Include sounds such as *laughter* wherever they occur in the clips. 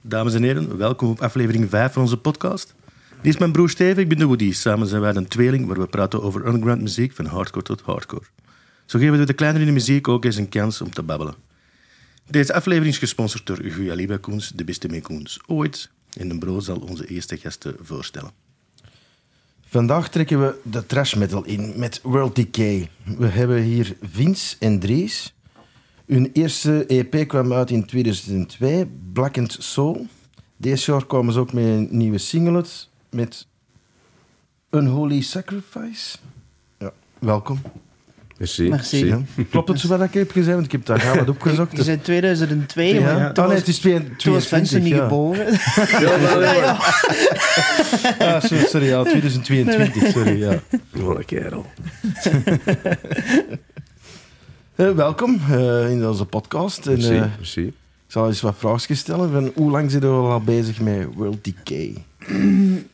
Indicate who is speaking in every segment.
Speaker 1: Dames en heren, welkom op aflevering 5 van onze podcast. Dit is mijn broer Steven, ik ben de Woody. Samen zijn wij een tweeling waar we praten over underground muziek van hardcore tot hardcore. Zo geven we de kleinere in de muziek ook eens een kans om te babbelen. Deze aflevering is gesponsord door Guya Liba Koens, de beste meekoens ooit. En de bro zal onze eerste gasten voorstellen.
Speaker 2: Vandaag trekken we de trash metal in met World Decay. We hebben hier Vince en Dries. Hun eerste EP kwam uit in 2002, Black and Soul. Deze jaar kwamen ze ook met een nieuwe singlet met Unholy Sacrifice. Ja, welkom.
Speaker 3: Merci.
Speaker 4: Merci.
Speaker 3: merci.
Speaker 2: Klopt het zo wat ik heb gezegd? Want *laughs* ik heb daar gaan wat opgezocht. dus-
Speaker 4: Je bent 2002, maar
Speaker 2: Ja.
Speaker 4: toen
Speaker 2: Ah, nee,
Speaker 4: was,
Speaker 2: het is 22,
Speaker 4: toen was Vincent niet
Speaker 2: ja. *laughs*
Speaker 4: geboren.
Speaker 2: Ah, sorry, sorry, ja, 2022, sorry, *laughs* ja.
Speaker 3: Wat een kerel.
Speaker 2: Eh, welkom eh, in onze podcast. En,
Speaker 3: Merci.
Speaker 2: eh,
Speaker 3: merci.
Speaker 2: ik zal eens wat vragen stellen. Van, hoe lang zijn we al bezig met World Decay?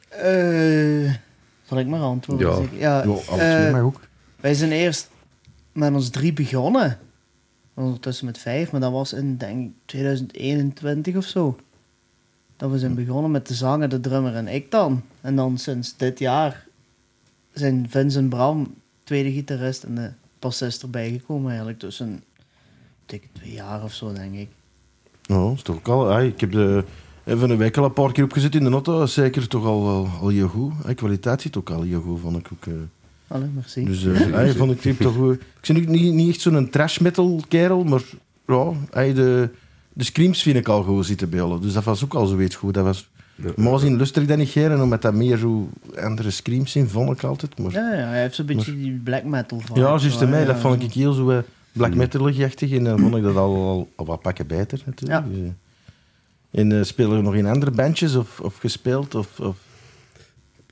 Speaker 4: Eh, zal ik maar antwoorden?
Speaker 3: Ja.
Speaker 4: zeg ik? ja eh,
Speaker 2: ook.
Speaker 4: wij zijn eerst met ons drie begonnen. Ondertussen met vijf, maar dat was in denk ik 2021 of zo. Dat we zijn begonnen met de zanger, de drummer en ik dan. En dan sinds dit jaar zijn Vince en Bram, tweede gitarist en de bassist erbij gekomen eigenlijk. Dus een dikke twee jaar of zo denk ik.
Speaker 2: Ja, is toch ook al. ah, ik heb de, even een week al een paar keer opgezet in de auto. Dat is zeker toch al, al, al heel goed. Ah, kwaliteit zit ook al heel goed, vond ik ook. eh.
Speaker 4: Allee, merci.
Speaker 2: Dus eh ah, vond ik die toch goed. Ik ben ook niet, niet echt zo'n trash metal kerel, maar ja, ah, de, de screams vind ik al goed zitten bij alle. Dus dat was ook al zoiets goed. Dat was, maar zien lustig dan niet geren, omdat dat meer zo andere screams in vond ik altijd. Maar, ja,
Speaker 4: Ja, ja, hij heeft zo'n beetje die black metal van.
Speaker 2: juist mij, dat vond ik heel zo eh,
Speaker 4: Mm.
Speaker 2: black metal-achtig. En dan vond ik dat al, al wat pakken beter natuurlijk.
Speaker 4: Ja.
Speaker 2: Dus, eh. En eh, spelen we nog in andere bandjes of, of gespeeld? Of, of...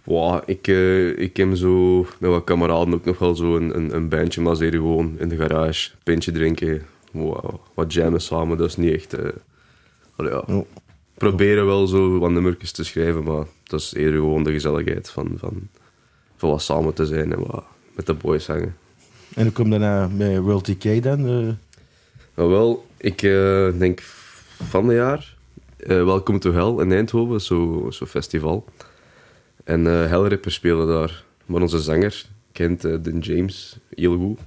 Speaker 3: Wow, ik, eh, ik heb zo met wat kameraden ook nog wel zo een, een, een bandje, maar zeer gewoon in de garage. Pintje drinken, wow, wat jammen samen, dat is niet echt... eh, allee, ja.
Speaker 2: Ja.
Speaker 3: Proberen wel zo wat nummertjes te schrijven, maar dat is eerder gewoon de gezelligheid van, van, van wat samen te zijn en wat met de boys hangen.
Speaker 2: En dan kom daarna bij nou World Decay dan. eh,
Speaker 3: Nou wel, ik eh, denk van het jaar. eh Welcome to Hell in Eindhoven, zo'n zo festival. En eh, Hellripper spelen daar. Maar onze zanger kent eh Den James heel goed.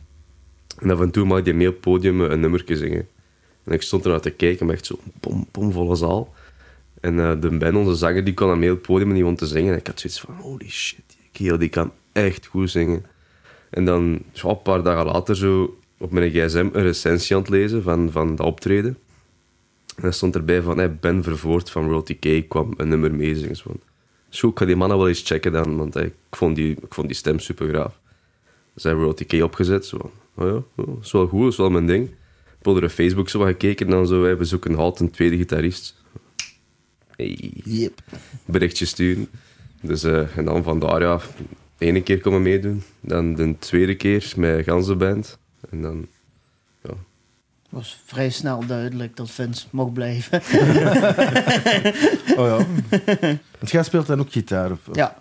Speaker 3: En af en toe mag hij mee op het podium eh, een nummertje zingen. En ik stond ernaar te kijken, maar echt zo'n pom, pomvolle zaal. En eh, de Ben, onze zanger, die kwam dan mee op het podium en die won te zingen. En ik had zoiets van, holy shit, die kerel die kan echt goed zingen. En dan, zo een paar dagen later, zo op mijn gsm een recensie aan het lezen van, van dat optreden. En daar stond erbij van, hey, Ben Vervoort van Royalty K kwam een nummer mee zingen. Dus van, zo, ik ga die mannen wel eens checken dan, want hey, ik, vond die, ik vond die stem super gaaf. Dus hebben Royalty K opgezet, zo van, oh ja, oh, is wel goed, is wel mijn ding. Ik heb op Facebook zo wat gekeken en dan zo, hey, we zoeken halt een tweede gitarist. Hey
Speaker 2: yep.
Speaker 3: berichtje sturen. Dus, eh, en dan vandaar, ja, de ene keer komen meedoen. Dan de tweede keer met ganse band. En dan, ja.
Speaker 4: Het was vrij snel duidelijk dat Vince mocht blijven. *laughs*
Speaker 2: Oh ja. Want jij speelt dan ook gitaar? Of, of-
Speaker 4: Ja.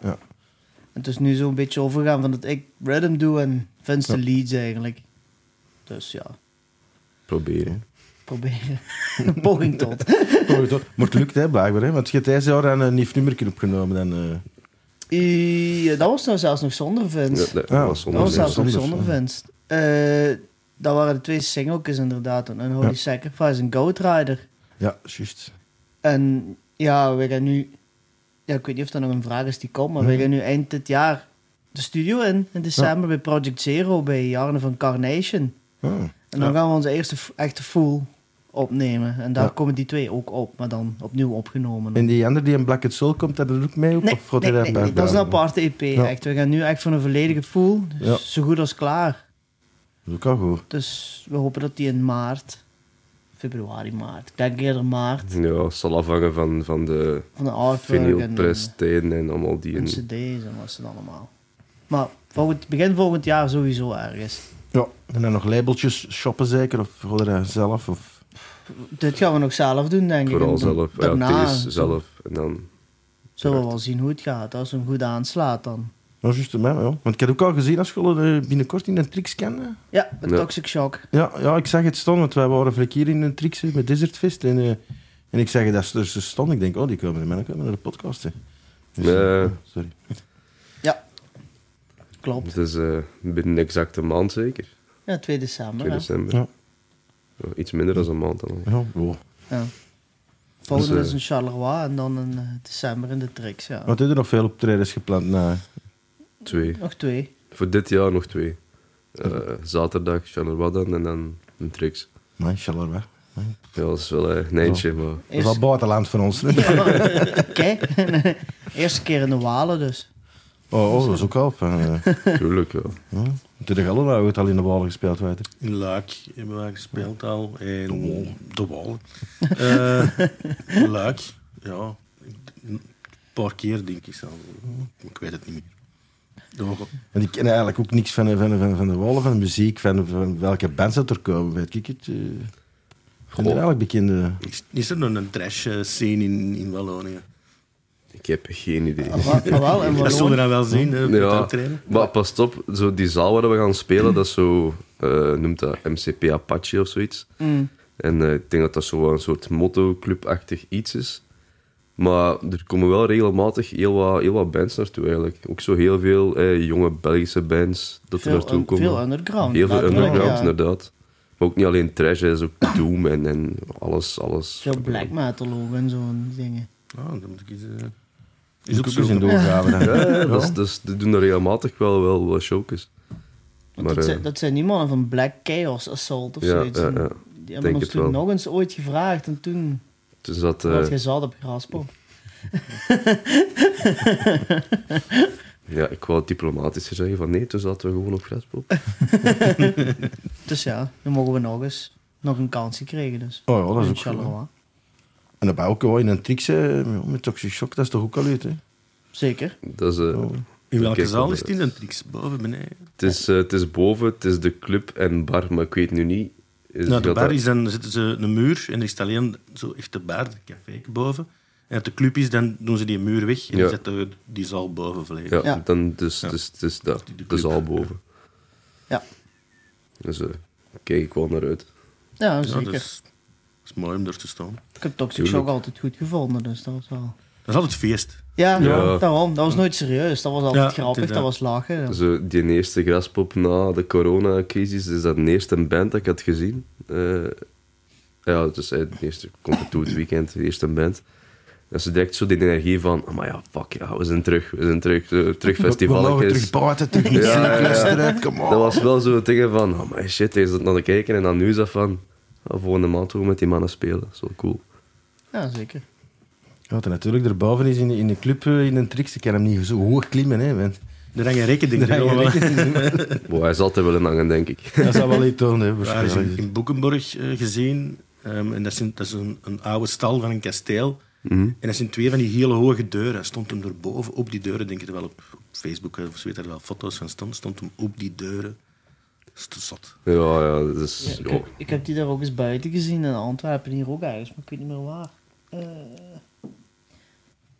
Speaker 4: het is nu zo'n beetje overgaan van dat ik rhythm doe en Vince de leads eigenlijk. Dus ja,
Speaker 3: Proberen.
Speaker 4: proberen. Een *laughs* poging tot.
Speaker 2: Oh, toch? Maar het lukt, hè, blijkbaar. Hè? Want je hebt deze jaar dan een nieuw nummertje opgenomen. Dan, eh.
Speaker 4: Eh, dat was nou zelfs nog zonder Vince.
Speaker 3: Ja, dat
Speaker 2: Ja,
Speaker 3: was
Speaker 4: dat was
Speaker 3: zonder
Speaker 4: zelfs nog
Speaker 2: zonder
Speaker 4: zonder Vince. Eh, dat waren de twee singeltjes inderdaad. Een Holy
Speaker 2: Ja.
Speaker 4: Sacrifice en Goat Rider.
Speaker 2: Ja, juist.
Speaker 4: En ja, we gaan nu... Ja, ik weet niet of er nog een vraag is die komt, maar we gaan nu eind dit jaar de studio in. In december bij Project Zero, bij Jarne van Carnation.
Speaker 2: Ah.
Speaker 4: En dan gaan we onze eerste f- echte full opnemen. En daar
Speaker 2: Ja.
Speaker 4: komen die twee ook op, maar dan opnieuw opgenomen.
Speaker 2: En die ander die in Black and Soul komt, dat er ook mee op?
Speaker 4: Nee,
Speaker 2: of gaat
Speaker 4: nee,
Speaker 2: hij daar
Speaker 4: nee,
Speaker 2: bij
Speaker 4: nee, dat is een
Speaker 2: blijven?
Speaker 4: aparte EP
Speaker 2: Ja.
Speaker 4: echt. We gaan nu echt voor een volledige full, dus
Speaker 2: Ja.
Speaker 4: zo goed als klaar.
Speaker 2: Dat is ook al goed.
Speaker 4: Dus we hopen dat die in maart, februari, maart, ik denk eerder maart,
Speaker 3: Ja, het zal afhangen van, van de
Speaker 4: van de artwork en, eh, en,
Speaker 3: vinylpress en allemaal die.
Speaker 4: en
Speaker 3: En,
Speaker 4: cd's en wat ze dan allemaal. Maar volgend, begin volgend jaar sowieso ergens.
Speaker 2: Ja. En dan nog labeltjes shoppen zeker? Of gaat hij dat zelf? Of...
Speaker 4: Dit gaan we nog zelf doen, denk ik.
Speaker 3: vooral
Speaker 4: En dan-
Speaker 3: zelf.
Speaker 4: daarna
Speaker 3: ja, deze zelf. En dan,
Speaker 4: zullen we wel zien hoe het gaat. Als hem goed aanslaat dan.
Speaker 2: Nou, juist hem, hè, ja. Want ik had ook al gezien als je al, eh, binnenkort in een tricks kende.
Speaker 4: Ja, een
Speaker 3: Ja.
Speaker 4: Toxic Shock.
Speaker 2: Ja, ja, ik zag het staan, want wij waren vorige keer in een tricks hè, met Desert Fest. En eh, En ik zeg dat ze er stond. Ik denk, oh, die komen er komen naar de podcast. hè. Dus,
Speaker 3: Nee.
Speaker 2: eh, sorry.
Speaker 4: Ja, klopt.
Speaker 3: Het is eh, binnen een exacte maand zeker.
Speaker 4: Ah, Ja, 2 december.
Speaker 3: 2
Speaker 4: hè.
Speaker 3: december.
Speaker 2: Ja.
Speaker 3: Oh, Iets minder dan een maand dan.
Speaker 2: Ja, wow.
Speaker 4: Ja. Volgende
Speaker 3: Dus, eh,
Speaker 4: is een Charleroi en dan een eh, december in de Trix. Ja.
Speaker 2: Wat hebben er nog veel optredens gepland eh, na?
Speaker 3: Twee.
Speaker 4: Nog twee.
Speaker 3: Voor dit jaar nog twee. Eh, zaterdag Charleroi dan en dan een Trix.
Speaker 2: Maar Charleroi.
Speaker 3: Ja, dat is wel eh, een eindje, maar...
Speaker 2: Dat is wel buitenland van ons. hè.
Speaker 4: *laughs* Oké. Eerste keer in de Walen dus.
Speaker 2: Oh, oh, dat is ook al. Van, eh, *laughs*
Speaker 3: Tuurlijk, ja.
Speaker 2: ja. Toen de Gallo nou het al in de bal gespeeld werd.
Speaker 1: In Luik hebben we gespeeld al. En De Wal. *laughs* Eh, Luik, ja. Een paar keer denk ik zelf. Ik weet het niet meer. Dat was ook-
Speaker 2: En ik ken eigenlijk ook niks van, van, van, van de wallen, van de muziek, van, van welke bands dat er komen. Weet ik het. eh. zijn er eigenlijk bekende...
Speaker 1: Is, is er nog een trash eh, scene in, in Wallonië?
Speaker 3: Ik heb geen idee.
Speaker 4: Ah, wa- ah,
Speaker 3: *laughs*
Speaker 4: wel, en
Speaker 1: Dat zullen we
Speaker 4: Wallonië.
Speaker 1: dan wel zien. eh, op het
Speaker 3: Ja,
Speaker 1: optreden.
Speaker 3: maar pas op, zo die zaal waar we gaan spelen, dat is zo, eh, noemt dat MCP Apache of zoiets.
Speaker 4: Mm.
Speaker 3: En eh, ik denk dat dat zo wel een soort motto-clubachtig iets is. Maar er komen wel regelmatig heel wat, heel wat bands naartoe eigenlijk. Ook zo heel veel eh, jonge Belgische bands dat
Speaker 4: Veel
Speaker 3: er naartoe
Speaker 4: un-
Speaker 3: komen.
Speaker 4: veel underground,
Speaker 3: Heel veel
Speaker 4: natuurlijk,
Speaker 3: underground,
Speaker 4: ja.
Speaker 3: inderdaad. Maar ook niet alleen trash, hè, is ook doom en, en alles, alles.
Speaker 4: Veel black metal ook en zo'n dingen.
Speaker 1: Ah, dan moet ik eens... eh,
Speaker 2: Is
Speaker 1: ook
Speaker 2: ook
Speaker 1: zo.
Speaker 2: eens in doorgaven. dan.
Speaker 3: Ja,
Speaker 1: *laughs*
Speaker 3: ja, dat is- dat is- die doen er regelmatig wel, wel, wel showcase.
Speaker 4: Want
Speaker 3: Maar,
Speaker 4: dat,
Speaker 3: eh,
Speaker 4: zijn, dat zijn die mannen van Black Chaos Assault of
Speaker 3: Ja,
Speaker 4: zoiets.
Speaker 3: ja,
Speaker 4: En
Speaker 3: ja.
Speaker 4: Die hebben ons
Speaker 3: het
Speaker 4: toen
Speaker 3: wel.
Speaker 4: nog eens ooit gevraagd en toen
Speaker 3: Toen zat... eh,
Speaker 4: had je zout op graspop.
Speaker 3: Ja, ik wou het diplomatischer zeggen van nee, toen zaten we gewoon op graspop.
Speaker 4: Dus ja, dan mogen we nog eens nog een kansje krijgen. Dus.
Speaker 2: Oh ja, dat is
Speaker 4: In
Speaker 2: ook goed, hè.
Speaker 4: Charleroi.
Speaker 2: En dan ben ik ook wel in een trikse met Toxic Shock, dat is toch ook al uit, hè?
Speaker 4: Zeker.
Speaker 3: Dat is, eh,
Speaker 1: In welke
Speaker 3: Kijk,
Speaker 1: zaal
Speaker 3: wel,
Speaker 1: is het in een tricks? Boven, beneden?
Speaker 3: het, is, eh, het is boven, het is de club en bar, maar ik weet nu niet. Is
Speaker 1: Nou, de
Speaker 3: dat
Speaker 1: bar
Speaker 3: dat-
Speaker 1: is dan zitten ze een muur en er is alleen zo echt de bar, de café boven. En als de club is, dan doen ze die muur weg en
Speaker 3: Ja.
Speaker 1: dan zetten we die zaal boven volledig.
Speaker 3: Ja,
Speaker 4: Ja.
Speaker 3: Dan, dus,
Speaker 1: Ja.
Speaker 3: Dus, het is dat,
Speaker 1: De
Speaker 3: de
Speaker 1: club.
Speaker 3: zaal boven.
Speaker 4: Ja,
Speaker 3: Dus eh, kijk ik wel naar uit.
Speaker 4: ja
Speaker 1: Ja,
Speaker 4: zeker.
Speaker 1: dus dat, is, dat is mooi om er te staan.
Speaker 4: Ik heb Toxic
Speaker 3: dus- Tuurlijk.
Speaker 4: Shock altijd goed gevonden, dus dat was wel...
Speaker 1: Dat is altijd feest.
Speaker 4: Ja,
Speaker 3: Ja.
Speaker 4: daarom. Dat was nooit serieus. Dat was altijd
Speaker 1: Ja,
Speaker 4: grappig, dat
Speaker 1: inderdaad.
Speaker 4: was lachen. Ja.
Speaker 3: Zo, die eerste graspop na de coronacrisis is dat de eerste band dat ik had gezien. Eh, ja, dus eh, de eerste komt het toe het weekend, de eerste band. Dat ze direct zo die energie van, "Oh, maar ja, fuck ja, we zijn terug, we zijn terug, eh, terug
Speaker 2: We mogen
Speaker 3: festivalletjes.
Speaker 2: terug buiten, terug
Speaker 3: Ja,
Speaker 2: niet
Speaker 3: ja, ja.
Speaker 2: slecht kom
Speaker 3: Dat
Speaker 2: op.
Speaker 3: was wel zo'n ding van, oh my shit, is dat naar te kijken. En dan nu is dat van, oh, volgende maand gaan we met die mannen spelen. Dat is wel cool.
Speaker 4: ja, zeker.
Speaker 2: Ja, wat er natuurlijk erboven is in de, in de club, eh, in een trikse, kan hem niet zo hoog klimmen, hè. Man.
Speaker 1: Daar hang je rekening
Speaker 2: Daar
Speaker 1: mee.
Speaker 2: hang je rekening mee.
Speaker 3: Wow, hij zal te willen hangen, denk ik. *laughs*
Speaker 2: Dat zou wel iets doen, hè,
Speaker 1: We waren in,
Speaker 2: waarschijnlijk.
Speaker 1: in Boekenborg eh, gezien. Ehm, en dat is, een, dat is een, een oude stal van een kasteel.
Speaker 3: Mhm.
Speaker 1: En dat zijn twee van die hele hoge deuren. Stond hem erboven op die deuren, denk ik er wel op, op Facebook eh, of zo weet er wel foto's van stond. Stond hem op die deuren. Dat is te zot.
Speaker 3: Ja, ja, dat is...
Speaker 4: ik,
Speaker 3: Ja,
Speaker 4: heb, ik heb die daar ook eens buiten gezien in Antwerpen, hier ook ergens, maar ik weet niet meer waar. Eh,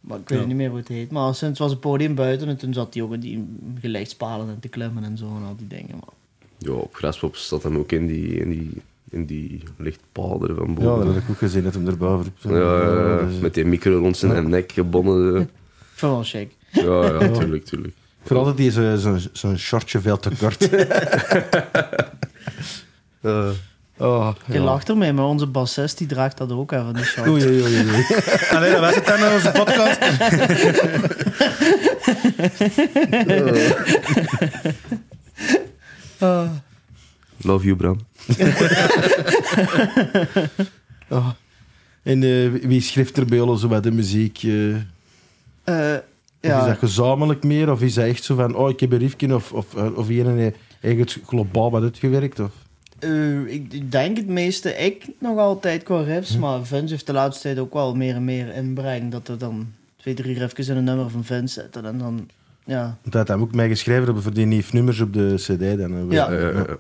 Speaker 4: maar ik weet
Speaker 1: Ja.
Speaker 4: niet meer hoe het heet. Maar sinds was het podium buiten en toen zat hij ook in die gelijkspalen en te klimmen en zo en al die dingen. Maar
Speaker 3: ja, op Graspop zat hem ook in die, in die, in die lichtpaal er van
Speaker 2: Ja, dat
Speaker 3: boven.
Speaker 2: had ik ook gezien, dat hem erboven Dus, eh,
Speaker 3: Ja, ja, ja, met die micro rond zijn nek gebonden.
Speaker 4: ik vind het wel chic.
Speaker 3: Ja, ja, tuurlijk, tuurlijk.
Speaker 2: Vooral dat hij zo- zo'n zo'n shortje veel te
Speaker 1: *laughs*
Speaker 2: kort.
Speaker 1: Eh.
Speaker 3: Ja.
Speaker 2: Oh,
Speaker 4: Je lacht ermee, maar onze bassist die draagt dat ook even, die short.
Speaker 2: Oei, oei, oei, oei.
Speaker 1: Allee, Ah, dat was het dan met onze podcast.
Speaker 4: Ah,
Speaker 3: Love you, Bram.
Speaker 2: Oh. En eh, wie schrijft er bij jullie zo wat de muziek? eh?
Speaker 4: eh,
Speaker 2: Of is dat
Speaker 4: ja,
Speaker 2: gezamenlijk meer? Of is dat echt zo van, oh, ik heb een riefje of, of, eh, of hier en eigenlijk globaal wat uitgewerkt? Of?
Speaker 4: eh, ik, ik denk het meeste ik nog altijd qua riffs, maar Vince heeft de laatste tijd ook wel meer en meer inbreng. Dat er dan twee, drie riffjes in een nummer van Vince zetten en dan, ja,
Speaker 2: Want hij had hem ook mij geschreven hebben voor die nieuwe nummers op de cd. Dan, eh, hè.
Speaker 4: Ja.
Speaker 3: Ja, ja, ja.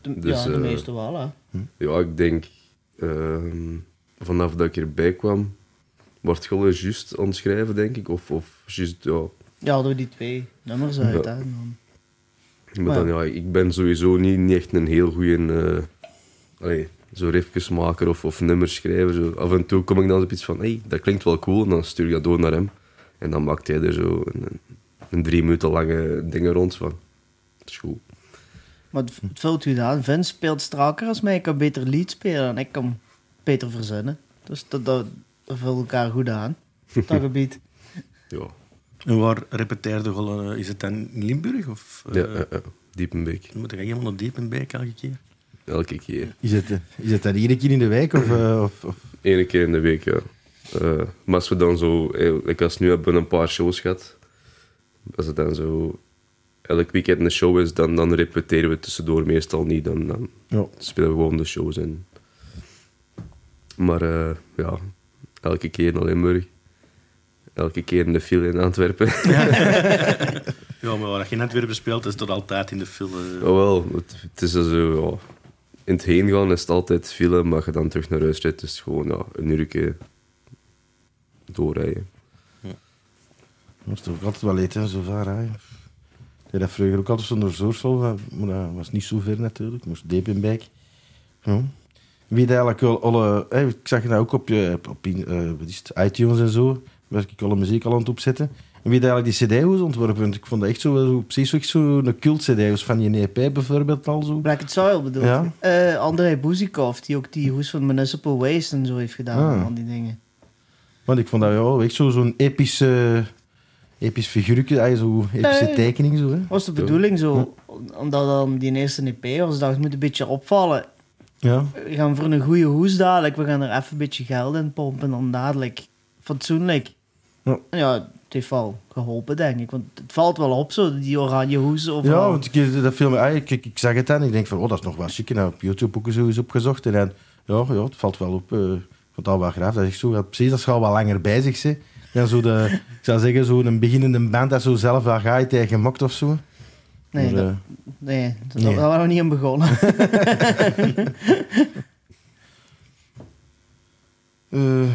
Speaker 4: De,
Speaker 3: Dus,
Speaker 4: ja, de
Speaker 3: eh,
Speaker 4: meeste wel, hè.
Speaker 3: Ja, ik denk ehm, vanaf dat ik erbij kwam, wordt gewoon juist aan het schrijven, denk ik. Of, of juist, ja.
Speaker 4: Ja, hadden we die twee nummers uit, hè. en dan-
Speaker 3: Maar dan, ja, ik ben sowieso niet, niet echt een heel goede. eh allee, zo riffjes maken of, of nummers schrijven. Zo. Af en toe kom ik dan op iets van, hey, dat klinkt wel cool. En dan stuur ik dat door naar hem. En dan maakt hij er zo een, een- een drie minuten lange dingen rond van. Dat is goed.
Speaker 4: Maar het, het vult u aan. Vince speelt strakker als mij. Ik kan beter lied spelen en ik kan beter verzinnen. Dus dat, dat, dat vult elkaar goed aan.
Speaker 2: *laughs*
Speaker 4: Op dat gebied.
Speaker 3: Ja,
Speaker 1: En waar repeteerde al? eh, is het dan in Limburg? Of, eh,
Speaker 3: ja, ja, ja. Diepenbeek.
Speaker 1: Moet ik helemaal naar Diepenbeek elke keer?
Speaker 3: Elke keer.
Speaker 2: Is het, eh, is het dan iedere keer in de wijk? Of, eh, of, of-
Speaker 3: Eén keer in de week, ja. Eh, maar als we dan zo, eh, ik als nu hebben we een paar shows gehad. Als het dan zo elk weekend een show is, dan, dan repeteren we tussendoor meestal niet. Dan, dan
Speaker 2: ja.
Speaker 3: spelen we gewoon de shows in. Maar eh, ja, elke keer naar Limburg. Elke keer in de file in Antwerpen. *laughs*
Speaker 1: Ja, maar waar je in Antwerpen speelt, is dat altijd in de film. eh,
Speaker 3: Oh wel, het, het is dus zo, ja. In het heen gaan is het altijd file, maar je dan terug naar huis rijdt, is het gewoon ja, een uurtje doorrijden.
Speaker 2: moest toch ook altijd wel eten, hè, zo vaar. hè. Ja, dat vroeger ook altijd zonder Zoorsel, maar maar dat was niet zo ver natuurlijk. Moest Depenbeek. Ja. Wie dat eigenlijk wel alle... hè, ik zag je dat ook op, je, op in- eh, wat is het, iTunes en zo. Was ik alle muziek al aan het opzetten. En wie dat eigenlijk die cd-hoes ontworpen heeft, ik vond dat echt zo, wel zo precies zo- echt zo'n cult cd-hoes van je EP bijvoorbeeld al zo.
Speaker 4: Black and Soil bedoel ik.
Speaker 2: Ja.
Speaker 4: Eh, André Buzikov, die ook die hoes van Municipal Waste en zo heeft gedaan.
Speaker 2: Ah.
Speaker 4: en Al die dingen.
Speaker 2: Want ik vond dat ja, echt zo- zo'n epische, episch figuurtje, eigenlijk zo'n epische
Speaker 4: Nee.
Speaker 2: tekening. Zo, hè.
Speaker 4: Was de bedoeling zo, omdat dan die eerste EP was, dacht moet een beetje opvallen.
Speaker 2: Ja.
Speaker 4: We gaan voor een goede hoes dadelijk. We gaan er even een beetje geld in pompen. En dan dadelijk fatsoenlijk.
Speaker 2: Ja.
Speaker 4: En ja, het heeft wel geholpen, denk ik. Want het valt wel op zo, die oranje hoes.
Speaker 2: Ja,
Speaker 4: Overal.
Speaker 2: want ik, dat film, ah, ik, ik, ik zag het dan ik denk van, oh, dat is nog wel chic. En dan op YouTube ook zo eens opgezocht. En dan, ja, ja, het valt wel op. eh, ik vond dat wel graaf. Dat is echt zo, ja, precies, dat is al wel langer bij zich. Ze. Dan zo de, ik zou zeggen, zo'n beginnende band dat zo zelf wel gaat tegen mokt of zo.
Speaker 4: nee,
Speaker 2: Maar,
Speaker 4: dat,
Speaker 2: eh,
Speaker 4: nee, dat-
Speaker 2: nee.
Speaker 4: daar waren we niet aan begonnen. *laughs*
Speaker 2: eh,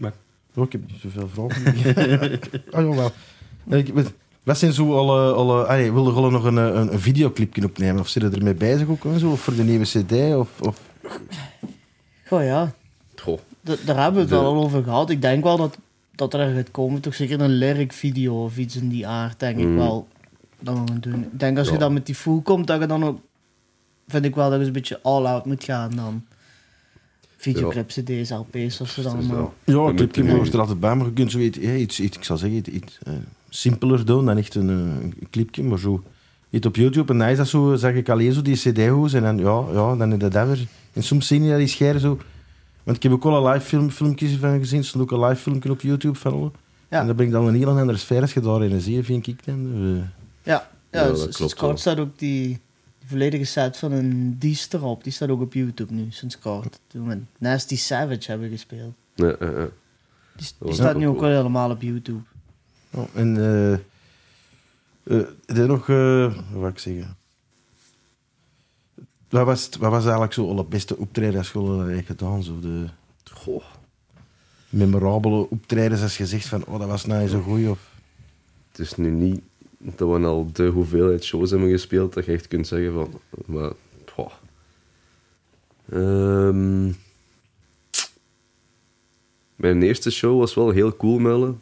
Speaker 1: Maar-
Speaker 2: oh, ik heb niet zoveel vragen. *laughs* ah, jawel. Eh, Ik, weet- wat zijn zo alle... alle ah, nee, wilde Golle nog een, eh, een, een videoclip kunnen opnemen? Of zitten ermee bezig ook? En zo? Of voor de nieuwe cd? Of, of
Speaker 4: Goh ja,
Speaker 3: Goh.
Speaker 4: d- daar hebben we het
Speaker 3: De-
Speaker 4: wel al over gehad. Ik denk wel dat, dat er gaat komen. Toch zeker een lyric video of iets in die aard, denk ik
Speaker 3: Mm.
Speaker 4: wel. Dat we gaan doen. Ik denk als je
Speaker 3: Ja.
Speaker 4: dan met die fool komt, dat je dan ook... Vind ik wel dat je een beetje all-out moet gaan dan. Videoclips, cd's, lp's, of ze dan eh,
Speaker 3: Dus
Speaker 4: allemaal...
Speaker 3: ja.
Speaker 2: Ja,
Speaker 3: Dan
Speaker 2: ik heb
Speaker 3: moet je
Speaker 2: je
Speaker 3: nu-
Speaker 2: hoort er altijd bij, maar je kunt zo iets, ja, iets, iets ik zal zeggen, iets, iets, eh, simpeler doen dan echt een, eh, een clipje, maar zo. Iets op YouTube en dan is dat zo, zag ik alleen zo die cd-hoes en dan, ja, ja, dan is dat dat weer. En soms zie je dat die scheren zo. Want ik heb ook al een live film, filmpjes van gezien, er stond ook een live filmpje op YouTube van alle.
Speaker 4: Ja.
Speaker 2: En dat brengt dan een heel andere sfeer als je daarin ziet, vind ik dan. Dus, eh,
Speaker 4: Ja, ja,
Speaker 3: Ja, dat
Speaker 4: s-
Speaker 3: klopt
Speaker 4: sinds
Speaker 3: wel.
Speaker 4: kort staat ook die, die volledige set van een diest erop. Die staat ook op YouTube nu, sinds kort. Toen we Nasty Savage hebben gespeeld.
Speaker 3: Ja, ja, ja.
Speaker 4: Die, s- die
Speaker 3: Oh, Dat was
Speaker 4: staat
Speaker 3: ook
Speaker 4: nu ook
Speaker 3: cool.
Speaker 4: wel helemaal op YouTube.
Speaker 2: ja, en eh eh, er is nog, eh, wat wou ik zeggen? Wat was, het- wat was eigenlijk zo alle beste optreden als je al hebt gedaan? Zo de,
Speaker 3: Goh.
Speaker 2: memorabele optredens als je zegt van oh, dat was nou eens een goeie of
Speaker 3: Het is nu niet dat we al de hoeveelheid shows hebben gespeeld dat je echt kunt zeggen van. Maar. Goh. Ehm, mijn eerste show was wel heel cool, Melle.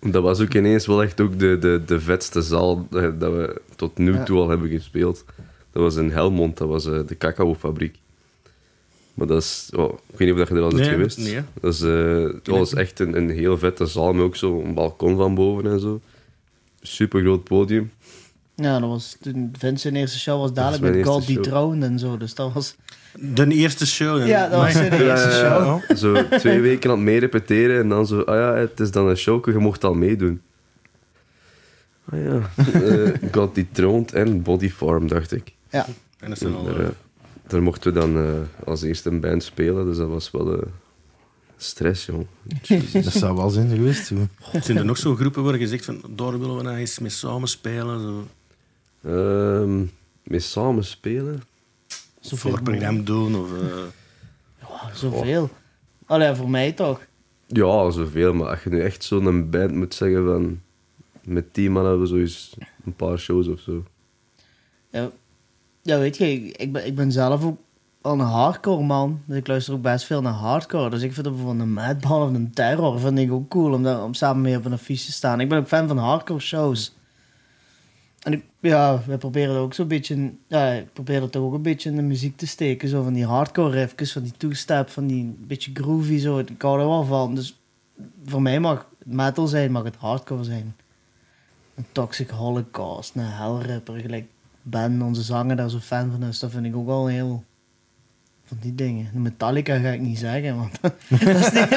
Speaker 3: Dat was ook ineens wel echt ook de, de, de vetste zaal eh, dat we tot nu
Speaker 4: Ja.
Speaker 3: toe al hebben gespeeld. Dat was in Helmond, dat was eh, de cacaofabriek. Maar dat is... Oh, ik weet niet of je er al bent
Speaker 1: Nee,
Speaker 3: geweest.
Speaker 1: nee.
Speaker 3: Dat is, eh, dat was echt een, een heel vette zaal, met ook zo'n balkon van boven en zo. Super groot podium.
Speaker 4: Ja, dat was toen Vince zijn eerste show was dadelijk
Speaker 3: mijn
Speaker 4: met God
Speaker 3: eerste show.
Speaker 4: Dethroned en zo. Dus dat was...
Speaker 1: De eerste show.
Speaker 4: Ja, dat was zijn eerste
Speaker 3: Ja,
Speaker 4: show.
Speaker 3: ja, ja. Zo twee weken aan het meerepeteren en dan zo, ah ja, het is dan een showke, je mocht al meedoen. Ah ja, eh, God Dethroned en Body Farm, dacht ik.
Speaker 4: Ja,
Speaker 1: En dat zijn
Speaker 3: En
Speaker 1: al...
Speaker 3: daar,
Speaker 1: eh,
Speaker 3: eh, daar mochten we dan eh, als eerste een band spelen, dus dat was wel eh, stress, jong.
Speaker 2: dat zou wel zijn geweest. Zo.
Speaker 1: Zijn er nog zo'n groepen waar je zegt van, daar willen we nou eens mee samen spelen? Zo,
Speaker 3: Ehm mee samen spelen?
Speaker 1: een
Speaker 4: zoveel mogelijk.
Speaker 1: voorprogramma doen of... eh,
Speaker 4: Ja, Zoveel. Allee, voor mij toch.
Speaker 3: Ja, zoveel, maar als je nu echt zo'n band moet zeggen van... Met die man hebben we zoiets een paar shows of zo.
Speaker 4: Ja, ja weet je, ik ben, ik ben zelf ook aan hardcore, man. Dus ik luister ook best veel naar hardcore. Dus ik vind bijvoorbeeld een Madball of een Terror vind ik ook cool om, daar, om samen mee op een affiche te staan. Ik ben ook fan van hardcore shows. En ik, ja, we proberen dat ook zo'n beetje... in- Ja, ik probeer dat toch ook een beetje in de muziek te steken. Zo van die hardcore riffjes, van die two-step, van die beetje groovy zo. Ik hou er wel van. Dus voor mij mag het metal zijn, mag het hardcore zijn. Een Toxic Holocaust, een Hellripper, gelijk Ben, onze zanger, daar zo fan van is. Dat vind ik ook wel heel... Van die dingen. De Metallica ga ik niet zeggen, want... *laughs* dat is niet...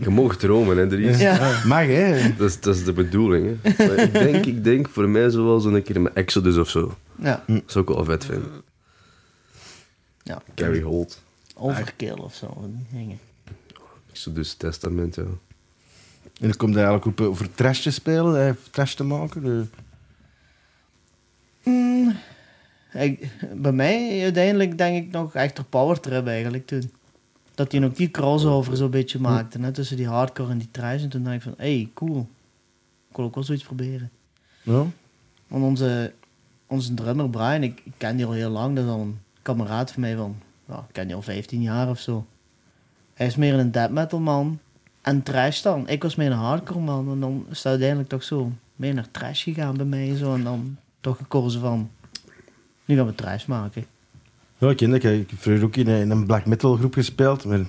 Speaker 3: Je mag dromen, hè, Dries.
Speaker 4: Ja.
Speaker 2: Mag, hè?
Speaker 3: Dat, is, dat is de bedoeling, hè. Maar ik, denk, ik denk voor mij zoals een keer met Exodus of zo.
Speaker 4: ja.
Speaker 1: Hm.
Speaker 3: Dat zou ik wel vet
Speaker 4: Hm.
Speaker 3: vinden.
Speaker 4: Ja.
Speaker 3: Gary Holt.
Speaker 4: Overkill of zo, van die dingen.
Speaker 3: Exodus Testament, ja.
Speaker 2: En dan komt hij eigenlijk op eh, voor trash te spelen, eh, voor trash te maken. eh.
Speaker 4: Mm, ik- bij mij uiteindelijk denk ik nog echt door Power Trip eigenlijk toen. Dat hij ook die crossover zo'n beetje maakte. Hè, tussen die hardcore en die trash. En toen dacht ik van, hey, cool. Ik wil ook wel zoiets proberen.
Speaker 2: Ja.
Speaker 4: Want onze, onze drummer Brian, ik, ik ken die al heel lang. Dat is al een kameraad van mij van, nou, ik ken die al 15 jaar of zo. Hij is meer een death metal man. En trash dan. Ik was meer een hardcore man. En dan is het uiteindelijk toch zo meer naar trash gegaan bij mij. en Zo. En dan toch gekozen van, nu gaan we trash maken.
Speaker 2: Ja, ik ken dat. Ik heb vroeger ook in een, in een black metal groep gespeeld, maar ik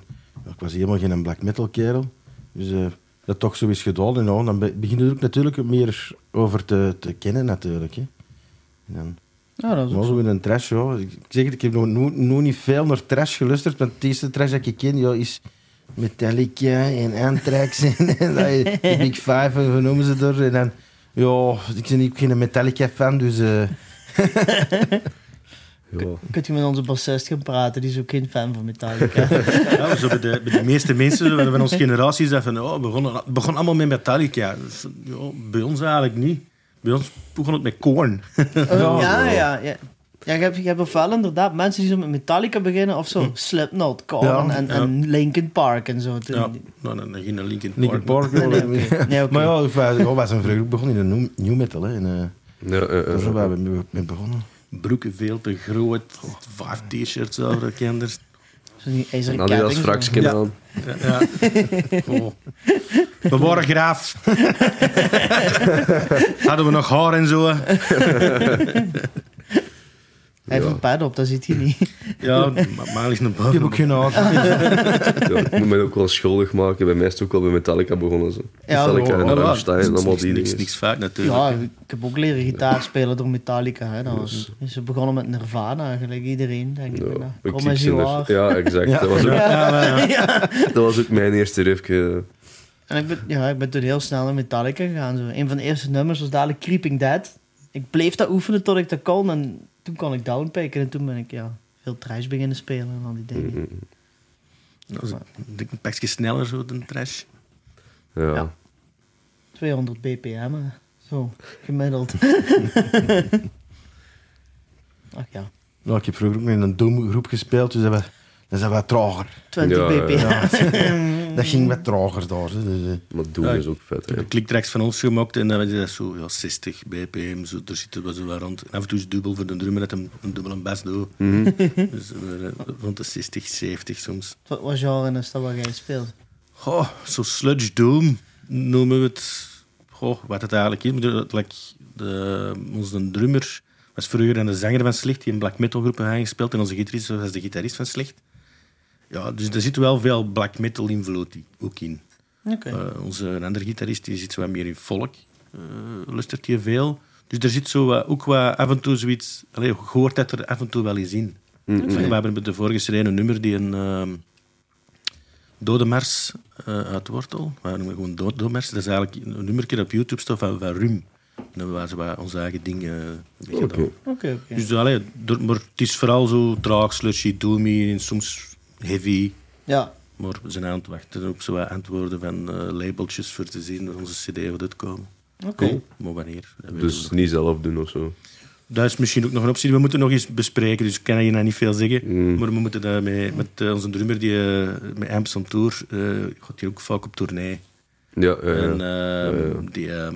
Speaker 2: was helemaal geen black metal kerel. Dus eh, dat toch zo is gedaan. En nou, dan be- begin je er ook natuurlijk meer over te, te kennen natuurlijk. Hè. En dan,
Speaker 4: Ja, dat is
Speaker 2: maar
Speaker 4: ook
Speaker 2: zo
Speaker 4: zo.
Speaker 2: in een trash, ja. Ik ik zeg het, ik heb nog, nog, nog niet veel naar trash geluisterd, want het eerste trash dat ik ken ja, is Metallica en Anthrax *laughs* en, en dat, de Big Five, en hoe noemen ze het er. En dan, ja, ik ben ook geen Metallica-fan, dus... eh,
Speaker 3: Ja.
Speaker 4: Kunt je met onze bassist gaan praten? Die is ook geen fan van Metallica.
Speaker 1: Ja, zo bij, de, bij de meeste mensen zo van onze generatie is dat van, oh, het begon, het begon allemaal met Metallica. Dus, ja, bij ons eigenlijk niet. Bij ons begon het met Korn.
Speaker 4: ja, Ehm, ja, ja. ja. je, hebt, je hebt ofwel inderdaad mensen die zo met Metallica beginnen of zo. Slipknot, Korn
Speaker 2: Ja,
Speaker 4: en,
Speaker 1: ja.
Speaker 4: en Linkin Park en zo.
Speaker 1: Ja,
Speaker 4: *laughs*
Speaker 1: nou, dan ging naar Linkin Park.
Speaker 2: Linkin Park.
Speaker 4: Nee, nee, oké. Nee, oké.
Speaker 2: Maar ja, ik was- ja, wij zijn vroeger ook begonnen in de new, new metal. Hè. En, eh,
Speaker 3: Ja, eh, eh,
Speaker 2: daar zijn wij mee- mee begonnen.
Speaker 1: Broeken veel te groot. Vijf t-shirts over kinderen.
Speaker 4: Zo'n die ijzeren
Speaker 3: en Adidas
Speaker 4: ketting, zo.
Speaker 3: fraksken
Speaker 1: Ja.
Speaker 3: aan.
Speaker 1: Ja, ja. Oh. We waren graaf. *laughs* Hadden we nog haar en zo.
Speaker 4: Hij heeft
Speaker 3: Ja.
Speaker 4: een pad op, dat ziet hij niet.
Speaker 1: Ja, maar maar is een
Speaker 2: Ik heb ook geen haar.
Speaker 3: Ja, ik moet mij ook wel schuldig maken. Bij mij is het ook wel bij Metallica begonnen. Zo. Metallica
Speaker 1: Ja,
Speaker 3: en
Speaker 1: ja,
Speaker 3: Rammstein
Speaker 1: is
Speaker 3: en allemaal
Speaker 1: niks,
Speaker 3: die
Speaker 1: niks,
Speaker 3: dingen.
Speaker 1: niks fout natuurlijk.
Speaker 4: Ja, ik heb ook leren gitaar spelen door Metallica. Hè. Dat was, ze begonnen met Nirvana, eigenlijk iedereen. Denk ik.
Speaker 3: Ja,
Speaker 4: bijna.
Speaker 3: ik
Speaker 4: Kom
Speaker 3: zie
Speaker 4: as
Speaker 3: ze
Speaker 4: you
Speaker 3: er-
Speaker 4: are. *laughs*
Speaker 3: ja, exact. Dat, was ook, dat was ook mijn eerste eh, riffje.
Speaker 4: En ik ben, ja, ik ben toen heel snel naar Metallica gegaan. Zo. Een van de eerste nummers was dadelijk Creeping Dead. Ik bleef dat oefenen tot ik dat kon. En toen kon ik downpicken. En toen ben ik ja, veel trash beginnen spelen en al die dingen.
Speaker 1: Dat was een- een pakje sneller zo dan trash.
Speaker 3: Ja.
Speaker 4: Ja. 200 bpm, hè. zo, gemiddeld. Ach ja,
Speaker 2: Ja, ik heb vroeger ook in een doomgroep gespeeld, dus dat, was- dat is wat
Speaker 4: *laughs*
Speaker 2: trager.
Speaker 4: 20
Speaker 3: Ja, ja,
Speaker 4: bpm.
Speaker 2: Ja, dat ging wat trager daar. hè. Dus, eh,
Speaker 3: Maar doen
Speaker 1: Ja,
Speaker 3: is ook vet.
Speaker 1: Ik
Speaker 3: Hè.
Speaker 1: heb kliktracks van ons gemaakt en dan was dat zo ja, 60 bpm, zo, daar zitten we zo wat rond. En af en toe is het dubbel voor de drummer dat hem een dubbel een best doet.
Speaker 3: Mhm.
Speaker 1: Dus we waren rond de 60, 70 soms.
Speaker 4: Wat was genre is dat wat jij speelt?
Speaker 1: Goh, zo sludge doom noemen we het. Goh, wat het eigenlijk is. Ik bedoel, het lijkt de, onze drummer was vroeger een zanger van Slecht, die in black metal groepen heeft gespeeld. En onze gitarist was de gitarist van Slecht. Ja, dus er zit wel veel black metal invloed i- ook in.
Speaker 4: Oké.
Speaker 1: Eh, onze een andere gitarist die zit zo wat meer in folk, eh lustert hij veel. Dus er zit zo wat- ook wat af en toe zoiets... Allee, je hoort dat er af en toe wel eens in. We hebben bij de vorige serie een nummer die een... ehm, Dode Mars eh, uit Wortel. Wij noemen gewoon Dood, Dode Mars. Dat is eigenlijk een nummerke dat op YouTube staat van, van Rum. En dan waren ze wat onze eigen eh, dingen
Speaker 3: Oké.
Speaker 1: gedaan.
Speaker 4: Oké, oké.
Speaker 1: Dus allee, er- maar het is vooral zo traag, slushy, doomy en soms heavy.
Speaker 4: Ja,
Speaker 1: Maar we zijn aan het wachten op zo wat antwoorden van eh, labeltjes voor te zien dat onze cd gaat uitkomen.
Speaker 4: oké.
Speaker 1: Maar wanneer? Dat, weten we
Speaker 3: Dus niet zelf doen of zo.
Speaker 1: nog. dat is misschien ook nog een optie. We moeten nog eens bespreken, dus ik kan hier nog niet veel zeggen.
Speaker 3: Mm.
Speaker 1: Maar we moeten dat met, met eh, onze drummer, die eh, met Amps on Tour, eh, gaat hier ook vaak op tournee.
Speaker 3: Ja, ja, ja.
Speaker 1: En ehm,
Speaker 3: Ja, ja.
Speaker 1: Die, ehm,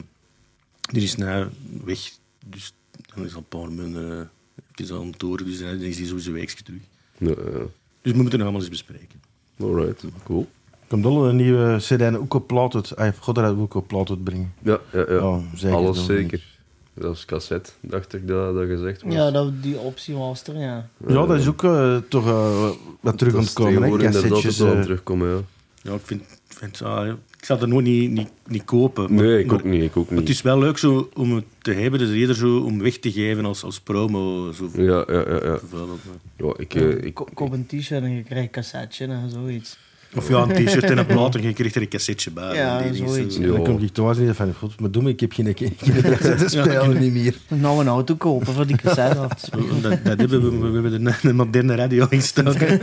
Speaker 1: die is nou weg. Dus dan is al een paar maanden eh, Het is al een toren, dus dan is die sowieso een weekje terug.
Speaker 3: Ja, ja.
Speaker 1: Dus we moeten het allemaal eens bespreken.
Speaker 3: Alright, cool.
Speaker 2: Komt wel een nieuwe CD en ook op plaat uit. Ah, God, dat ook op plaat uitbrengen.
Speaker 3: Ja, ja, ja.
Speaker 2: Ja, Oh, zeker
Speaker 3: Alles
Speaker 2: doen,
Speaker 3: zeker. Zelfs cassette, dacht ik dat dat gezegd was.
Speaker 4: Ja, dat, die optie was er, ja.
Speaker 2: Ja, dat is ook eh, toch eh, wat terug
Speaker 3: Dat
Speaker 2: aan
Speaker 3: is
Speaker 2: het komen. Hè?
Speaker 3: tegenwoordig inderdaad
Speaker 2: Cassettes,
Speaker 3: dat we aan
Speaker 2: eh,
Speaker 3: terugkomen, ja.
Speaker 1: Ja, ik vind, vind het saai, hè. Ik zou dat nooit niet, niet, niet kopen. maar-
Speaker 3: Nee, ik
Speaker 1: maar-
Speaker 3: ook niet, ik ook
Speaker 1: maar
Speaker 3: niet.
Speaker 1: Het is wel leuk zo om het te hebben, dus eerder zo om weg te geven als, als promo. Zo,
Speaker 3: Ja, ja, ja. ja.
Speaker 1: bijvoorbeeld.
Speaker 3: ja ik, eh, ik,
Speaker 4: Ko- Koop een t-shirt en je krijgt een cassetje en zoiets.
Speaker 1: Of ja, een t-shirt en een plaat en je krijgt er een cassetje bij.
Speaker 4: Ja,
Speaker 1: Die dingen
Speaker 4: zoiets.
Speaker 1: zo.
Speaker 3: Ja.
Speaker 2: Dan kom ik thuis en denk van, god, maar doe me, ik heb geen *laughs* cassette spelen niet meer.
Speaker 4: Nou een auto kopen voor die cassette af te spelen.
Speaker 1: Zo, Dat, dat hebben we, we hebben een, een moderne radio
Speaker 4: *laughs*
Speaker 1: ingestoken.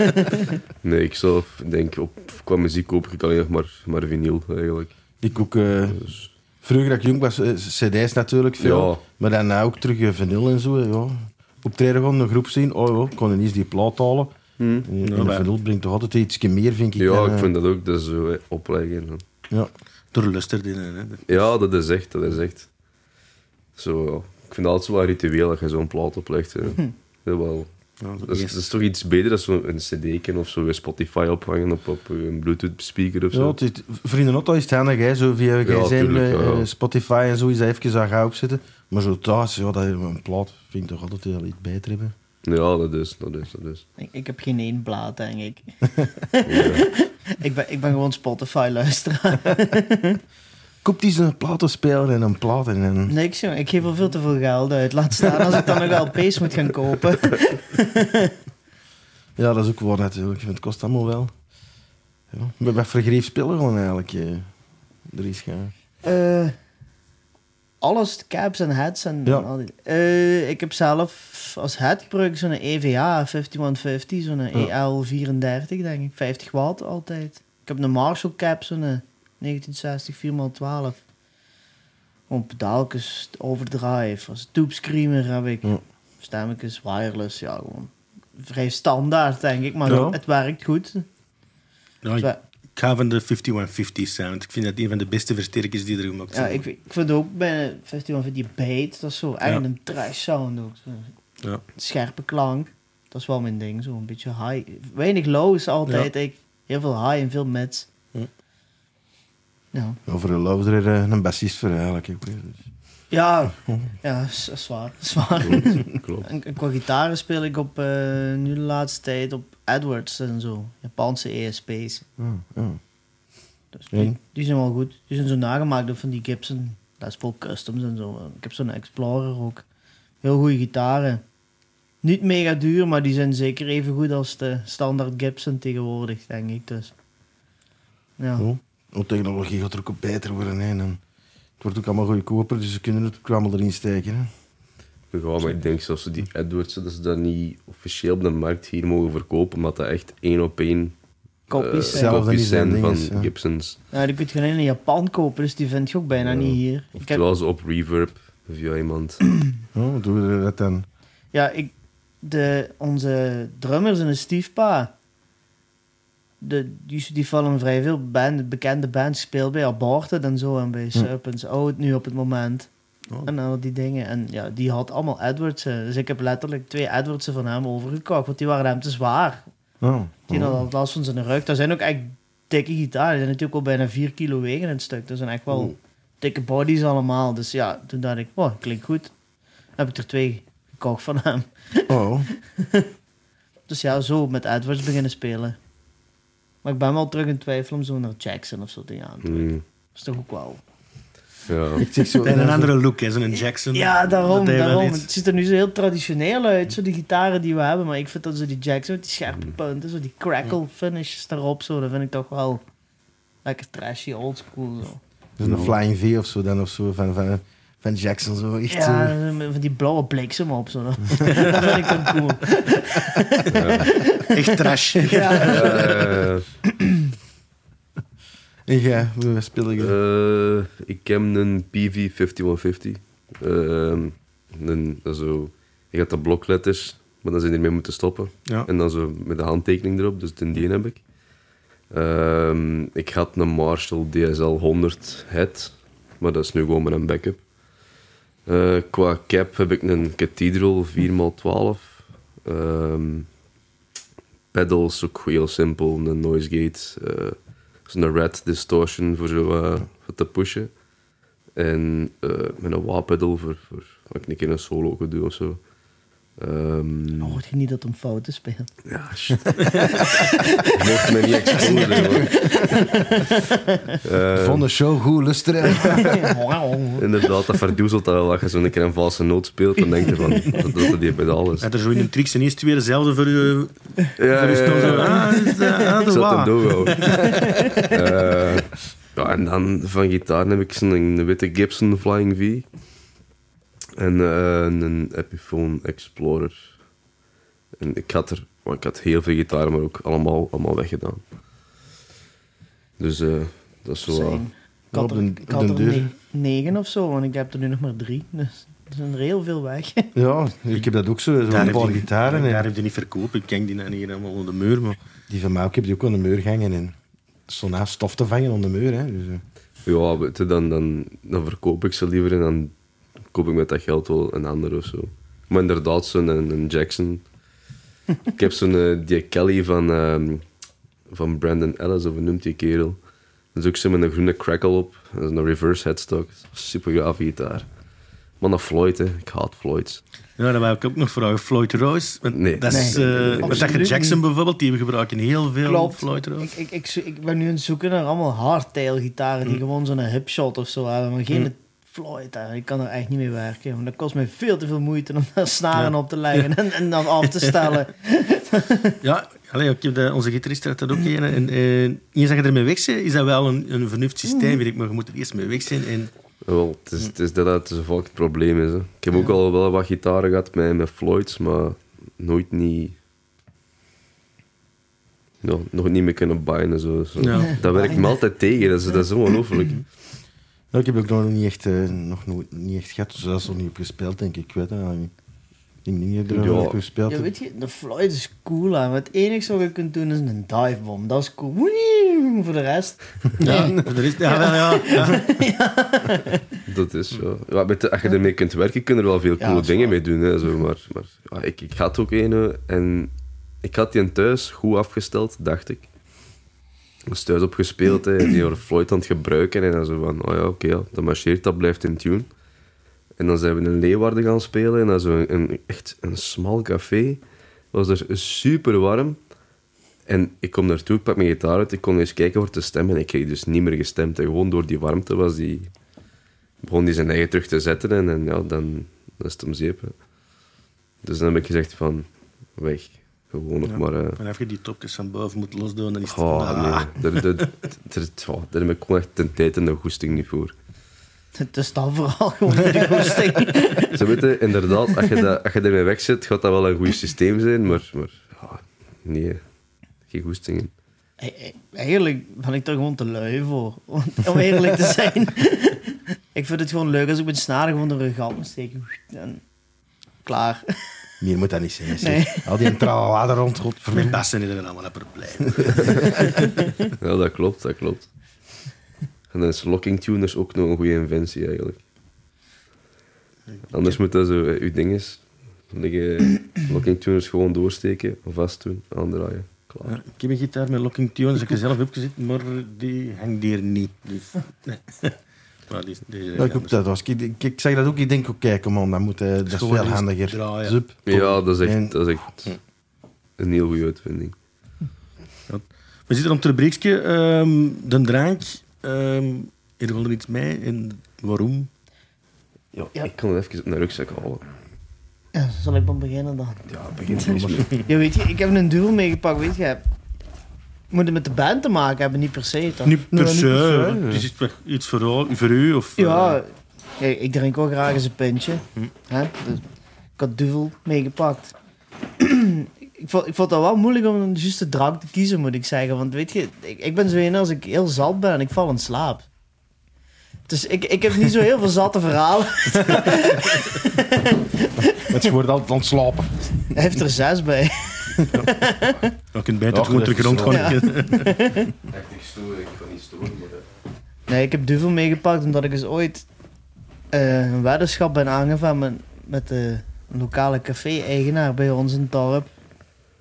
Speaker 3: nee, ik zelf denk, op, qua muziek koop ik alleen nog maar, maar vinyl, eigenlijk.
Speaker 2: Ik ook... eh, Vroeger, dat ik jong was, eh, cd's natuurlijk veel.
Speaker 3: Dus- Ja.
Speaker 2: Maar daarna ook terug eh, vinyl en zo. eh, Ja. Optreden gewoon een groep zien. Oh ja, ik kon eens die plaat halen. En, en
Speaker 1: Ja,
Speaker 2: een
Speaker 1: maar-
Speaker 2: vinyl brengt toch altijd iets meer, vind ik. dan,
Speaker 3: Hm. Ja,
Speaker 2: eh,
Speaker 3: ik vind dat ook, dat is zo hè, opleggen.
Speaker 2: Ja.
Speaker 1: Door luster dingen, hè.
Speaker 3: Ja, dat is echt, dat is echt. Zo, ja. ik vind het altijd wel een ritueel dat je zo'n plaat oplegt. hè. Dat, wel.
Speaker 1: Ja,
Speaker 3: Dat, is,
Speaker 1: eerst-
Speaker 3: dat is toch iets beter dan zo'n cd of zo, je Spotify ophangen op, op een bluetooth speaker of
Speaker 2: Ja,
Speaker 3: zo.
Speaker 2: het is, vrienden, Otto is het handig, hè, zo via gsm,
Speaker 3: tuurlijk,
Speaker 2: eh,
Speaker 3: ja.
Speaker 2: eh, Spotify en zo is dat even aan gauw zitten. Maar zo thuis, ja, dat een plaat vind ik toch altijd wel iets beter hebben.
Speaker 3: Ja, dat is, dat is, dat is.
Speaker 4: Ik, ik heb geen één plaat, denk ik. ik, ben, ik ben gewoon Spotify-luisteraar.
Speaker 2: Koop die een platenspeler en een plaat en een...
Speaker 4: Niks, jongen. Ik geef er veel te veel geld uit. Laat staan als ik dan nog LP's moet gaan kopen.
Speaker 2: Ja, dat is ook waar natuurlijk, want het kost allemaal wel. Ja. Maar wat voor greep spelen gewoon eigenlijk? eh, er is geen...
Speaker 4: Eh, alles, caps en hats en
Speaker 2: Ja.
Speaker 4: al die- Eh, ik heb zelf als hat gebruik ik zo'n E EVA 5150, zo'n EL34 denk ik, 50 watt altijd. Ik heb een Marshall cap, zo'n eh, 1960 4x12. Gewoon pedaaltjes, overdrive, als tube screamer heb ik.
Speaker 2: Ja.
Speaker 4: Stemmetjes, wireless, ja gewoon vrij standaard denk ik, maar
Speaker 2: Ja.
Speaker 4: het werkt goed.
Speaker 1: Ja, ik, ik ga van de 5150 sound. Ik vind dat een van de beste versterkers die er gemaakt
Speaker 4: Ja,
Speaker 1: zijn.
Speaker 4: ik, ik vind ook bij 51 die beat, dat is zo eigenlijk een trash sound ook. Zo.
Speaker 1: Ja.
Speaker 4: Scherpe klank, dat is wel mijn ding, zo een beetje high. Weinig lows altijd, ik, heel veel high en veel mids.
Speaker 1: Ja.
Speaker 4: Ja,
Speaker 2: Ja, voor een lover er eh, een bassist voor eigenlijk. ook, hè. Dus-
Speaker 1: *laughs*
Speaker 4: ja, ja is, is *laughs* waar, is waar.
Speaker 3: Klopt, klopt.
Speaker 4: En, en qua gitaren speel ik op, eh, nu de laatste tijd op Edwards en zo, Japanse E ESP's.
Speaker 2: ja, ja.
Speaker 4: Dus
Speaker 2: Ja.
Speaker 4: die, die zijn wel goed, die zijn zo nagemaakt door van die Gibson Les Paul Customs en zo. Ik heb zo'n Explorer ook. Heel goede gitaren. Niet mega duur, maar die zijn zeker even goed als de standaard Gibson tegenwoordig, denk ik. Dus. Ja.
Speaker 2: Ja. Want technologie gaat er ook op beter worden. Hè. En dan- het wordt ook allemaal goedkoper, dus ze kunnen het ook allemaal erin steken. Hè.
Speaker 3: Ja, maar ik denk zelfs die Edwards, dat ze dat niet officieel op de markt hier mogen verkopen, maar dat echt één op één
Speaker 4: Kopies
Speaker 3: eh,
Speaker 4: zijn.
Speaker 2: zelf. Hetzelfde
Speaker 3: kopies
Speaker 2: is dat
Speaker 3: zijn
Speaker 2: ding
Speaker 3: van
Speaker 2: is, ja.
Speaker 3: Gibsons.
Speaker 4: Nou, die kun je alleen in Japan kopen, dus die vind je ook bijna
Speaker 3: Ja.
Speaker 4: niet hier. Ik heb,
Speaker 3: Oftewel ze op reverb via iemand.
Speaker 2: Ja, wat doen we dat dan?
Speaker 4: ja, ik, de, onze drummer is een stiefpa. De, die, die vallen vrij veel band, bekende bands speelt bij Aborted en zo en bij Serpents Out nu op het moment.
Speaker 1: Oh.
Speaker 4: En al die dingen. En ja, die had allemaal Edwardsen. Dus ik heb letterlijk twee Edwardsen van hem overgekocht, want die waren hem te zwaar.
Speaker 2: Ja.
Speaker 4: Die had al last van zijn rug. Dat zijn ook echt dikke gitaren. Die zijn natuurlijk al bijna 4 kilo wegen in het stuk. Dat zijn echt wel dikke bodies allemaal. Dus ja, toen dacht ik, wow, klinkt goed. Dan heb ik er twee gekocht van hem.
Speaker 2: Oh,
Speaker 4: Dus ja, zo met Edwards beginnen spelen. Maar ik ben wel terug in twijfel om zo naar Jackson of zo te gaan.
Speaker 3: Hmm,
Speaker 4: Dat is toch ook wel...
Speaker 3: ja.
Speaker 2: *laughs* ik zeg zo.
Speaker 1: En een andere look, hè, zo'n Jackson.
Speaker 4: Ja, daarom,
Speaker 1: Dat hij wel
Speaker 4: daarom.
Speaker 1: iets-
Speaker 4: Het ziet er nu zo heel traditioneel uit, zo die gitaren die we hebben. Maar ik vind dat zo die Jackson met die scherpe punten, zo die crackle finishes daarop, zo, dat vind ik toch wel lekker trashy, oldschool. Zo.
Speaker 2: Dat is eh, een Flying V of zo dan of zo van, van, van Jackson zo. Echt,
Speaker 4: Ja,
Speaker 2: eh,
Speaker 4: zo met van die blauwe bliksem op, zo. dat *laughs* vind ik dan cool.
Speaker 1: Echt trash.
Speaker 4: *laughs* Ja.
Speaker 3: Eh,
Speaker 2: En jij, we spelen je?
Speaker 3: eh, ik heb een PV5150. Ehm een, dat is zo, je gaat de blokletters, maar dan zijn ermee moeten stoppen.
Speaker 1: Ja.
Speaker 3: En dan zo met de handtekening erop, dus die, die heb ik. Ehm, ik had een Marshall DSL 100 head, maar dat is nu gewoon met een backup. Eh, qua cap heb ik een cathedral 4x12. Ehm pedals ook heel simpel. Een noise gate. eh, Zo'n red distortion voor zo eh, wat te pushen. En eh, met een wah-pedal voor, voor wat ik een keer een solo kan doen of zo. Ehm,
Speaker 4: Dan hoort je niet dat hem fouten speelt.
Speaker 3: ja, *laughs* shit. Mocht me niet exposen. hoor. Eh,
Speaker 2: Vond de show goed, luster.
Speaker 3: Inderdaad, dat verdoezelt dat wel. Als je zo'n keer een valse noot speelt, dan denk je van *laughs* dat dat die pedaal is.
Speaker 1: Had er zo in een trick zijn eerst twee dezelfde voor je
Speaker 3: Ja,
Speaker 1: voor je stom. Zo, ah, is dat- ah, dat is
Speaker 3: Zat hem
Speaker 1: waar. *laughs*
Speaker 3: door, Eh, ja, en dan van gitaar heb ik zo'n witte Gibson Flying V. En eh, een Epiphone Explorer. En ik had er... maar ik had heel veel gitaren, maar ook allemaal, allemaal weggedaan. Dus eh, dat is wel...
Speaker 4: Zijn. Ik had
Speaker 2: Op
Speaker 4: er,
Speaker 2: den-
Speaker 4: ik had
Speaker 2: den
Speaker 4: er
Speaker 2: deur.
Speaker 4: ne- negen of zo, en ik heb er nu nog maar drie. Dus er zijn er heel veel weg.
Speaker 2: *laughs*
Speaker 4: *laughs*
Speaker 2: Ja, ik heb dat ook zo. Zo'n
Speaker 1: heb
Speaker 2: paar
Speaker 1: je-
Speaker 2: gitaren.
Speaker 1: Daar
Speaker 2: en eh.
Speaker 1: heb je niet verkopen. Ik ken die dan hier allemaal onder de muur. Maar
Speaker 2: Die van mij ook, ik heb die ook aan de muur gehangen. En zo'n stof te vangen aan de muur. Hè. Dus, eh.
Speaker 3: Ja, weet je, dan, dan, dan verkoop ik ze liever en dan koop ik met dat geld wel een ander of zo. Maar inderdaad, zo'n een, een Jackson. ik heb zo'n eh, die Kelly van, ehm, van Brandon Ellis, of hoe noemt die kerel? Dat is ook zo met een groene crackle op. Dat is een reverse headstock. Super gave gitaar. Maar dat Floyd, hè. ik haat Floyds.
Speaker 1: ja, dan wou ik ook nog vragen. Floyd Royce. want
Speaker 3: Nee.
Speaker 1: Dat is,
Speaker 4: Nee,
Speaker 1: eh,
Speaker 4: nee, nee.
Speaker 1: wat zeg je,
Speaker 4: Absoluut
Speaker 1: Jackson
Speaker 4: niet.
Speaker 1: bijvoorbeeld, die we gebruiken heel veel
Speaker 4: Klopt.
Speaker 1: Floyd Royce.
Speaker 4: Ik, ik, ik, zo- ik ben nu aan het zoeken naar allemaal hardtail gitaren
Speaker 2: Hm.
Speaker 4: die gewoon zo'n hipshot of zo hebben, maar geen Floyd. hè. Ik kan er echt niet mee werken. Want dat kost me veel te veel moeite om daar snaren op te leggen en, en dan af te
Speaker 2: *laughs*
Speaker 4: stellen.
Speaker 1: Ja, allee, ik heb dat- eh, onze gitarist had dat ook een. En, en eens dat je ermee weg bent, is dat wel een, een vernuft systeem, weet ik. Maar je moet er eerst mee weg zijn. En
Speaker 3: Wel, het is, het is dat dat het vaak het probleem is. Hè. Ik heb ook al wel wat gitaren gehad met, met Floyds, maar nooit niet... Ja, nog niet meer kunnen binden. Zo, zo.
Speaker 1: Ja.
Speaker 3: Dat werkt me altijd tegen, dat is, dat is ongelooflijk.
Speaker 2: Ja, ik heb ook nog niet echt, eh, nog nooit- niet echt gehad. Dus dat is nog niet op gespeeld, denk ik. Ik weet het eigenlijk niet. Ik denk niet dat ik er nog
Speaker 3: Ja.
Speaker 2: niet op gespeeld
Speaker 4: Ja,
Speaker 2: heb.
Speaker 4: weet je, de Floyd is cool aan. Het enige wat je kunt doen is een divebomb. Dat is cool. Woeie, Voor de rest.
Speaker 1: ja, er is, ja, wel, ja, ja.
Speaker 3: Dat is zo. Ja, met de- als je ermee kunt werken, kun je er wel veel
Speaker 4: Ja,
Speaker 3: coole
Speaker 4: dat is
Speaker 3: dingen
Speaker 4: waar.
Speaker 3: mee doen. Hè, zo. Maar, maar ja, ik, ik had ook een eh, en ik had die thuis goed afgesteld, dacht ik. Dus thuis opgespeeld, hè, en die waren Floyd aan het gebruiken. En dan zo van, oh ja, oké, ja, dat marcheert, dat blijft in tune. En dan zijn we in Leeuwarden gaan spelen. En dan zo een, een- echt een smal café. was er super warm. En ik kom daartoe, ik pak mijn gitaar uit, ik kon eens kijken voor te stemmen. En ik kreeg dus niet meer gestemd. En gewoon door die warmte was die, begon hij zijn eigen terug te zetten. En, en ja, dan, dan is het om zeep. hè. Dus dan heb ik gezegd van, weg. Gewoon nog maar... eh,
Speaker 1: Vanaf je die topjes van boven moet losdoen, dan is het...
Speaker 3: Oh,
Speaker 1: Ah.
Speaker 3: nee. Daar, daar, daar, oh, daar heb ik gewoon echt ten tijd en de goesting niet voor.
Speaker 4: *laughs* Het is dan vooral gewoon de goesting.
Speaker 3: Ze weten inderdaad, als je, dat, als je ermee weg zit, gaat dat wel een goed systeem zijn, maar, maar ah, nee, geen goestingen.
Speaker 4: Ei- ei- E-, Eigenlijk ben ik er gewoon te lui voor. Om om eerlijk te zijn. *laughs* ik vind het gewoon leuk als ik mijn snaren gewoon door een gat moet steken. En klaar.
Speaker 2: Meer moet dat niet zijn. hè,
Speaker 4: Nee.
Speaker 2: zeg. Al die tralala *laughs* er rond, godverdomme.
Speaker 1: Met dat zijn er dan allemaal een probleem.
Speaker 3: Ja, dat klopt, dat klopt. En dan is locking tuners ook nog een goede inventie eigenlijk. Anders moet dat zo, eh, uw ding is, liggen locking tuners gewoon doorsteken, vast doen, aandraaien, klaar.
Speaker 1: Ja, ik heb een gitaar met locking tunes, dat ik er zelf heb gezet, maar die hangt hier niet. Dus, nee. *laughs* Maar die, is- die is
Speaker 2: Ja, Nou, ik,
Speaker 1: anders.
Speaker 2: ook dat was. Ik, ik, ik zeg dat ook, ik denk, oké, kom on, dat, moet, eh, dat is
Speaker 1: Gewoon
Speaker 2: veel
Speaker 1: eens
Speaker 2: handiger.
Speaker 1: draaien.
Speaker 2: Zup.
Speaker 3: Ja, dat is
Speaker 2: En-
Speaker 3: echt, dat is echt een heel goede uitvinding.
Speaker 1: We zitten op het rubriekje. ehm, de drank. ehm er wil er iets mee en waarom?
Speaker 3: Ja,
Speaker 4: Ja.
Speaker 3: ik kan het even op mijn rugzak halen.
Speaker 4: Ja, zal ik dan beginnen dan?
Speaker 3: Ja, begint eens
Speaker 4: Ja, weet je, ik heb een duel meegepakt. Weet je, moet het met de band te maken hebben, niet per se. Toch?
Speaker 1: Niet per
Speaker 2: niet
Speaker 1: se.
Speaker 2: per se,
Speaker 1: Het
Speaker 2: ja.
Speaker 1: is iets voor- iets voor, jou- voor u of... eh, Hm.
Speaker 4: Ja, kijk, ik drink ook graag eens een pintje. Hè? Dus ik had duvel meegepakt. *clears throat* ik, vond, ik vond dat wel moeilijk om een juiste drank te kiezen, moet ik zeggen. Want weet je, ik, ik ben zo een als ik heel zat ben en ik val in slaap. Dus ik, ik heb niet zo heel veel zatte verhalen. *laughs*
Speaker 3: eh.
Speaker 2: Want je wordt altijd ontslapen.
Speaker 4: Hij heeft er zes bij.
Speaker 1: je kunt beter
Speaker 2: Ja,
Speaker 1: gewoon
Speaker 2: dat
Speaker 1: terug
Speaker 2: is
Speaker 1: rond gaan. Dus
Speaker 4: wel-
Speaker 1: *laughs*
Speaker 3: Echt, ik stoor, ik kan niet storen, maar...
Speaker 4: Nee, ik heb duvel meegepakt omdat ik eens dus ooit eh, een weddenschap ben aangevangen met, met de lokale café-eigenaar bij ons in het dorp.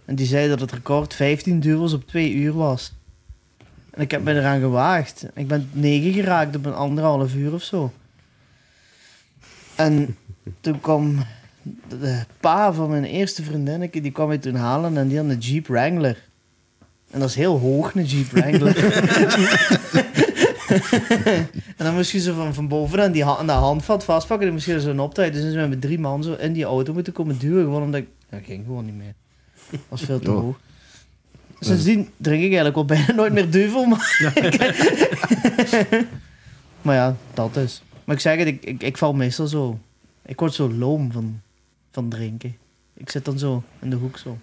Speaker 4: En die zei dat het record 15 duels op 2 uur was. En ik heb me eraan gewaagd. Ik ben 9 geraakt op een anderhalf uur of zo. En toen kwam de- de pa van mijn eerste vriendinnetje, die kwam mij toen halen en die had een Jeep Wrangler. En dat is heel hoog, een Jeep Wrangler. en dan moest je ze van, van boven aan, die ha- aan dat handvat vastpakken en misschien zo'n optijd. Dus dan zijn we met drie man zo in die auto moeten komen duwen, gewoon omdat ik... Dat ging gewoon niet meer. Dat was veel te
Speaker 2: Oh.
Speaker 4: hoog. Sindsdien drink ik eigenlijk al bijna nooit meer duvel, maar... *laughs* maar ja, dat is. Maar ik zeg het, ik, ik, ik val meestal zo... Ik word zo loom van, van drinken. Ik zit dan zo in de hoek zo.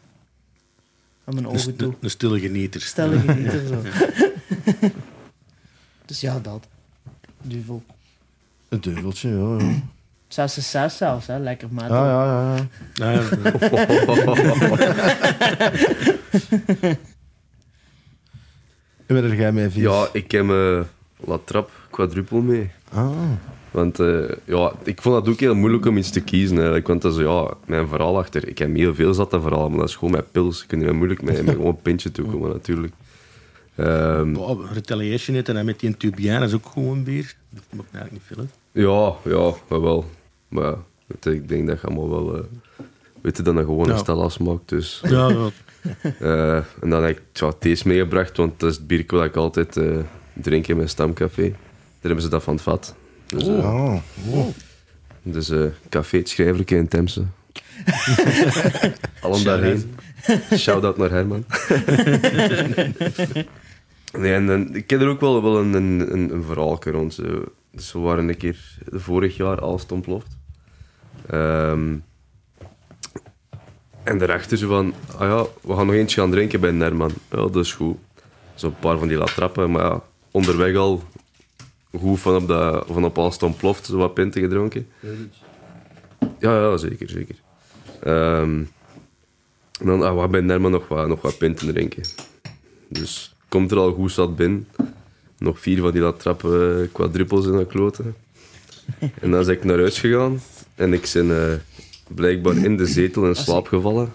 Speaker 4: Aan mijn
Speaker 2: Dus
Speaker 1: Een,
Speaker 4: ogen toe.
Speaker 1: st- een stille genieter.
Speaker 4: Stellige genieter zo. *laughs* dus ja, dat. Duvel.
Speaker 2: Een duveltje, ja. ja.
Speaker 4: 6 is 6 zelfs, hè. Lekker
Speaker 2: Ah,
Speaker 4: metal.
Speaker 2: ja, ja, ja.
Speaker 1: Ah, ja.
Speaker 2: En wat heb jij mee, Vies?
Speaker 3: ja, ik heb eh La Trap quadruple mee. Oh.
Speaker 2: Ah.
Speaker 3: Want eh, ja, ik vond dat ook heel moeilijk om iets te kiezen eigenlijk. Want dat is ja, mijn verhaal achter. Ik heb heel veel zat dat verhaal, maar dat is gewoon met pils. Ik kun je er moeilijk mee, met gewoon een pintje toekomen natuurlijk. Ehm,
Speaker 1: Boah, Retaliation heet en dan met die Tubiaan, dat is ook gewoon bier. Dat maakt eigenlijk niet veel uit.
Speaker 3: ja, ja, wel. Maar ja, het- ik denk dat je allemaal wel eh weten dan dat gewoon een
Speaker 1: Ja.
Speaker 3: stel afsmaakt. Dus,
Speaker 1: Ja, wel.
Speaker 3: eh, en dan heb ik ja, thees meegebracht, want dat is het bier dat ik altijd eh, drink in mijn stamcafé. Daar hebben ze dat van het vat. Dus, eh,
Speaker 2: Oh.
Speaker 3: Dus eh café het schrijverke in Temse. Allen
Speaker 1: Shout-out.
Speaker 3: daarheen. Shout-out naar Herman. *laughs* nee, en, dan- ik heb er ook wel, wel een, een, een, een verhaalke rond. Zo. Dus we waren een keer vorig jaar alles ontploft. Ehm, en daarachter zo van, ah ja, we gaan nog eentje gaan drinken bij Herman. Ja, dat is goed. Zo'n paar van die laat trappen, maar ja, onderweg al goed van op, dat, van op alles ontploft, zo wat pinten gedronken. Ja, ja, zeker, zeker. Ehm, en dan, ah, wat ben daar maar nog wat, nog wat pinten drinken. Dus komt er al goed zat binnen. Nog vier van die dat trappen quadruples in dat kloten. En dan ben ik naar huis gegaan. En ik ben eh, blijkbaar in de zetel in slaap gevallen.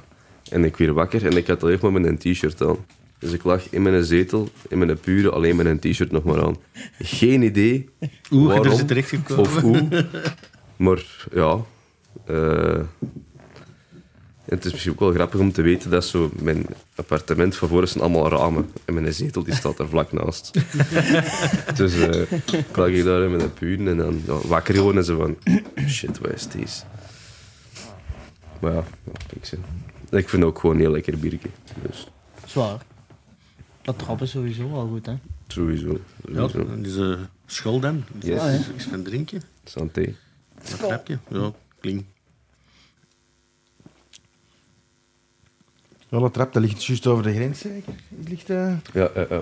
Speaker 3: En ik weer wakker en ik had alleen maar mijn t-shirt aan. Dus ik lag in mijn zetel, in mijn pure, alleen met een t-shirt nog maar aan. Geen idee
Speaker 1: Hoe je er dus
Speaker 3: waarom
Speaker 1: zit terechtgekomen.
Speaker 3: of hoe. Maar ja, eh, het is misschien ook wel grappig om te weten dat zo mijn appartement van voren zijn allemaal ramen. En mijn zetel die staat er vlak naast. dus eh, ik lag hier daar in mijn puren en dan ja, wakker gewoon en zo van... Shit, wat is deze? Maar ja, ja, ik, zeg, ik vind het ook gewoon een heel lekker bierke. Dus
Speaker 4: Zwaar. Dat trap is sowieso wel goed, hè.
Speaker 3: sowieso.
Speaker 1: Ja,
Speaker 3: sowieso.
Speaker 1: dat is eh, school dan.
Speaker 3: Yes.
Speaker 1: Ja, Is, is gaan drinken.
Speaker 3: Santé.
Speaker 1: Een trapje. Ja, klinkt.
Speaker 2: Ja, dat trap, dat ligt juist over de grens, zeker? Het ligt... eh,
Speaker 3: Ja, ja, ja.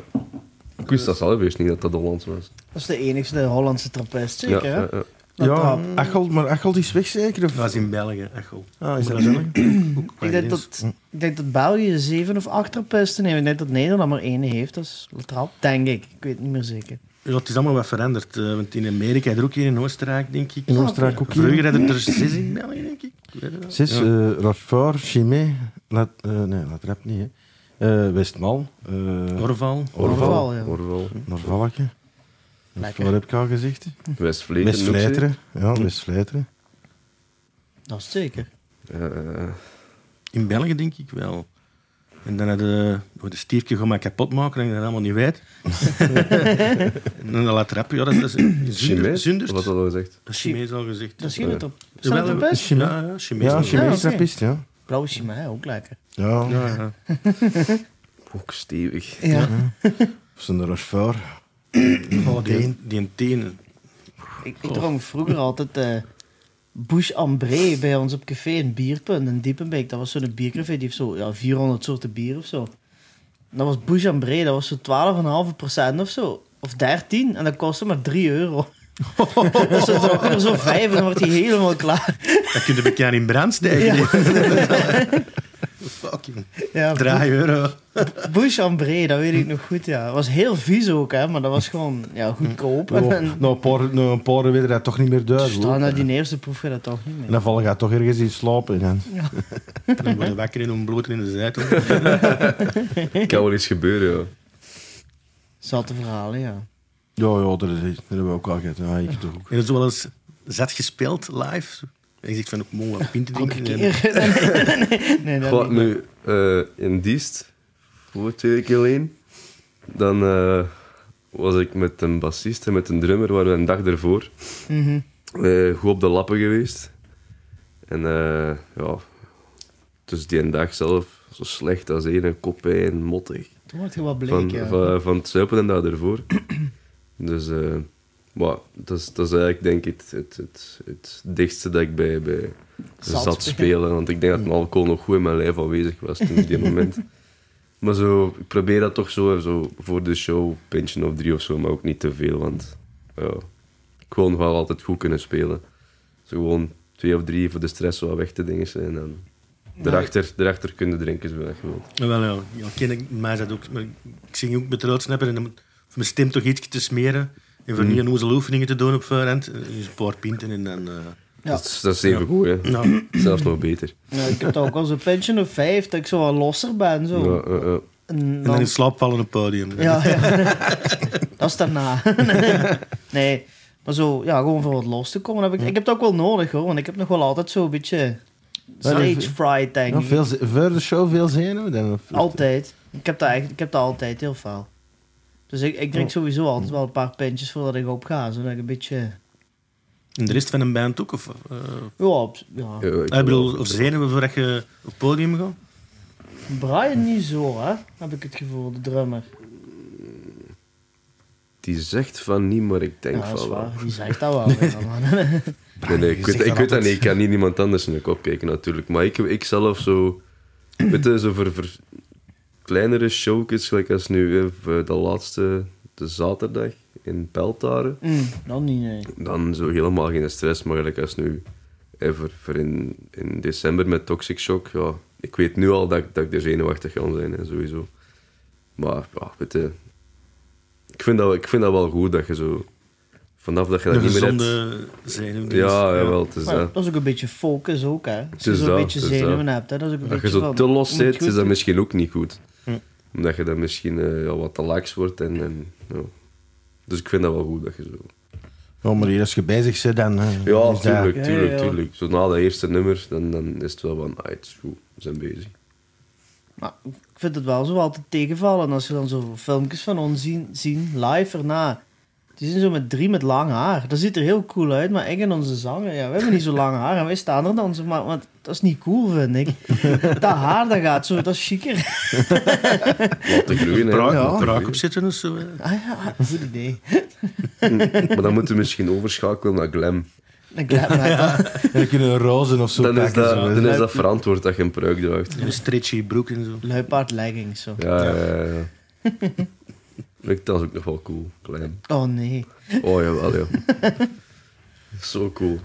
Speaker 3: Ik wist dat zelf eerst niet dat dat Hollands was.
Speaker 4: Dat is de enigste Hollandse trappist, zeker,
Speaker 3: ja,
Speaker 4: hè.
Speaker 3: ja, ja.
Speaker 4: Dat
Speaker 2: eh, Ja,
Speaker 4: trap.
Speaker 2: Acholt, maar Acholt is weg, zeker? Of...
Speaker 1: Dat was in België, echt wel.
Speaker 2: Ah, is
Speaker 1: Maar
Speaker 2: dat
Speaker 1: is ook- ook qua
Speaker 4: Ik denk,
Speaker 1: grens.
Speaker 4: dat, ik denk dat België zeven of acht trappisten heeft. Ik denk dat Nederland maar één heeft, dat is La Trap. Denk ik. Ik weet het niet meer zeker.
Speaker 1: Ja, het is allemaal wat veranderd. eh, want in Amerika, had er ook hier in Oostenrijk, denk ik.
Speaker 2: In Oostenrijk ook hier.
Speaker 1: Vroeger hadden er zes in België, denk ik. Ik weet het wel.
Speaker 2: Zes,
Speaker 1: Ja.
Speaker 2: eh Rochefort, Chimay... La, eh, nee, La Trap niet, hè. Eh, Westmal. eh
Speaker 1: Orval.
Speaker 2: Orval.
Speaker 4: Orval, ja.
Speaker 3: Orval.
Speaker 2: Norvalke.
Speaker 4: Lekker.
Speaker 2: Wat heb ik al gezegd?
Speaker 3: Westvleteren.
Speaker 2: West-Vleteren. Ja, West-Vleteren.
Speaker 4: Dat is het zeker.
Speaker 3: Eh,
Speaker 1: In België, denk ik wel. En dan hadden we de stiefje gewoon maar kapot maken, dat je dat allemaal niet weet. en dan de latrap, ja, dat is in Zunder-
Speaker 3: Chinees?
Speaker 1: Zundert.
Speaker 3: Wat had al gezegd?
Speaker 1: Dat is Chinees al gezegd.
Speaker 4: Dat is
Speaker 2: Eh,
Speaker 4: geen
Speaker 3: Ja.
Speaker 4: trap. Is dat
Speaker 1: Jawel,
Speaker 4: een trappist?
Speaker 2: Chinees.
Speaker 1: Ja, ja, Chinees.
Speaker 2: Ja,
Speaker 1: al
Speaker 2: Chimay
Speaker 4: Ja,
Speaker 2: is
Speaker 4: oké.
Speaker 2: trappist, ja.
Speaker 4: Blauwe chimay, ook lekker.
Speaker 2: Ja.
Speaker 1: Ja, ja.
Speaker 3: Ook
Speaker 4: *laughs*
Speaker 3: stevig.
Speaker 4: Ja.
Speaker 2: Of zijn Rochefort.
Speaker 1: Oh, die, die tenen.
Speaker 4: Ik, ik dronk vroeger altijd eh Bush Ambré bij ons op café in Bierpunt in Diepenbeek. Dat was zo'n biercafé, die heeft zo ja, 400 soorten bier of zo. En Dat was Bush Ambré, dat was zo 12,5% of zo. Of 13, en dat kostte maar 3 *laughs* euro. dus dan dronk je er zo 5 en dan wordt hij helemaal klaar.
Speaker 1: Dat kun je bij elkaar in brand stijgen. Fucking
Speaker 4: Ja,
Speaker 1: 3 euro.
Speaker 4: Bush en Bree, dat weet ik nog goed, ja. Het was heel vies ook, hè, maar dat was gewoon ja, goedkoop. En, en
Speaker 2: Nou, een paar, nou, een paar weten dat toch niet meer duidelijk.
Speaker 4: staan na die eerste proef je dat toch niet
Speaker 2: En
Speaker 4: meer.
Speaker 2: dan vallen gaat toch ergens in slapen. En...
Speaker 1: Dan worden wakker in een blote in de zetel.
Speaker 3: kan wel iets gebeuren, ja.
Speaker 4: Zatte verhalen, ja.
Speaker 2: Ja, ja, dat, is, dat hebben we ook al gehad. Ja, ik toch ook.
Speaker 1: En dat is wel eens zat gespeeld live. En je zegt van, mol, wat pint
Speaker 4: Elke
Speaker 1: ding.
Speaker 4: keer. nee, nee, dat
Speaker 3: Goh,
Speaker 4: niet.
Speaker 3: nu, eh, in dienst, voor twee weken alleen, dan eh, was ik met een bassist en met een drummer, waren we een dag ervoor
Speaker 4: Mhm.
Speaker 3: eh, goed op de lappen geweest. En eh, ja, dus die een dag zelf zo slecht als één, koppijn, mottig.
Speaker 4: Toen word je wat bleek,
Speaker 3: van,
Speaker 4: ja.
Speaker 3: van, van het zuipen en
Speaker 4: *clears throat*
Speaker 3: dat ervoor. dus eh, maar dat, is, dat is eigenlijk denk ik het, het, het, het dichtste dat ik bij, bij
Speaker 4: Zat spelen.
Speaker 3: zat, spelen. Want ik denk dat mijn alcohol nog goed in mijn lijf aanwezig was toen
Speaker 4: *laughs*
Speaker 3: op die moment. Maar zo, ik probeer dat toch zo, zo voor de show, een pintje of drie of zo, maar ook niet te veel. Want ja, ik wil nog wel altijd goed kunnen spelen. Dus gewoon twee of drie voor de stress wat weg te dingen zijn. En dan daarachter, daarachter kunnen drinken, zo dat je wilt.
Speaker 1: eh, Wel, ja. ja ken ik, mij is dat ook. maar Ik zing ook met de roodsnapper en dan moet voor mijn stem toch iets te smeren. En
Speaker 3: Mm.
Speaker 1: voor niet een oezel oefeningen te doen op voorhand. eh, Dus een paar pinten en dan... eh,
Speaker 4: Ja.
Speaker 3: Dat, is, dat is even goed, hè.
Speaker 1: nou,
Speaker 3: Zelfs nog beter.
Speaker 4: Ja, ik heb dat ook al zo'n pension of vijf, dat ik zo wat losser ben. Zo.
Speaker 3: Ja, eh, eh.
Speaker 4: En
Speaker 1: en dan
Speaker 4: dan,
Speaker 1: in slaap vallen op het podium.
Speaker 4: ja, ja. *laughs* dat is daarna. *laughs* nee, maar zo, ja, gewoon voor wat los te komen. Heb ik, ik heb dat ook wel nodig hoor, want ik heb nog wel altijd zo'n beetje stage fright, denk
Speaker 2: Ja,
Speaker 4: ik.
Speaker 2: veel, ze- voor de show veel zenuwen? Dan, of-
Speaker 4: Altijd. Ik heb, dat eigenlijk, ik heb dat altijd heel veel. Dus ik, ik drink sowieso altijd wel een paar pintjes voordat ik opga, zodat ik een beetje...
Speaker 1: En de rest van een band ook? Of, eh,
Speaker 4: Ja, op- ja.
Speaker 3: Ja, eh, ik
Speaker 1: ik bedoel,
Speaker 3: wel.
Speaker 1: of zenuwen voordat je op het podium gaat?
Speaker 4: Brian niet zo, hè, heb ik het gevoel, de drummer.
Speaker 3: Die zegt van niet, maar ik denk
Speaker 4: ja, dat is
Speaker 3: van wel.
Speaker 4: waar. Die zegt dat
Speaker 3: *laughs*
Speaker 4: wel. ja, man. *laughs*
Speaker 3: Nee, nee, ik
Speaker 2: je
Speaker 3: weet,
Speaker 2: zegt
Speaker 3: ik
Speaker 2: dat
Speaker 3: weet dat
Speaker 2: altijd.
Speaker 3: niet. Ik kan niet iemand anders in de kop kijken natuurlijk. Maar ik, ik zelf zo... *clears throat* Weet je, zo voor, voor kleinere showkes, gelijk als nu hè, voor de laatste, de zaterdag in Peltaren.
Speaker 4: Mm, dat niet, nee.
Speaker 3: Dan zo helemaal geen stress, maar gelijk als nu hè, voor, voor in, in december met Toxic Shock. Ja, ik weet nu al dat, ik- dat ik er zenuwachtig kan zijn, hè, sowieso. Maar ja, weet je, ik vind, dat, ik vind dat wel goed dat je zo... Vanaf dat je dat
Speaker 1: De
Speaker 3: niet meer hebt...
Speaker 1: gezonde zenuwen. die is-
Speaker 3: Ja, jawel, het is
Speaker 4: Maar
Speaker 3: Dus dat.
Speaker 4: dat is ook een beetje focus ook, hè. Als je
Speaker 3: is
Speaker 4: zo'n
Speaker 3: dat,
Speaker 4: beetje
Speaker 3: het is
Speaker 4: zenuwen
Speaker 3: dat.
Speaker 4: hebt, hè. Dat is ook een
Speaker 3: Als je
Speaker 4: beetje
Speaker 3: zo
Speaker 4: van,
Speaker 3: te los
Speaker 4: om het
Speaker 3: zit,
Speaker 4: goed
Speaker 3: is dat
Speaker 4: te-
Speaker 3: misschien ook niet goed. Omdat je dan misschien eh, ja, wat te lax wordt. En, en, ja. Dus ik vind dat wel goed dat je zo...
Speaker 2: Ja, Oh, maar als je bezig bent, dan... eh,
Speaker 3: Ja,
Speaker 2: is dat-
Speaker 3: tuurlijk,
Speaker 4: Ja,
Speaker 3: tuurlijk,
Speaker 4: ja, ja.
Speaker 3: tuurlijk. Zo na dat eerste nummer, dan, dan is het wel van... Ah, het is goed, we zijn bezig.
Speaker 4: Maar ik vind het wel zo altijd tegenvallen als je dan zo filmpjes van ons zien, zien live erna. Die zijn zo met drie met lang haar. Dat ziet er heel cool uit, maar ik en onze zanger, ja, we hebben
Speaker 3: *laughs*
Speaker 4: niet zo lang haar en wij staan er dan zo, maar want dat is niet cool, vind ik.
Speaker 3: *laughs*
Speaker 4: dat haar, dat gaat zo, dat is chiquer. *laughs*
Speaker 3: Laat te groeien, hè.
Speaker 1: Braak,
Speaker 3: Laat te
Speaker 1: braak
Speaker 3: groeien.
Speaker 1: op zitten of zo. hè.
Speaker 4: Ah ja, goed idee.
Speaker 3: Maar dan moeten we misschien overschakelen naar glam.
Speaker 4: Dan klep mij
Speaker 3: *laughs*
Speaker 4: dat.
Speaker 2: En *laughs* dan kunnen we rozen of zo
Speaker 3: Dan is
Speaker 2: pakken,
Speaker 3: dat,
Speaker 2: zo.
Speaker 3: dan is dat verantwoord dat je een pruik draagt.
Speaker 1: En een stretchy broek en zo.
Speaker 4: Luipaard leggings, zo.
Speaker 3: Ja, ja, ja. ja. Lijkt Dat is ook nog wel cool, klein.
Speaker 4: Oh nee.
Speaker 3: Oh, jawel, ja. Zo cool.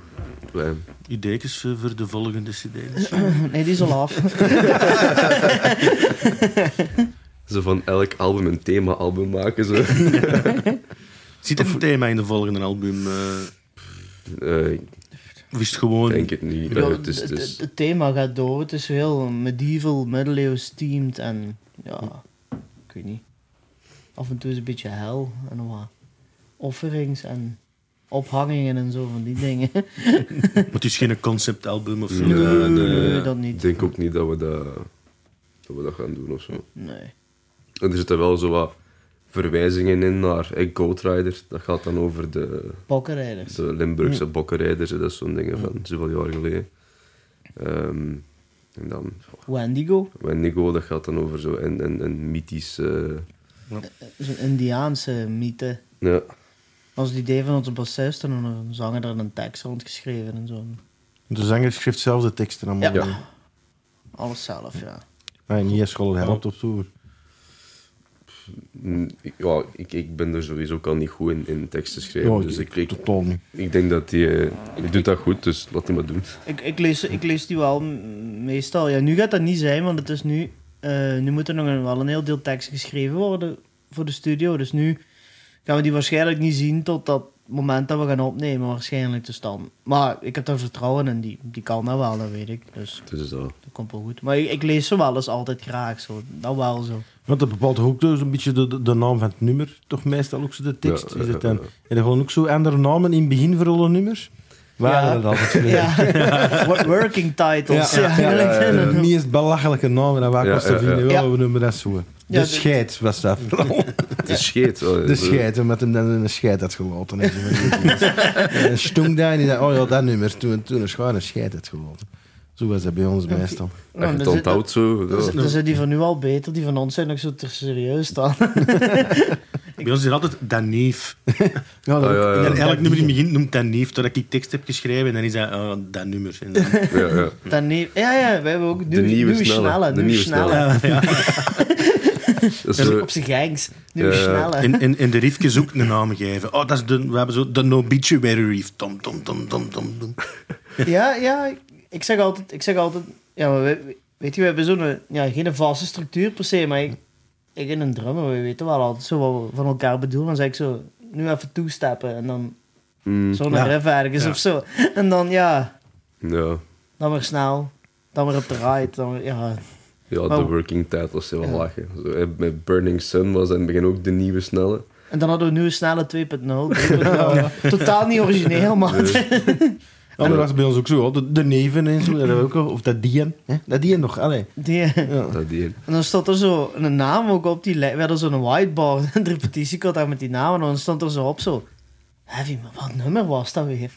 Speaker 3: Klein.
Speaker 1: Ideetjes dus voor voor de volgende cd.
Speaker 4: *laughs* Nee, die is al af.
Speaker 3: Zo van elk album een thema-album maken. Zo.
Speaker 1: Zit er een thema in de volgende album? eh
Speaker 3: Eh, ik
Speaker 1: of is het gewoon...
Speaker 3: denk het niet.
Speaker 4: Ja,
Speaker 3: Eh, het is, het
Speaker 4: het-
Speaker 3: is-
Speaker 4: het thema gaat door. Het is heel medieval, middeleeuws themed en ja,
Speaker 3: Hm.
Speaker 4: ik weet niet. Af en toe is een beetje hel en wat offerings en ophangingen en zo van die dingen. *laughs*
Speaker 1: Maar het is geen conceptalbum of zo.
Speaker 3: Nee, nee,
Speaker 4: nee,
Speaker 3: nee.
Speaker 4: dat niet.
Speaker 3: Ik denk ook niet dat we dat, dat we dat gaan doen of zo.
Speaker 4: Nee.
Speaker 3: En er zitten wel zo wat verwijzingen in naar eh, Goat Rider. Dat gaat dan over de,
Speaker 4: Bokkenrijders.
Speaker 3: de Limburgse bokkenrijders. eh, Dat is zo'n ding van zoveel jaar geleden. Ehm, en dan
Speaker 4: Wendigo,
Speaker 3: Wendigo, dat gaat dan over zo een, een, een mythische...
Speaker 4: Eh, zo'n Indiaanse mythe.
Speaker 3: ja,
Speaker 4: Dat was het idee van onze bassist en een zanger daar een tekst rondgeschreven en zo.
Speaker 2: Dus De zanger schrijft zelf de teksten allemaal.
Speaker 4: Ja.
Speaker 2: Ja.
Speaker 4: Alles zelf, ja.
Speaker 2: Nee, niet eens school helpt op toer.
Speaker 3: mm, ik- ja, ik, ik ben er sowieso ook al niet goed in, in teksten schrijven.
Speaker 2: Ja,
Speaker 3: dus
Speaker 2: ik-
Speaker 3: ik, ik,
Speaker 2: Totaal niet.
Speaker 3: ik denk dat die... eh, die doet dat goed, dus laat die maar doen.
Speaker 4: Ik, ik, lees, ik lees die wel m- meestal. Ja, nu gaat dat niet zijn, want het is nu... eh, nu moet er nog een, wel een heel deel tekst geschreven worden voor de studio. Dus nu gaan we die waarschijnlijk niet zien tot dat moment dat we gaan opnemen. Waarschijnlijk dus dan. Maar ik heb daar vertrouwen in. Die, die kan dat wel, dat weet ik. Dus
Speaker 3: Dus dat.
Speaker 4: dat komt wel goed. Maar ik, ik lees ze wel eens altijd graag zo. Dat wel zo.
Speaker 2: Want dat bepaalt ook dus een beetje de, de, de naam van het nummer, toch meestal ook zo de tekst.
Speaker 3: Ja,
Speaker 2: is het
Speaker 3: ja,
Speaker 2: dan?
Speaker 3: ja.
Speaker 2: En er gewoon ook zo andere namen in het begin voor alle nummers. Waren
Speaker 4: Ja.
Speaker 2: dat altijd voor
Speaker 4: Ja. Wo- Working titles. Ja,
Speaker 2: ja,
Speaker 4: eigenlijk zijn *laughs* dat
Speaker 2: de
Speaker 4: ook.
Speaker 2: meest belachelijke namen dat wij
Speaker 3: Ja,
Speaker 2: kosten
Speaker 3: ja, ja.
Speaker 2: vinden.
Speaker 4: Ja.
Speaker 2: Ja, we noemen dat zo.
Speaker 4: Ja,
Speaker 2: de
Speaker 4: de-
Speaker 2: scheid was dat
Speaker 4: *laughs*
Speaker 2: vooral.
Speaker 3: De scheet. eh,
Speaker 2: De scheid, omdat hem dan in een scheid had gelaten. En zo van
Speaker 3: *laughs*
Speaker 2: die dingen. En dan stonk daar en die dacht, oh ja, dat nummer. Toen, toen een schuin een scheid had gelaten. Zo was dat bij ons meestal.
Speaker 3: Als je
Speaker 4: Nou,
Speaker 3: het
Speaker 4: dat is-
Speaker 3: onthoudt zo.
Speaker 4: Dus,
Speaker 3: ja.
Speaker 4: dus zijn die van nu al beter, die van ons zijn nog zo te serieus dan.
Speaker 1: Eh, Bij ons is het altijd Daneef.
Speaker 2: Ja,
Speaker 3: Ah,
Speaker 2: dat
Speaker 3: ja,
Speaker 1: En
Speaker 3: ja.
Speaker 1: dan elk nummer in het begin noemt Daneef, totdat ik tekst heb geschreven en dan is dat oh, dat nummer. En dan-
Speaker 3: Ja,
Speaker 4: *laughs*
Speaker 3: ja.
Speaker 4: Dan nee, ja, ja, we hebben ook nieuw,
Speaker 3: Hm. nieuwe
Speaker 4: nieuwe
Speaker 3: snelle.
Speaker 4: snelle.
Speaker 3: De
Speaker 4: nieuwe
Speaker 3: nieuwe
Speaker 4: snelle.
Speaker 1: Ja, ja.
Speaker 3: *laughs* Dat is, eh,
Speaker 4: Op zijn gangs. Nieuwe
Speaker 3: Ja.
Speaker 4: snelle.
Speaker 1: En, en, en de riefjes ook een naam geven. Oh, dat is de, we hebben zo de obituary reef. Tom, tom, tom, tom, tom, tom.
Speaker 4: *laughs* Ja, ja, ik zeg altijd, ik zeg altijd, ja, maar we, weet je, we hebben zo'n, ja, geen vaste structuur per se, maar ik, ik en een drummer, we weten wel altijd zo wat we van elkaar bedoelen. Dan zeg ik zo, nu even toestappen en dan
Speaker 3: mm,
Speaker 4: zo'n
Speaker 1: Ja.
Speaker 4: riff ergens
Speaker 1: Ja.
Speaker 4: of zo. *laughs* En dan, ja,
Speaker 3: ja.
Speaker 4: dan weer snel, dan weer op de ride, dan weer- ja.
Speaker 3: Ja, de
Speaker 4: Oh.
Speaker 3: working titles zijn wel
Speaker 4: Ja.
Speaker 3: lachen. Zo, eh, met Burning Sun was in het begin ook de nieuwe snelle.
Speaker 4: En dan hadden we nu een snelle 2.0.
Speaker 3: *laughs*
Speaker 4: 3.0. Totaal niet origineel, man.
Speaker 3: Dus,
Speaker 2: Ja, maar dat was bij ons ook zo. hoor. De, de neven en zo, dat hebben we ook, al. of dat dien. Hè? Dat dien nog, allee.
Speaker 4: *laughs* Die-
Speaker 2: Ja.
Speaker 3: dat die,
Speaker 4: En dan stond er zo een naam ook op die lijst. We hadden zo'n whiteboard *laughs* en de repetitie ik had daar met die naam. En dan stond er zo op zo... Heavy, maar wat nummer was dat *laughs* weer?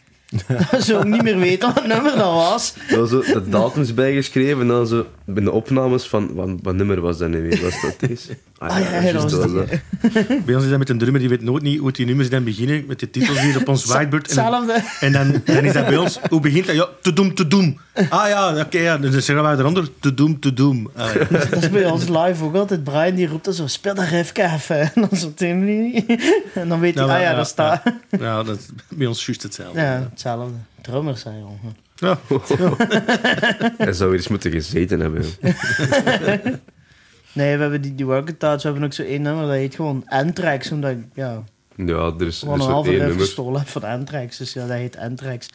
Speaker 4: dat we zo ook niet meer weten wat nummer dat was.
Speaker 3: dat was zo
Speaker 4: *laughs*
Speaker 3: de datums bijgeschreven en dan zo bij de opnames van wat, wat nummer was dat nu weer?
Speaker 4: *laughs*
Speaker 3: Was dat deze?
Speaker 4: Ah, ja,
Speaker 3: juist,
Speaker 4: dat was die.
Speaker 1: Bij ons is dat met een drummer, die weet nooit niet hoe die nummers dan beginnen. Met de titels hier op ons whiteboard. En, dan-
Speaker 4: Hetzelfde.
Speaker 1: en dan, dan is dat bij ons, hoe begint dat? Ja, te doem, te doem. Ah ja, oké, ja. Dus dan zeggen wij eronder, te doem, te doem. Ah, ja.
Speaker 4: Dat is bij ons live ook altijd. Brian die roept dan zo... Speel dat riffke even. *laughs* En dan zo tegen die- En dan weet hij...
Speaker 1: Nou,
Speaker 4: ah ja,
Speaker 1: ja,
Speaker 4: dat staat... Ja,
Speaker 1: Ja, dat is bij ons juist
Speaker 4: *laughs*
Speaker 1: hetzelfde.
Speaker 4: hetzelfde. Drummers zijn, jongen.
Speaker 1: Ja.
Speaker 3: Hij zou weer eens moeten gezeten hebben.
Speaker 4: *laughs*
Speaker 3: joh.
Speaker 4: Nee, we hebben die, die working touch. We hebben ook zo één nummer. Dat heet gewoon Anthrax. Omdat ik... Ja,
Speaker 3: Ja, er is, er
Speaker 4: gewoon een
Speaker 3: is zo
Speaker 4: halve
Speaker 3: één
Speaker 4: riff
Speaker 3: nummer.
Speaker 4: gestolen heb van Anthrax. Dus ja, dat heet Anthrax.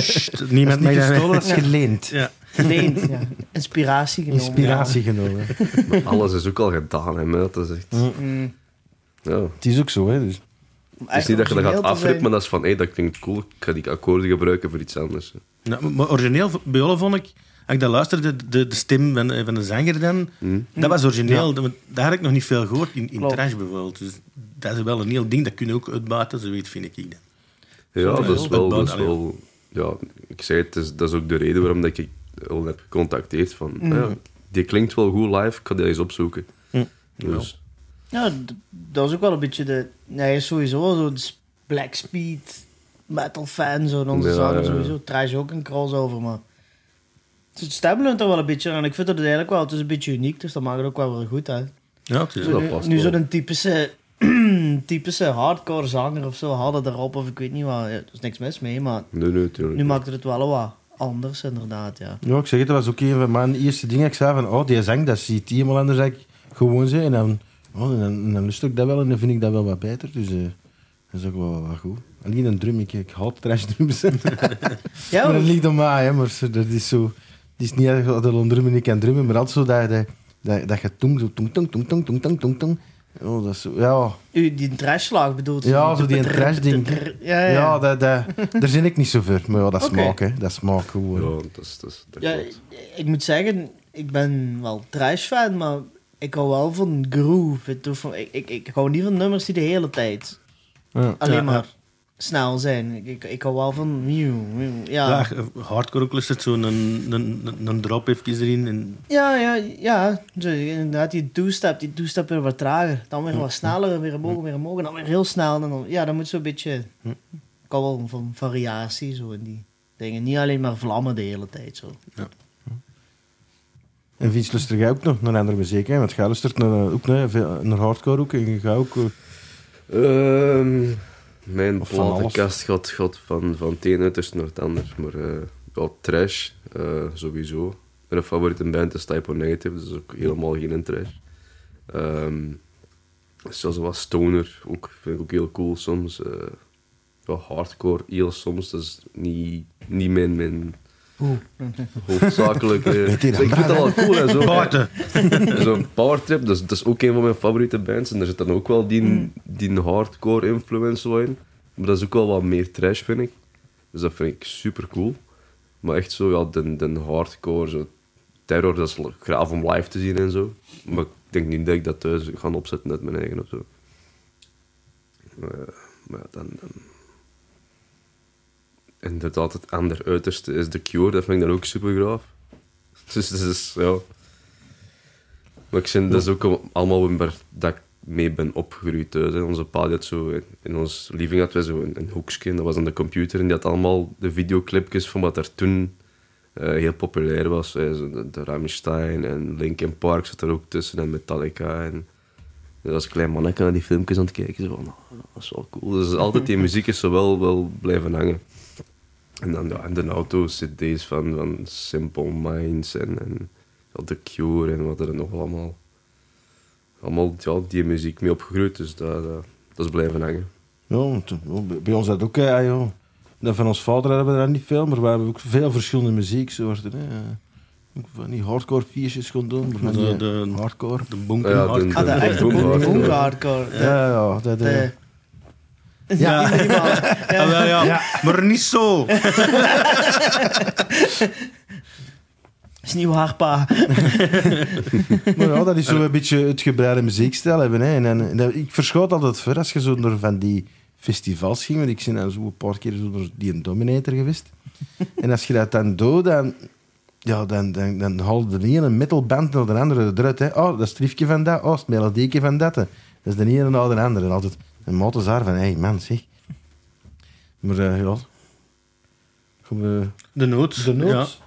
Speaker 1: Sst,
Speaker 2: Dat is
Speaker 1: Niemand
Speaker 2: niet
Speaker 1: mag dat
Speaker 2: gestolen, dat is geleend.
Speaker 1: Ja.
Speaker 4: Geleend, ja. Inspiratie genomen.
Speaker 2: Inspiratie genomen.
Speaker 3: Maar alles is ook al gedaan, hè, man. Dat is echt...
Speaker 4: Ja. Mm,
Speaker 3: Ja.
Speaker 2: Het is ook zo, hè. Dus.
Speaker 4: om
Speaker 3: Het is
Speaker 4: echt
Speaker 3: niet dat je dat
Speaker 4: origineel
Speaker 3: gaat
Speaker 4: te
Speaker 3: afrippen,
Speaker 4: zijn.
Speaker 3: maar dat is van, hé, dat klinkt cool, ik ga die akkoorden gebruiken voor iets anders. hè.
Speaker 1: Nou, maar origineel, v- bij Olle vond ik, als ik dat luisterde, de, de, de stem van, eh, van de zanger dan, dat was origineel. Dat, daar had ik nog niet veel gehoord, in, in
Speaker 4: Klopt.
Speaker 1: trash bijvoorbeeld. Dus dat is wel een heel ding, dat kun je ook uitbaten, zo weet vind ik. ik dan.
Speaker 3: Ja,
Speaker 1: Zo,
Speaker 3: dat is
Speaker 1: heel
Speaker 3: wel,
Speaker 1: uitbouwd,
Speaker 3: dat is wel ja, ik zei het, is, dat is ook de reden waarom dat ik al heb gecontacteerd van,
Speaker 4: Mm.
Speaker 3: ja, die klinkt wel goed live, ik ga die eens opzoeken. Dus,
Speaker 4: Ja, d- dat is ook wel een beetje de... Nee, sowieso wel zo de s- Black Speed metal fan, zo. Onze
Speaker 3: Ja,
Speaker 4: zanger
Speaker 3: ja, ja.
Speaker 4: sowieso. Trash ook een crossover, maar... Dus Het stemleunt er wel een beetje aan. Ik vind dat het eigenlijk wel... Het is een beetje uniek, dus dat maakt het ook wel weer goed, hè.
Speaker 1: Ja, het is
Speaker 4: Zo
Speaker 1: wel-
Speaker 4: nu-
Speaker 3: past
Speaker 4: nu
Speaker 3: wel.
Speaker 4: zo'n typische, *clears throat* typische hardcore zanger of zo hadden erop, of ik weet niet wat. Ja, Er is niks mis mee, maar
Speaker 3: nee, nee, tuurlijk.
Speaker 4: nu maakt het wel wat anders, inderdaad, ja.
Speaker 2: Ja, ik zeg het, dat was ook een van mijn eerste dingen. Ik zei van, oh, die zang, dat ziet iemand anders ik gewoon zijn. En dan, oh, en dan, en dan lust ik dat wel en dan vind ik dat wel wat beter. Dus eh, dat is ook wel oh, wat goed. Alleen een drum, ik, ik haat trash drums. *laughs*
Speaker 4: Ja,
Speaker 2: maar dat
Speaker 4: maar-
Speaker 2: ligt aan mij, hè. Maar zo, dat is zo... Het is niet erg dat ik een drummen niet kan drummen, maar altijd zo dat, dat, dat, dat je tong, zo tong, tong, tong, tong, tong, tong, tong, tong. Oh, dat is zo, ja...
Speaker 4: U, die trashslag bedoelt u?
Speaker 2: Ja, zo die trash-ding.
Speaker 4: Ja, ja.
Speaker 2: Ja,
Speaker 4: ja,
Speaker 2: dat, dat, daar zin ik niet zo voor. Maar ja, dat
Speaker 4: Oké.
Speaker 2: smaak, hè. Dat smaak gewoon.
Speaker 3: Ja, dat is, dat is, dat klopt.
Speaker 4: ik moet zeggen, ik ben wel trash-fan, maar ik hou wel van groove. Het hoeft van- Ik, ik, ik hou niet van nummers die de hele tijd
Speaker 2: Ja.
Speaker 4: alleen
Speaker 1: Ja, ja.
Speaker 4: maar snel zijn. Ik, ik, ik hou wel van... Mew, mew, ja.
Speaker 1: Ja, hardcore ook lust het zo'n een, een, een, een drop even erin. En,
Speaker 4: Ja, ja, ja. Zo, inderdaad, die two-step, die two-step weer wat trager. Dan weer wat sneller, weer omhoog, weer omhoog. En dan weer heel snel. En dan, ja, dan moet zo'n beetje... Ik hou wel van variatie zo in die dingen. Niet alleen maar vlammen de hele tijd zo.
Speaker 2: En Vince luistert jij ook nog naar andere muziek, hè? Want jij luistert naar, eh, ook naar, veel- naar hardcore ook. En jij ook... eh,
Speaker 3: Ehm, mijn
Speaker 2: Of van alles.
Speaker 3: platenkast gaat, gaat van, van het ene uiterste naar het ander. Maar eh ja, trash, eh, sowieso. Mijn favoriete band is Type O Negative, dus ook helemaal geen trash. Ehm, zelfs wat stoner, ook, vind ik ook heel cool soms. eh wel hardcore, heel soms. Dat is niet, niet mijn, mijn
Speaker 2: *laughs*
Speaker 3: hoofdzakelijke...
Speaker 2: Met die
Speaker 3: ik vind dat wel cool en zo.
Speaker 1: Buiten.
Speaker 3: En *laughs* Zo'n powertrip, dat is, dat is ook een van mijn favoriete bands. En daar zit dan ook wel die, die hardcore influence wel in. Maar dat is ook wel wat meer trash, vind ik. Dus dat vind ik super cool. Maar echt zo, ja, den, den hardcore, zo terror, dat is l- graaf om live te zien en zo. Maar ik denk niet dat ik dat thuis ga opzetten met mijn eigen of zo. Maar, ja, maar ja, dan, dan... Inderdaad, het ander uiterste is The Cure, dat vind ik dan ook super graaf. *laughs* Dus dat is, ja... Maar ik vind, dat is ook allemaal waar dat ik mee ben opgegroeid thuis. Hè. Onze pa die had zo, in- in ons living hadden wij zo een, een hoekje, dat was aan de computer, en die had allemaal de videoclipjes van wat er toen eh, heel populair was. Hè. Zo De, de Rammstein en Linkin Park zat er ook tussen, en Metallica. En, dus als klein manneke naar die filmpjes aan het kijken, zo van, "Oh, dat is wel cool. Dus altijd die muziek is zo wel, wel blijven hangen. En dan ja, in de auto cd's van, van Simple Minds en, en ja, The Cure en wat er nog allemaal. Allemaal ja, die muziek mee opgegroeid, dus dat, dat, dat is blijven hangen. *laughs*
Speaker 2: Ja, want, ja, bij- bij ons dat ook. Ja, ja. Dat van ons vader hebben we daar niet veel, maar we hebben ook veel verschillende muzieksoorten. Hè. Ook van die hardcore viertjes gaan doen, maar van
Speaker 1: De-
Speaker 2: die eh,
Speaker 1: de-
Speaker 2: hardcore.
Speaker 1: De bunker.
Speaker 3: Ja,
Speaker 1: hard.
Speaker 3: de-
Speaker 4: Ah, de echte
Speaker 3: boom hardcore.
Speaker 4: boom hardcore.
Speaker 2: Ja,
Speaker 4: De-
Speaker 2: ja, ja. Dat, eh,
Speaker 4: de- Ja, iemand-
Speaker 1: Ah, wel, ja. Maar niet zo.
Speaker 4: is nieuw haar pa.
Speaker 2: Maar ja, dat is zo een beetje het gebreide muziekstijl hebben. Hè. En, en, en dat- ik verschoot altijd ver als je zo naar van die festivals ging. Want ik ben dan zo een paar keer zo naar die Dominator geweest. en als je dat dan doet, dan, ja, dan, dan, dan haalde de ene metalband naar de andere eruit. Hè. Oh, dat is het riffje van dat. Oh, dat is het melodieke van dat. hè. Dat is de ene naar de andere. En altijd een motorzaar van, hé hey, man, zeg. Maar eh, ja... Goed, eh,
Speaker 1: De nood.
Speaker 2: De noot.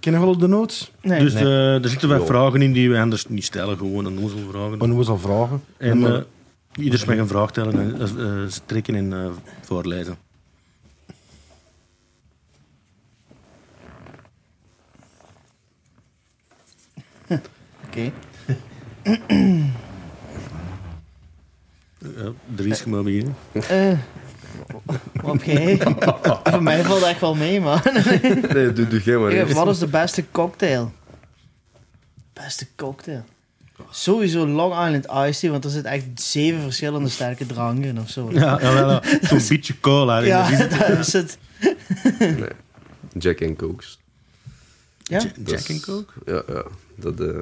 Speaker 2: Ken je wel de noot?
Speaker 1: Ja.
Speaker 4: Nee.
Speaker 1: Dus
Speaker 2: Nee.
Speaker 1: eh, er zitten wel
Speaker 3: Ja.
Speaker 1: vragen in die we anders niet stellen. Gewoon een nozel vragen.
Speaker 2: Oh, nu was al vragen.
Speaker 1: En
Speaker 2: Maar-
Speaker 1: eh ieder mag een vraag stellen en eh, eh, ze trekken en eh, voorlezen.
Speaker 4: Oké.
Speaker 1: Ja, Dries, je mag beginnen.
Speaker 4: Eh, Wat jij? *laughs* Voor mij valt dat echt wel mee, man.
Speaker 3: Nee, doe, doe geen maar
Speaker 4: Ja,
Speaker 3: eerst.
Speaker 4: wat is de beste cocktail? Beste cocktail? Sowieso Long Island Iced Tea, want er zitten echt zeven verschillende sterke dranken in of zo.
Speaker 1: Ja, ja, wel, ja. zo'n beetje cola. hè.
Speaker 4: Ja, *laughs*
Speaker 1: Dat is-
Speaker 4: dat is het.
Speaker 3: Jack and Cokes.
Speaker 4: Ja?
Speaker 1: Jack-
Speaker 3: Dat
Speaker 1: Jack
Speaker 3: is-
Speaker 1: and Coke?
Speaker 3: Ja, ja. Dat, eh,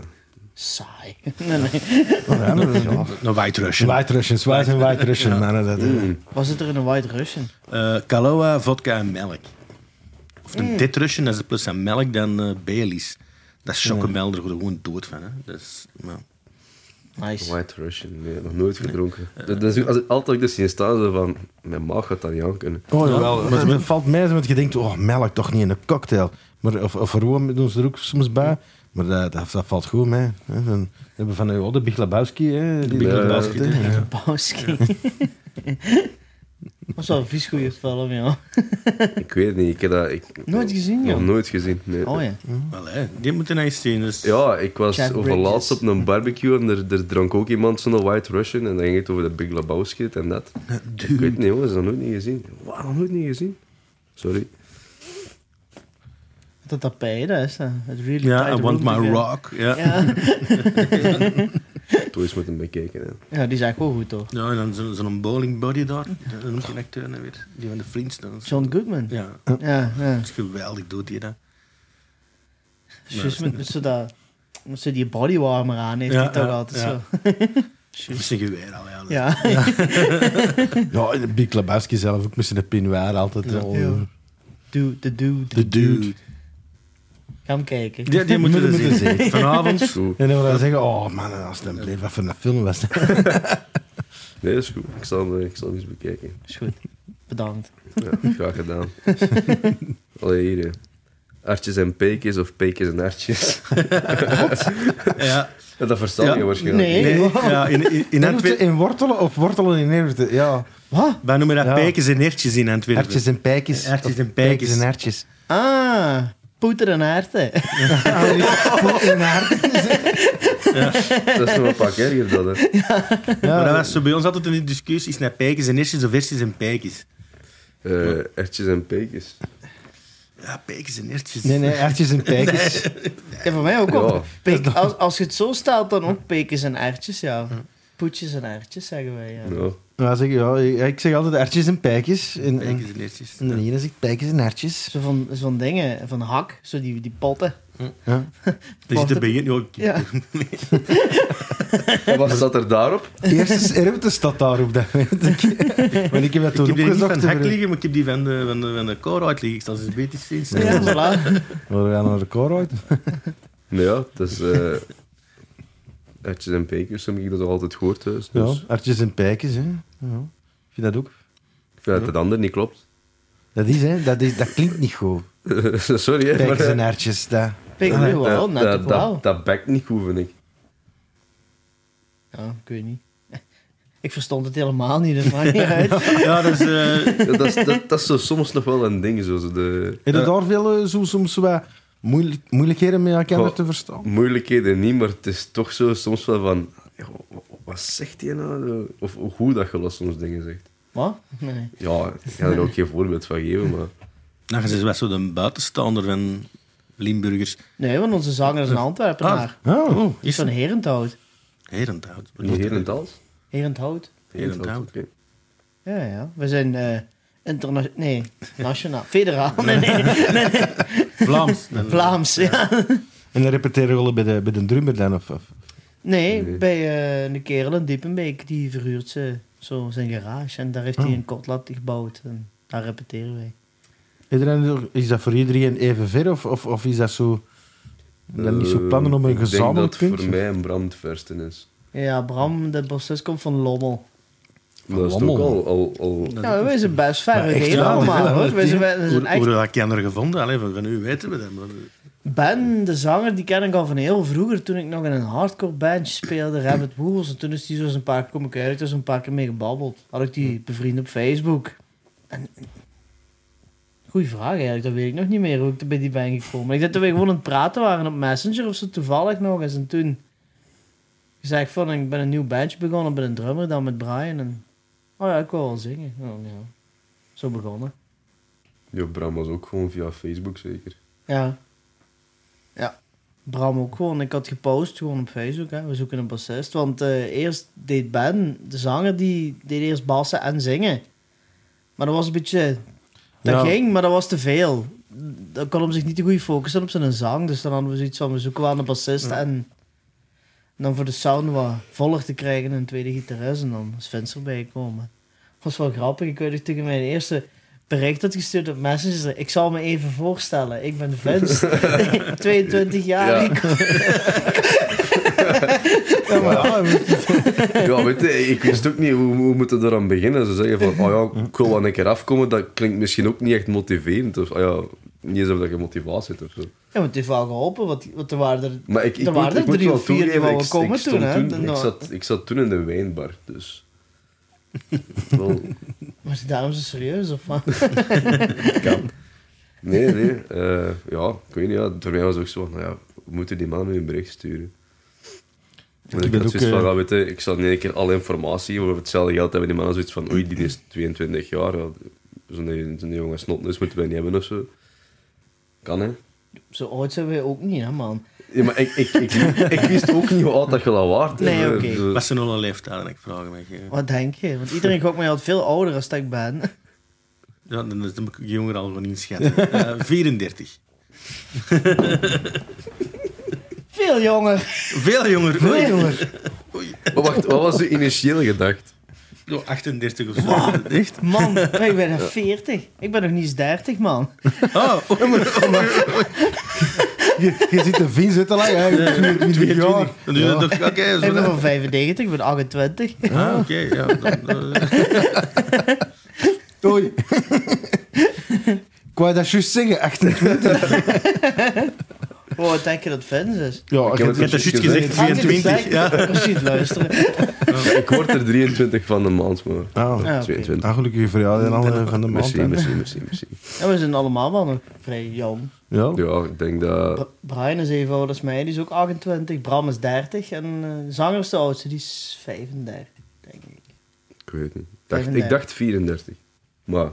Speaker 4: Saai. *laughs* Nee, nee.
Speaker 2: Ja, maar-
Speaker 1: Een Nou, White Russian.
Speaker 2: White Russians, white en white Russian mannen. Dat, eh.
Speaker 4: Was het er in een White Russian?
Speaker 1: Eh, Kahlua, vodka en melk. Of een dit Russian, dat is plus aan melk dan eh Baileys. Dat is chocomel, daar word je gewoon dood van. Hè. Dat is, ja.
Speaker 4: Nice.
Speaker 3: White Russian, nee, nog nooit gedronken. Dat, dat is, ook- als, ik- altijd als ik dus zie staan, zo van, mijn maag gaat dat niet aan kunnen.
Speaker 2: Oh, jawel. Maar het valt mij zo, want je denkt, oh, melk toch niet in een cocktail. Maar, of, of room doen ze er ook soms bij. Maar dat, dat, dat valt goed mee. hè. Dan we hebben we van eh, oh, de Big Lebowski. Hè, die-
Speaker 3: Big
Speaker 2: die-
Speaker 3: Lebowski,
Speaker 2: die- ja.
Speaker 4: Bowski. *laughs* Was wel een vies goede film, ja.
Speaker 3: Ik weet het niet, ik heb dat... Ik,
Speaker 4: Nooit gezien,
Speaker 3: Nog
Speaker 4: joh.
Speaker 3: nooit gezien, nee.
Speaker 4: Oh ja.
Speaker 1: Wel, hè. die moeten eens zien. Dus.
Speaker 3: Ja, ik was
Speaker 4: Jeff
Speaker 3: over laatst op
Speaker 4: Bridges.
Speaker 3: een barbecue en er, er dronk ook iemand zo'n White Russian en dan ging het over de Big Lebowski dit en dat. Ik weet niet, jongens, dat nooit niet gezien. Wauw, nooit niet gezien. Sorry.
Speaker 4: Dat dat bij dat is dat. Het really
Speaker 1: Ja,
Speaker 4: tight
Speaker 1: I want
Speaker 4: room
Speaker 1: my
Speaker 4: together.
Speaker 1: rock. Ja. Ja.
Speaker 4: Ja.
Speaker 3: Toen eens moeten bekijken. Hè.
Speaker 4: ja, die is eigenlijk wel goed, toch?
Speaker 1: en dan zo- zo'n bowling body daar. Dat noemt die acteur nou weer. Die van de Friends. dan.
Speaker 4: John Goodman. Ja,
Speaker 1: Ja,
Speaker 4: ja.
Speaker 1: dat is geweldig, doet hij dat.
Speaker 4: Juist met, met zo dat... Met zo die bodywarmer aan heeft
Speaker 1: Ja,
Speaker 4: hij toch
Speaker 1: ja,
Speaker 4: altijd
Speaker 1: ja.
Speaker 4: zo. *laughs*
Speaker 1: Met zijn geweer al, ja.
Speaker 4: Ja.
Speaker 2: Ja, en de Big Lebowski zelf ook met zijn pinwaar altijd.
Speaker 1: Ja.
Speaker 2: al.
Speaker 4: Ja. Dude, de dude.
Speaker 2: De dude.
Speaker 4: Ga hem kijken.
Speaker 1: Die,
Speaker 4: *laughs*
Speaker 1: die *laughs* moeten we
Speaker 2: Moeten we
Speaker 1: zien. *laughs* Vanavond.
Speaker 3: Goed.
Speaker 2: En dan wil je zeggen, oh man, als het een bleef, wat voor een film was dat?
Speaker 3: Nee, dat is goed. Ik zal, hem, eh, ik zal hem eens bekijken.
Speaker 4: Is goed. Bedankt. *laughs*
Speaker 3: Ja, graag gedaan. Allee, hier. hè. Artjes en peekjes of peekjes en artjes.
Speaker 1: Ja,
Speaker 3: Ja, dat verstaan
Speaker 1: Ja,
Speaker 3: je waarschijnlijk
Speaker 4: nee.
Speaker 3: niet.
Speaker 1: nee, ja in, in, in
Speaker 2: Erwten
Speaker 1: Antwerpen.
Speaker 2: in wortelen of wortelen in erwten, ja.
Speaker 4: Wat?
Speaker 1: Wij noemen dat
Speaker 2: Ja.
Speaker 1: pijkjes en hertjes in Antwerpen.
Speaker 2: Hertjes en pijkjes.
Speaker 1: Ja, hertjes
Speaker 2: Of
Speaker 1: en pijkjes.
Speaker 2: en hertjes.
Speaker 4: Ah, poeter en aarten.
Speaker 2: Ah, *laughs* nee, goed, en hertjes.
Speaker 3: Dat is nog een pak erger,
Speaker 4: *laughs*
Speaker 3: dat. Hè.
Speaker 1: Maar dat
Speaker 2: Ja,
Speaker 1: was zo bij ons altijd een discussie. Is naar pijkjes en hertjes of hertjes en pijkjes?
Speaker 3: Eh ertjes en peekjes.
Speaker 1: Ja, pijkjes en hertjes.
Speaker 2: nee, nee, hertjes en
Speaker 1: *laughs*
Speaker 2: pijkjes.
Speaker 4: Ja, voor mij ook.
Speaker 3: Ja.
Speaker 4: op. Peek- als, als je het zo stelt, dan ook pekers en aartjes, ja. Poetjes en aartjes, zeggen wij, ja.
Speaker 3: Ja.
Speaker 2: Ja, zeg, ja, ik zeg altijd hertjes en pijkjes. En, en,
Speaker 1: Pijkjes en hertjes.
Speaker 2: en de ene zegt pijkjes en hertjes.
Speaker 4: Zo van, zo'n dingen, van hak, zo die, die potten.
Speaker 2: Ja.
Speaker 1: Dat zit er bij je. Oh,
Speaker 4: Ja.
Speaker 3: En wat staat er daarop?
Speaker 2: Eerst is erwten staat daar op dat moment.
Speaker 1: *laughs*
Speaker 2: Ik- Want ik heb dat
Speaker 1: Ik
Speaker 2: toen
Speaker 1: heb die niet van
Speaker 2: opgezocht.
Speaker 1: hek
Speaker 2: over-
Speaker 1: liggen, maar ik heb die van de, van de, van de Coreite liggen. Ik sta ze beter sinds.
Speaker 4: Ja, voilà.
Speaker 2: We gaan naar de Coroid.
Speaker 3: Nou ja, dat is... eh ertjes en peekjes heb ik dat al altijd gehoord thuis.
Speaker 2: Ja,
Speaker 3: Dus
Speaker 2: hertjes en pijkjes. Hè. Ja. Ik vind dat ook.
Speaker 3: ik vind dat het ander niet klopt. *laughs*
Speaker 2: Dat, is, hè, dat, is, dat klinkt niet goed.
Speaker 3: Sorry, hè.
Speaker 2: Pijkers
Speaker 3: eh,
Speaker 2: en hertjes. Dat.
Speaker 4: Pekers nu wel,
Speaker 3: dat,
Speaker 4: net
Speaker 3: dat,
Speaker 4: toch wel.
Speaker 3: dat, dat bekt niet goed, vind ik.
Speaker 4: Ja, ik weet niet. *laughs* Ik verstond het helemaal niet, dat
Speaker 3: *laughs*
Speaker 4: maakt niet uit.
Speaker 1: Ja, dat is... eh,
Speaker 3: Ja, dat, is, dat, dat is zo soms nog wel een ding, zo, zo de
Speaker 2: Heb je daar veel eh, zo, soms wat moeilijk, moeilijkheden mee elkaar
Speaker 3: Goh.
Speaker 2: te verstaan?
Speaker 3: moeilijkheden niet, maar het is toch zo soms wel van... "Joh, wa- wa- Wat zegt hij nou? Of hoe dat je wel soms dingen zegt.
Speaker 4: Wat? Nee.
Speaker 3: Ja, ik ga er ook geen voorbeeld van geven, maar...
Speaker 1: nou, je bent wel zo de buitenstaander van Limburgers.
Speaker 4: Nee, want onze zanger is een
Speaker 3: Ah.
Speaker 4: Antwerpenaar.
Speaker 2: Oh,
Speaker 4: Die is van Herenthout.
Speaker 1: Herenthout.
Speaker 3: Niet heel in het als.
Speaker 4: Herenthout?
Speaker 1: Herenthout.
Speaker 3: Oké.
Speaker 4: Ja, ja. We zijn eh interna- Nee, nationaal. Federaal. *laughs* Nee, nee, nee, nee.
Speaker 1: Vlaams. Dan-
Speaker 4: Vlaams, ja.
Speaker 2: *laughs* En dan repeteren we bij de, bij de drummer dan? Of, of.
Speaker 4: Nee,
Speaker 3: Nee.
Speaker 4: bij eh, een kerel in Diepenbeek, die verhuurt ze zo zijn garage. En daar heeft
Speaker 2: Oh.
Speaker 4: hij een kotlat gebouwd. En daar repeteren wij.
Speaker 2: Iedereen- Is dat voor iedereen even ver of, of, of is dat zo... Dan niet zo plannen om een
Speaker 3: Eh,
Speaker 2: gezamenlijk
Speaker 3: Ik denk dat
Speaker 2: punt?
Speaker 3: het voor mij een brandversten is.
Speaker 4: Ja, Bram, de bassist, komt van Lommel.
Speaker 3: dat is het ook
Speaker 2: Lommel.
Speaker 3: al... al, al
Speaker 4: Ja, wij zijn best ver
Speaker 2: Maar echt
Speaker 4: geleden
Speaker 2: wel,
Speaker 4: allemaal,
Speaker 2: hè?
Speaker 4: hoor. Wij zijn, wij zijn
Speaker 1: Hoe,
Speaker 4: echt...
Speaker 1: hoe heb je er gevonden? Allee, van, van u weten we dat. Maar,
Speaker 4: Ben, de zanger, die ken ik al van heel vroeger. Toen ik nog in een hardcore bandje speelde, Rabbit Woels. En toen is die zo eens een paar keer, kom ik uit, dus een paar keer mee gebabbeld. Had ik die bevriend op Facebook. En... Goeie vraag eigenlijk, dat weet ik nog niet meer hoe ik er bij die ben gekomen. Ik denk dat we gewoon aan het praten waren op Messenger of zo, toevallig nog eens. En toen gezegd van, ik ben een nieuw bandje begonnen, ben een drummer dan met Brian. En... Oh ja, ik wil wel zingen. Oh, ja. Zo begonnen.
Speaker 3: ja, Bram was ook gewoon via Facebook zeker. *laughs*
Speaker 4: Ja. Ja. Bram ook gewoon. Ik had gepost gewoon op Facebook. Hè. We zoeken een bassist. Want eh, eerst deed Ben, de zanger, die deed eerst bassen en zingen. Maar dat was een beetje... Dat
Speaker 2: Ja.
Speaker 4: ging, maar dat was te veel. Dan kon hem zich niet te goed focussen op zijn zang. Dus dan hadden we zoiets van, we zoeken wel een bassist. En, en dan voor de sound wat voller te krijgen een tweede gitarist. En dan is Vince erbij komen. Dat was wel grappig. Ik weet nog tegen mijn eerste bericht dat gestuurd op Messenger. Ik zal me even voorstellen. Ik ben
Speaker 3: *laughs*
Speaker 4: Vince. 22 jaar.
Speaker 3: Ja.
Speaker 4: Ik kom-
Speaker 2: Ja, maar, ja, we-
Speaker 3: Ja, weet je, ik wist ook niet hoe, hoe moeten we eraan beginnen. Ze zeggen van, oh ja, ik wil wel een keer afkomen. Dat klinkt misschien ook niet echt motiverend. Of, oh ja, niet eens of dat je motivatie hebt of zo.
Speaker 4: Ja, want het heeft wel geholpen. Want, want er waren er,
Speaker 3: Maar ik, ik,
Speaker 4: er
Speaker 3: moet,
Speaker 4: waren
Speaker 3: ik
Speaker 4: er
Speaker 3: moet
Speaker 4: drie
Speaker 3: wel
Speaker 4: of vier die
Speaker 3: toegeven, ik,
Speaker 4: wouden
Speaker 3: ik
Speaker 4: komen
Speaker 3: stond
Speaker 4: toen. hè.
Speaker 3: toen-
Speaker 4: Dan-
Speaker 3: ik, zat, ik zat toen in de wijnbar, dus...
Speaker 4: *laughs*
Speaker 3: Wel,
Speaker 4: Was die daarom zo serieus of wat? *laughs*
Speaker 3: kan. Nee, nee. eh, ja, ik weet niet. Ja, voor mij was het ook zo van, nou ja, we moeten die man nu een bericht sturen. Maar
Speaker 2: Ik
Speaker 3: ik
Speaker 2: ben
Speaker 3: had
Speaker 2: ook,
Speaker 3: zoiets van,
Speaker 2: eh,
Speaker 3: ja, weet je, ik zal in één keer alle informatie over hetzelfde geld hebben. Die man had zoiets van, oei, die is 22 jaar. Ja, Zo'n zo'n jonge snotneus dus moeten wij niet hebben of zo. Kan, hè?
Speaker 4: Zo oud zijn wij ook niet, hè, man.
Speaker 3: Ja, maar ik, ik, ik, ik wist ook niet hoe oud dat je al waard. hè.
Speaker 4: Nee, oké.
Speaker 3: Dus-
Speaker 1: wat zijn alle leeftijden? Ik vraag me. eh.
Speaker 4: Wat denk je? Want iedereen gokt mij altijd veel ouder als dat ik ben. *laughs*
Speaker 1: Ja, dan is de jongeren al gewoon
Speaker 4: *laughs*
Speaker 1: inschatten. Eh 34.
Speaker 4: Veel jonger.
Speaker 1: Veel jonger. Oei.
Speaker 2: Nee, jongen.
Speaker 3: Maar wacht, wat was je initieel gedacht?
Speaker 1: Ja, 38 of zo. Echt?
Speaker 4: Man, maar ik ben nog 40. Ik ben nog niet eens 30, man.
Speaker 1: Oh, oh,
Speaker 2: Je, je ziet de vin zitten lang. hè. 22 jaar.
Speaker 1: 22. Dan doe je dat toch- Oké,
Speaker 4: Ik
Speaker 1: zo
Speaker 4: ben
Speaker 1: dan.
Speaker 4: van 95, ik ben
Speaker 3: *laughs*
Speaker 4: 28.
Speaker 1: Ah, oké.
Speaker 4: *laughs*
Speaker 1: ja, dan, eh,
Speaker 2: Oei. wou dat juist zeggen, 28.
Speaker 4: Oh, wat denk je dat Vins is?
Speaker 2: Ja,
Speaker 3: heb
Speaker 1: dus Je hebt dat juist gezegd,
Speaker 4: Had je het
Speaker 1: 24.
Speaker 4: gezegd?
Speaker 1: Ja.
Speaker 4: Precies, luisteren.
Speaker 3: Ik word er 23 van de maand, maar
Speaker 2: Ah,
Speaker 4: Ja, oké.
Speaker 3: 22.
Speaker 2: ah, gelukkig voor jou en alle van de maand.
Speaker 3: Merci, merci, merci, merci.
Speaker 4: En we zijn allemaal wel nog vrij jong.
Speaker 2: Ja. Ah,
Speaker 3: Ja, ik denk dat...
Speaker 4: Br- Brian is even oud als mij, die is ook 28. Bram is 30. En eh, Zanger is de oudste, die is 35, denk ik.
Speaker 3: Ik weet het niet. Ik dacht, ik
Speaker 4: 35.
Speaker 3: dacht 34. Maar...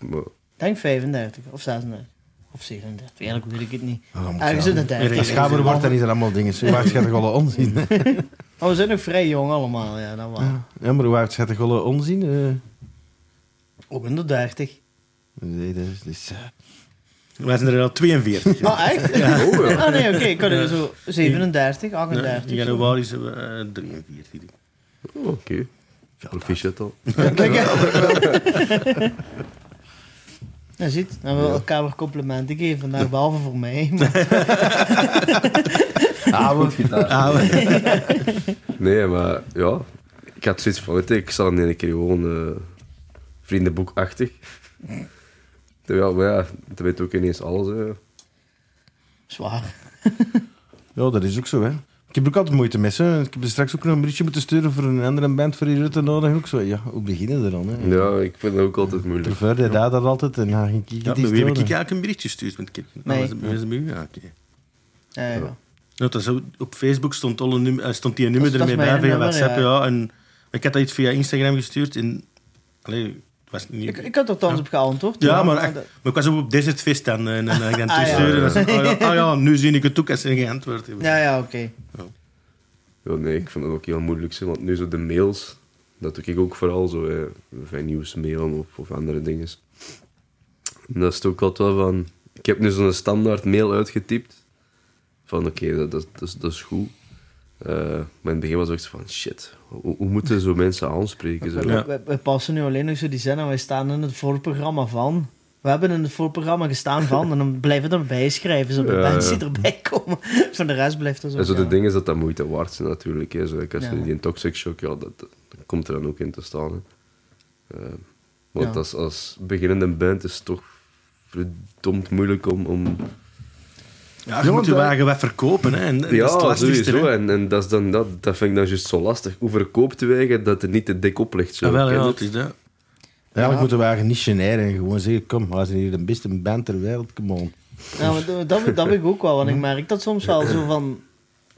Speaker 3: maar
Speaker 4: Ik denk 35 of 36. Of 37, eerlijk weet ik het niet.
Speaker 2: Ah, dat moet
Speaker 4: Ergens in de
Speaker 2: zijn.
Speaker 4: 30.
Speaker 2: Als schaber wordt, dan is er allemaal dingen. Hoe oud gaat de golle onzien?
Speaker 4: Maar Oh, we zijn nog vrij jong allemaal, ja, dan wel.
Speaker 2: Ja, maar hoe oud gaat de golle onzien? Eh,
Speaker 4: Ook in de 30.
Speaker 2: nee, dat is... Dat is eh,
Speaker 1: Wij zijn er al 42.
Speaker 4: Ah, echt? *laughs*
Speaker 3: Oh, ja.
Speaker 4: Ah, nee, oké, ik kan er zo 37,
Speaker 1: Ja, in
Speaker 4: 38. zo.
Speaker 1: januari zijn we eh, 43.
Speaker 3: Oh, Oké. Proficiat al.
Speaker 4: Ja, Nou, ziet, dan willen we elkaar weer complimenten geven vandaag, behalve voor mij. Maar
Speaker 2: Ah, we-
Speaker 1: Ah, we-
Speaker 3: Nee, maar ja. Ik had zoiets van, weet je, ik zal hem een keer gewoon eh, vriendenboekachtig. Terwijl, maar ja, dat weet ook ineens alles. Hè.
Speaker 4: zwaar.
Speaker 2: Ja, dat is ook zo, hè. Ik heb ook altijd moeite met ze. Ik heb er straks ook nog een berichtje moeten sturen voor een andere band voor die Rutte nodig. Ook zo, ja, hoe beginnen we dan, hè?
Speaker 3: Ja, ik vind dat ook altijd moeilijk.
Speaker 2: Prefer deed hij dat altijd en dan ging ik
Speaker 1: Ja,
Speaker 2: het
Speaker 1: bij
Speaker 2: iets
Speaker 1: wie heb ik
Speaker 2: doen.
Speaker 1: eigenlijk een berichtje gestuurd? Want ik heb... Ah,
Speaker 4: Nee.
Speaker 1: was het- was het bij u? Ja, oké.
Speaker 4: Ja, ja.
Speaker 1: Nou, dat is ook- op Facebook stond, alle nummer, eh, stond die nummer
Speaker 4: Dat is- dat
Speaker 1: ermee
Speaker 4: is
Speaker 1: bij
Speaker 4: mijn
Speaker 1: via
Speaker 4: nummer,
Speaker 1: WhatsApp. Ja.
Speaker 4: ja.
Speaker 1: en ik had dat iets via Instagram gestuurd. En, allee, het was niet...
Speaker 4: Ik, ik had er thans op geantwoord.
Speaker 1: ja, maar, echt,
Speaker 4: dat-
Speaker 1: maar ik was ook op Desertfest dan. eh, En dan heb ik dan
Speaker 4: Ah, ja.
Speaker 1: terugsturen. en dan zei ik, Ah, ja, ah ja, nu zie ik het ook als ze geen antwoord hebben.
Speaker 4: Ja, ja, oké.
Speaker 3: Ja, nee, ik vind dat ook heel moeilijk. zeg, Want nu zo de mails, dat doe ik ook vooral zo. Hè, van nieuwsmail of, of andere dingen. En dat is het ook altijd wel van. Ik heb nu zo'n standaard mail uitgetypt. Van oké, dat, dat, dat, is- dat is goed. Eh, maar in het begin was ik zo van shit, hoe, hoe moeten zo mensen aanspreken? Zo.
Speaker 4: We,
Speaker 1: Ja.
Speaker 4: we- we passen nu alleen nog zo die zin en wij staan in het voorprogramma van. We hebben in het voorprogramma gestaan van en dan blijven we erbij schrijven. Zo de
Speaker 3: Ja,
Speaker 4: mensen
Speaker 3: ja.
Speaker 4: die erbij komen. *laughs* Van de rest blijft er zo.
Speaker 3: En zo
Speaker 4: ja.
Speaker 3: de ding is dat dat moeite waard is natuurlijk. Hè. Zo, ik had
Speaker 4: Ja.
Speaker 3: zo die toxic shock, ja, dat, dat komt er dan ook in te staan. Hè. Eh, want
Speaker 4: Ja.
Speaker 3: als, als beginnende band is het toch verdomd moeilijk om... om
Speaker 1: Ja, je moet je wagen wat verkopen. Hè, en, en dat is het
Speaker 3: ja,
Speaker 1: lastigste,
Speaker 3: sowieso.
Speaker 1: hè.
Speaker 3: En, en dat, is dan, dat, dat vind ik dan juist zo lastig. Hoe verkoopt de wegen dat het niet te dik op ligt? Zo.
Speaker 1: Ah, wel,
Speaker 3: Ken
Speaker 1: ja,
Speaker 3: je
Speaker 1: het
Speaker 3: dat?
Speaker 1: is dat.
Speaker 2: Eigenlijk moeten we eigenlijk niet generen en gewoon zeggen, kom, wij zijn hier de beste band ter wereld, come on.
Speaker 4: Ja, maar dat, dat, dat heb ik ook wel, want ik merk dat soms wel zo van...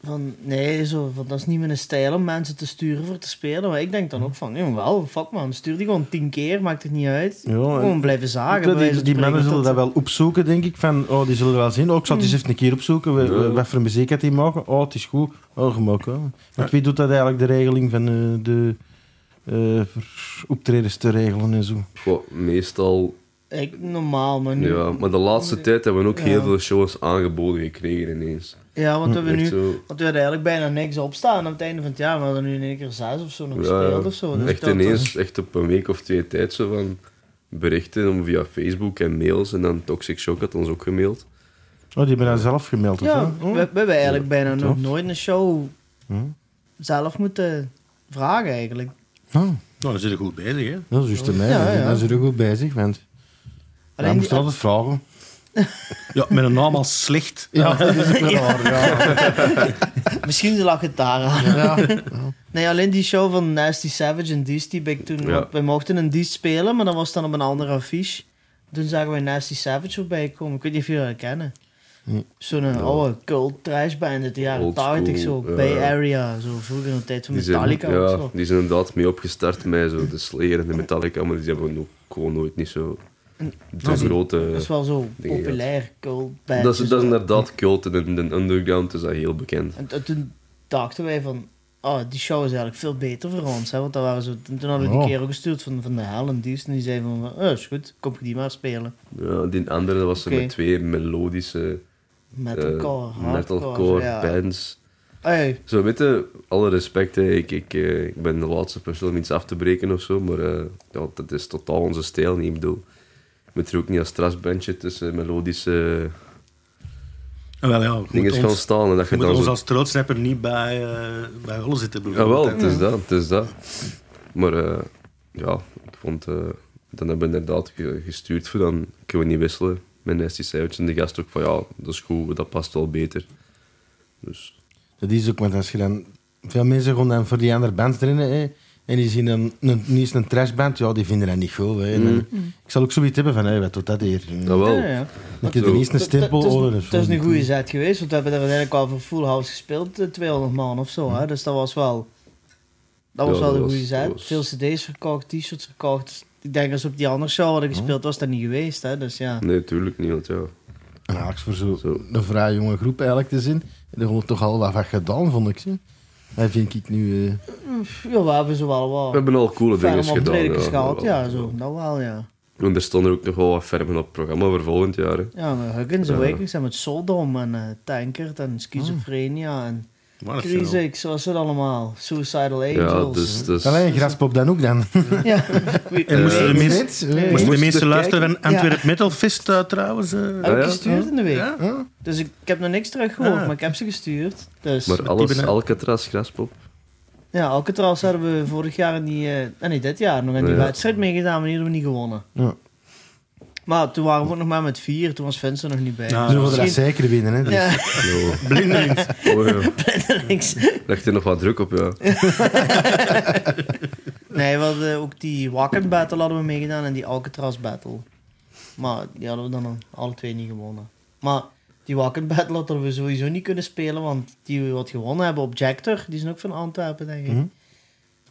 Speaker 4: Van, nee, zo, van, dat is niet mijn stijl om mensen te sturen voor te spelen. Maar ik denk dan ook van, ja, wel, fuck man, stuur die gewoon tien keer, maakt het niet uit.
Speaker 2: Ja, en-
Speaker 4: gewoon blijven zagen. bij wijze
Speaker 2: die
Speaker 4: van
Speaker 2: die
Speaker 4: spreken,
Speaker 2: mannen zullen
Speaker 4: tot-
Speaker 2: dat wel opzoeken, denk ik. Van, oh, die zullen wel zien. Oh, ik zal het eens even een keer opzoeken. We, we- wat voor muziek had die maken? Oh, het is goed. Oh, gemaakt. hè. Want wie doet dat eigenlijk, de regeling van eh, de eh, voor optredens te regelen en zo?
Speaker 3: Goh, meestal,
Speaker 4: Ik, normaal, maar nu...
Speaker 3: ja. Maar de laatste tijd hebben we ook
Speaker 4: Ja.
Speaker 3: heel veel shows aangeboden gekregen ineens.
Speaker 4: Ja, want we hebben
Speaker 3: Echt
Speaker 4: nu...
Speaker 3: zo.
Speaker 4: Want we hadden eigenlijk bijna niks opstaan aan het einde van het jaar. We hadden nu in één keer zes of zo nog
Speaker 3: Ja,
Speaker 4: gespeeld of zo. Dus
Speaker 3: echt
Speaker 4: dat-
Speaker 3: ineens, echt op een week of twee tijd zo van berichten om via Facebook en mails. En dan Toxic Shock had ons ook gemaild.
Speaker 2: Oh, die hebben dat zelf gemeld, of
Speaker 4: Ja,
Speaker 2: wat?
Speaker 4: we,
Speaker 2: Oh.
Speaker 4: we hebben eigenlijk bijna nog
Speaker 2: tof.
Speaker 4: nooit een show
Speaker 2: Hm?
Speaker 4: zelf moeten vragen eigenlijk.
Speaker 2: Oh,
Speaker 1: Nou, dan zit je goed bezig. Hè.
Speaker 2: dat is juist de mij.
Speaker 4: Ja,
Speaker 2: Dan-
Speaker 4: ja.
Speaker 2: Dan zijn we goed bezig, want... Hij
Speaker 4: Alleen
Speaker 2: moest
Speaker 4: die-
Speaker 2: altijd vragen.
Speaker 1: Ja, met een naam als slecht.
Speaker 2: Ja, dat is ook wel waar, ja.
Speaker 4: Misschien lag het daar aan.
Speaker 2: Ja.
Speaker 4: *laughs* Nee, alleen die show van Nasty Savage en Deez, die ben ik toen...
Speaker 3: Ja.
Speaker 4: want Wij mochten een Deez spelen, maar dat was dan op een andere affiche. Toen zagen wij Nasty Savage voorbij komen. Ik weet niet of jullie dat kennen.
Speaker 2: Nee.
Speaker 4: Zo'n eh, oude cult trash band uit de jaren
Speaker 3: Old
Speaker 4: 80, zo.
Speaker 3: school, ja.
Speaker 4: Bay Area, zo vroeger in de tijd van
Speaker 3: Die zijn,
Speaker 4: Metallica of
Speaker 3: ja,
Speaker 4: zo.
Speaker 3: die zijn inderdaad mee opgestart met zo de Slayer en de Metallica, maar die hebben ook gewoon nooit niet zo de grote...
Speaker 4: Dat is wel zo
Speaker 3: dingen gehad.
Speaker 4: populair, cult band.
Speaker 3: Dat is,
Speaker 4: dus
Speaker 3: dat is inderdaad cult en in de underground is dat heel bekend.
Speaker 4: En, en toen dachten wij van, oh, die show is eigenlijk veel beter voor ons. Hè? Want dat waren zo, toen toen hadden we die
Speaker 2: Oh.
Speaker 4: kerel gestuurd van, van de hel en die is- en die zei van, oh, is goed, kom je die maar spelen.
Speaker 3: Ja, die andere was ze
Speaker 4: Oké.
Speaker 3: met twee melodische
Speaker 4: Metalcore,
Speaker 3: eh,
Speaker 4: hardcore.
Speaker 3: metalcore
Speaker 4: ja.
Speaker 3: bands.
Speaker 4: Hey,
Speaker 3: Zo weten, alle respect, hè, ik, ik, eh, ik ben de laatste persoon om iets af te breken of zo, maar eh, ja, dat is totaal onze stijl niet. Ik bedoel, je moet er ook niet als strasbandje tussen melodische
Speaker 1: Ah, wel, ja, je moet
Speaker 3: dingen gaan
Speaker 1: ons,
Speaker 3: staan. En dat
Speaker 1: je
Speaker 3: je
Speaker 1: moet
Speaker 3: dan
Speaker 1: ons
Speaker 3: zo... Ah,
Speaker 1: als troodsnapper niet bij, eh bij Holle zitten.
Speaker 3: Ja,
Speaker 1: bijvoorbeeld,
Speaker 3: wel,
Speaker 1: hè.
Speaker 3: het is dat, het is dat. Maar eh, ja, ik vond eh, Dan hebben we inderdaad ge- gestuurd voor dan kunnen we niet wisselen. Mijn Nasty Savage en de gast ook van ja, dat is goed, dat past wel beter. Dus
Speaker 2: Dat is ook, want als je dan... Veel mensen gaan dan voor die andere bands erin, hè, en die zien dan een, niet eens een trashband, ja, die vinden dat niet goed. Hè, En dan-
Speaker 4: Mm.
Speaker 2: Ik zal ook zoiets hebben van, hé, wat doet dat hier?
Speaker 3: dat wel.
Speaker 4: Ja, ja.
Speaker 2: Ik heb er
Speaker 3: Zo.
Speaker 2: niet eens een stempel
Speaker 4: Het is-
Speaker 2: over.
Speaker 4: Het is een goede zet geweest, want we hebben er uiteindelijk al voor Full House gespeeld, eh, 200 man of zo. Hè? Dus dat was wel, dat was
Speaker 3: Mm.
Speaker 4: wel
Speaker 3: Ja, dat
Speaker 4: een
Speaker 3: was-
Speaker 4: goede zet.
Speaker 3: dat was-
Speaker 4: Veel CD's verkocht, T-shirts verkocht. Dus Ik denk als op die andere show
Speaker 3: Oh.
Speaker 4: hadden gespeeld, was dat niet geweest. Hè? Dus ja.
Speaker 3: Nee, tuurlijk niet, want ja.
Speaker 2: En Alex, voor zo'n
Speaker 3: Zo.
Speaker 2: een vrij jonge groep eigenlijk te zien, daar wordt toch al wat van gedaan, vond ik. Zo. Dat vind ik nu... eh,
Speaker 4: ja, we hebben ze wel
Speaker 3: We
Speaker 4: wat.
Speaker 3: hebben al coole dingen
Speaker 4: ferm
Speaker 3: gedaan.
Speaker 4: optredens gehad,
Speaker 3: dat
Speaker 4: ja,
Speaker 3: wel.
Speaker 4: zo, dat wel, ja.
Speaker 3: En er stonden ook nog wel wat fermen op het programma voor volgend jaar. hè.
Speaker 4: Ja, maar Huggins
Speaker 3: Ja.
Speaker 4: Awakens en met Sodom en eh, Tankard en
Speaker 3: Ah.
Speaker 4: Schizophrenia en
Speaker 1: Maar dat is wel-
Speaker 4: Crisix, zoals het allemaal, Suicidal
Speaker 3: Ja,
Speaker 4: Angels.
Speaker 3: dus, dus
Speaker 2: Alleen graspop dan ook dan.
Speaker 4: *laughs* Ja. Wie-
Speaker 1: En moesten de mensen-
Speaker 2: Weet, weet.
Speaker 1: moesten de
Speaker 3: Moest
Speaker 1: mensen
Speaker 3: er
Speaker 1: luisteren naar
Speaker 4: Ja. Ah,
Speaker 1: Antwerp Metal Fest eh, trouwens? eh,
Speaker 4: Heb ik
Speaker 3: ja?
Speaker 4: gestuurd in de week.
Speaker 1: Ja?
Speaker 4: Dus ik, ik heb nog niks terug gehoord,
Speaker 1: Ah.
Speaker 4: maar ik heb ze gestuurd. Dus
Speaker 3: Maar alles,
Speaker 1: benen-
Speaker 4: *laughs*
Speaker 3: Alcatraz, Graspop.
Speaker 4: ja, Alcatraz hadden we vorig jaar in die, eh, eh, nee, dit jaar nog aan die
Speaker 3: Ja.
Speaker 4: wedstrijd meegedaan, maar die hebben we niet gewonnen.
Speaker 2: Ja.
Speaker 4: Maar toen waren we ook nog maar met vier, toen was Vincent nog niet bij. Dus
Speaker 1: Ja.
Speaker 2: Ze wilden dat
Speaker 4: Misschien-
Speaker 2: zeker winnen. Hè, dus.
Speaker 4: Ja,
Speaker 3: Ja.
Speaker 1: Blindelings.
Speaker 3: Nou, Oh, ja.
Speaker 4: *laughs* niks.
Speaker 3: Legt er nog wat druk op, ja.
Speaker 4: Nee, we hadden ook die Wacken Battle hadden we meegedaan en die Alcatraz Battle. Maar die hadden we dan alle twee niet gewonnen. Maar die Wacken Battle hadden we sowieso niet kunnen spelen, want die we wat gewonnen hebben op Jactor, die zijn ook van Antwerpen, denk ik.
Speaker 2: Mhm.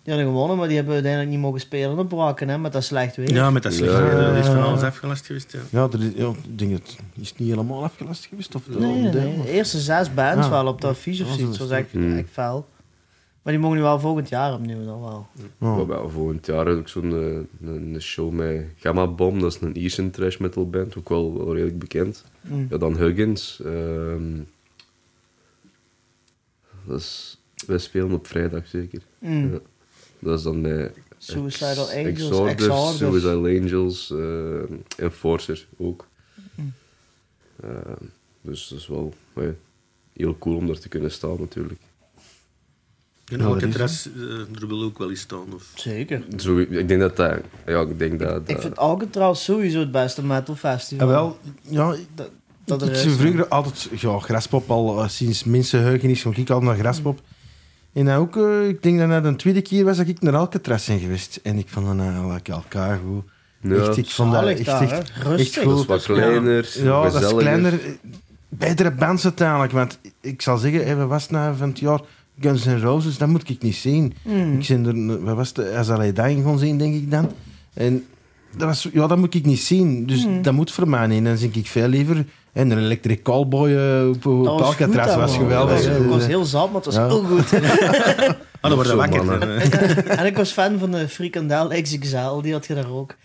Speaker 4: Die hadden gewonnen, maar die hebben we uiteindelijk niet mogen spelen op Wacken, hè, met dat slecht weer.
Speaker 1: Ja, met dat slechte
Speaker 3: Ja,
Speaker 1: weer,
Speaker 2: ja,
Speaker 1: dat is
Speaker 2: ja,
Speaker 1: van
Speaker 2: ja.
Speaker 1: alles afgelast geweest. Ja.
Speaker 2: Ja, dat is, ja, ik denk het is niet helemaal afgelast geweest. Of,
Speaker 4: nee, nee, nee. De eerste zes bands
Speaker 2: Ja.
Speaker 4: wel op de affiche of
Speaker 2: Ja,
Speaker 4: zoiets,
Speaker 2: zo
Speaker 4: dat
Speaker 2: is
Speaker 4: was Hmm. echt,
Speaker 3: Mm.
Speaker 4: echt fel. Maar die mogen nu wel volgend jaar opnieuw dan wel.
Speaker 3: Maar wel, volgend jaar heb ik zo'n eh, een, een show met Gamma Bomb, dat is een Ierse trash metal band, ook wel, wel redelijk bekend.
Speaker 4: Mm.
Speaker 3: Ja, dan Huggins. ehm, dat is, wij spelen op vrijdag zeker.
Speaker 4: Mm.
Speaker 3: Ja. Dat is dan met
Speaker 4: Suicidal
Speaker 3: Ex-
Speaker 4: Angels,
Speaker 3: Exorders,
Speaker 4: Exorders.
Speaker 3: Suicidal Angels, eh, Enforcer ook. Eh, dus dat is wel eh, heel cool om daar te kunnen staan natuurlijk.
Speaker 1: En
Speaker 2: Ja, dat is
Speaker 1: Alcatraz eh, er wil ook wel eens staan. Of...
Speaker 4: Zeker.
Speaker 3: Zo, ik denk dat dat... Ja, ik denk dat... dat
Speaker 4: Ik vind Alcatraz sowieso het beste metal festival.
Speaker 2: Ah, wel, ja,
Speaker 4: Dat,
Speaker 2: dat
Speaker 4: dat
Speaker 2: ik
Speaker 4: er
Speaker 2: zie
Speaker 4: is.
Speaker 2: vroeger altijd ja, graspop al eh, sinds mensenheugenis ging ik al naar
Speaker 4: Mm.
Speaker 2: graspop. En dan ook, eh, ik denk dat dat de tweede keer was dat ik naar Alcatraz ben geweest. En ik vond dan eigenlijk elkaar goed.
Speaker 3: Ja.
Speaker 2: echt, ik vond dat
Speaker 4: Zalig
Speaker 2: echt,
Speaker 4: daar,
Speaker 2: echt,
Speaker 4: hè?
Speaker 2: echt
Speaker 4: Rustig.
Speaker 2: goed.
Speaker 3: Dat is wat kleiner,
Speaker 2: Ja, dat is
Speaker 3: gezelliger.
Speaker 2: kleiner. eh, Betere bands uiteindelijk. Want ik zal zeggen, hey, wat was het nou van het jaar? Guns N' Roses, dat moet ik niet zien.
Speaker 4: Mm.
Speaker 2: Ik zin er, wat was het, als alleen dat gaan zien, denk ik dan. En dat was, ja, dat moet ik niet zien. Dus
Speaker 4: Mm.
Speaker 2: dat moet voor mij niet. Dan zink ik veel liever. En een Electric Callboy eh, op, op
Speaker 4: Dat was goed,
Speaker 2: Alcatraz
Speaker 4: hè,
Speaker 2: was
Speaker 4: man.
Speaker 2: geweldig.
Speaker 4: Ik was, ik
Speaker 2: Eh,
Speaker 4: was heel zat, maar het was
Speaker 2: Ja.
Speaker 4: heel
Speaker 2: *laughs*
Speaker 4: goed.
Speaker 1: Ah, dan worden
Speaker 3: Zo,
Speaker 1: we wakker. *laughs*
Speaker 3: mannen.
Speaker 1: hè.
Speaker 4: en ik was fan van de Frikandel XXL, die had je daar
Speaker 2: *laughs*
Speaker 4: ook.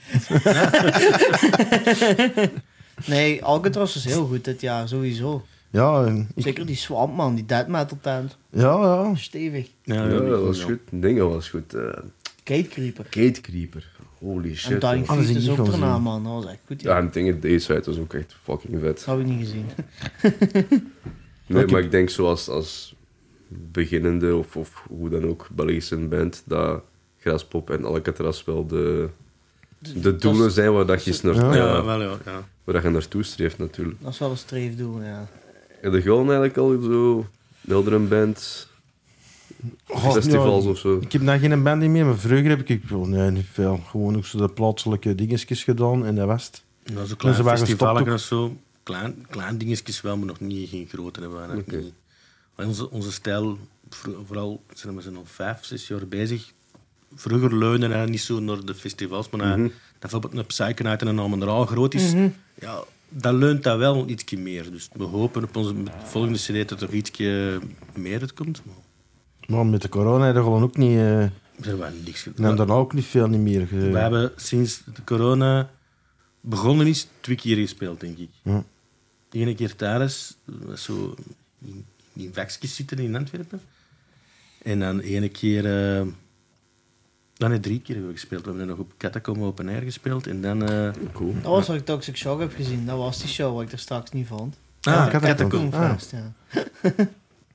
Speaker 4: nee, Alcatraz was heel goed dit jaar, sowieso.
Speaker 2: Ja, en ik-
Speaker 4: Zeker die Swampman, die dead metal tent.
Speaker 2: ja, ja.
Speaker 4: Stevig.
Speaker 1: Ja,
Speaker 3: Ja,
Speaker 1: ja,
Speaker 3: dat was
Speaker 1: ja.
Speaker 3: goed. Dingen was goed. eh
Speaker 4: Gatecreeper.
Speaker 3: Gatecreeper. Holy
Speaker 4: En
Speaker 3: shit.
Speaker 4: Dying
Speaker 3: man.
Speaker 2: Oh, dat is
Speaker 4: Feet is
Speaker 2: ik
Speaker 4: ook
Speaker 2: niet gaan
Speaker 4: daarna,
Speaker 2: zien.
Speaker 4: man. Dat was echt goed.
Speaker 3: Ja,
Speaker 4: Ja.
Speaker 3: en dingen, deze uit was ook echt fucking vet.
Speaker 4: Dat heb ik niet gezien.
Speaker 3: Nee, maar ik denk zoals als beginnende of, of hoe dan ook Belgische band, dat Graspop en Alcatraz wel de, de doelen
Speaker 4: dat is-
Speaker 3: zijn waar dat je, snor,
Speaker 2: Ja.
Speaker 1: Ja,
Speaker 3: ja,
Speaker 1: wel ja. ja.
Speaker 3: waar dat je naartoe streeft natuurlijk.
Speaker 4: Dat is wel een streefdoel, ja.
Speaker 3: En de gewoon eigenlijk al zo, Wilderen band,
Speaker 2: Oh,
Speaker 3: festivals
Speaker 2: ja.
Speaker 3: of zo.
Speaker 2: Ik heb dan geen band meer, maar vroeger heb ik oh, nee, niet veel. Gewoon ook zo de plaatselijke dingetjes gedaan en dat was het.
Speaker 1: En Dat is een klein
Speaker 2: ze waren
Speaker 1: festival
Speaker 2: gestopt ook.
Speaker 1: of zo. Klein, klein dingetjes wel, maar nog niet geen grote hebben. we eigenlijk
Speaker 3: Oké.
Speaker 1: niet. Maar Onze, onze stijl, vro- vooral zijn we zijn al vijf, zes jaar bezig. Vroeger leunde hij niet zo naar de festivals, maar hij- dat bijvoorbeeld een Psychonaut en een Almendraal groot is, ja, dat leunt dat wel ietsje meer. Dus we hopen op onze volgende CD dat er toch ietsje meer uitkomt. Maar
Speaker 2: Maar met de corona hebben we gewoon ook niet... eh,
Speaker 1: er zijn wel niks ge-
Speaker 2: En daarna ook niet veel niet meer. ge-
Speaker 1: We hebben sinds de corona begonnen is twee keer gespeeld, denk ik.
Speaker 2: Ja.
Speaker 1: De ene keer thuis, was zo in, in vakjes zitten in Antwerpen. En dan de ene keer... eh, dan nee, drie keer hebben we gespeeld. We hebben nog op Catacomb Open Air gespeeld. En dan... eh
Speaker 3: Cool.
Speaker 4: Dat was wat ik Toxic Shock heb gezien. Dat was die show waar ik er straks niet vond.
Speaker 1: ah,
Speaker 2: Catacomb.
Speaker 1: Catacomb.
Speaker 2: Ah.
Speaker 4: Fest, ja.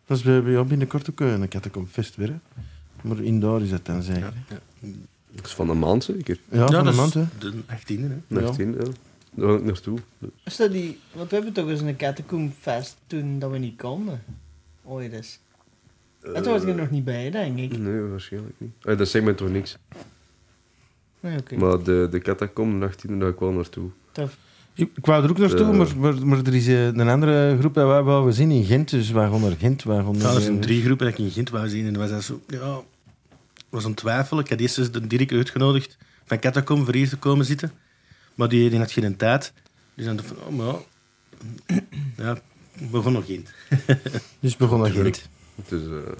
Speaker 2: Dat eh, is bij- bij jou binnenkort ook eh, een catacomb fest weer. hè. Maar in daar is dat dan zeker.
Speaker 1: Ja.
Speaker 3: Dat is van een maand zeker.
Speaker 2: Ja, van
Speaker 1: dat
Speaker 2: een
Speaker 1: is
Speaker 2: maand, hè.
Speaker 1: De 18e, hè.
Speaker 2: Ja.
Speaker 3: 19, ja. Daar wil ik naartoe.
Speaker 4: Is dat die... Want we hebben toch eens een catacomb-fest toen dat we niet konden. Ooit eens. En toen was ik er nog niet bij, denk ik.
Speaker 3: Nee, waarschijnlijk niet. Eh, dat zegt mij toch niks.
Speaker 4: Nee, oké.
Speaker 3: Maar de, de catacomb, de 18e, daar kwam naartoe.
Speaker 4: Tof.
Speaker 2: Ik, ik wou er ook naartoe,
Speaker 3: Eh.
Speaker 2: maar, maar, maar er is eh, een andere groep dat wij wouden zien in Gent, dus waaronder Gent, waaronder...
Speaker 1: Ja, er zijn drie groepen dat ik in Gent wou zien. En was dat zo, ja, was een twijfel. Ik had eerst eens de Dirk uitgenodigd van Catacomb voor hier te komen zitten. Maar die, die had geen tijd. Dus dan dacht ik van, oh, maar *clears throat* ja. ja, we begon nog in.
Speaker 2: Dus begonnen
Speaker 3: Tuurlijk.
Speaker 2: Gent.
Speaker 3: Dus, eh,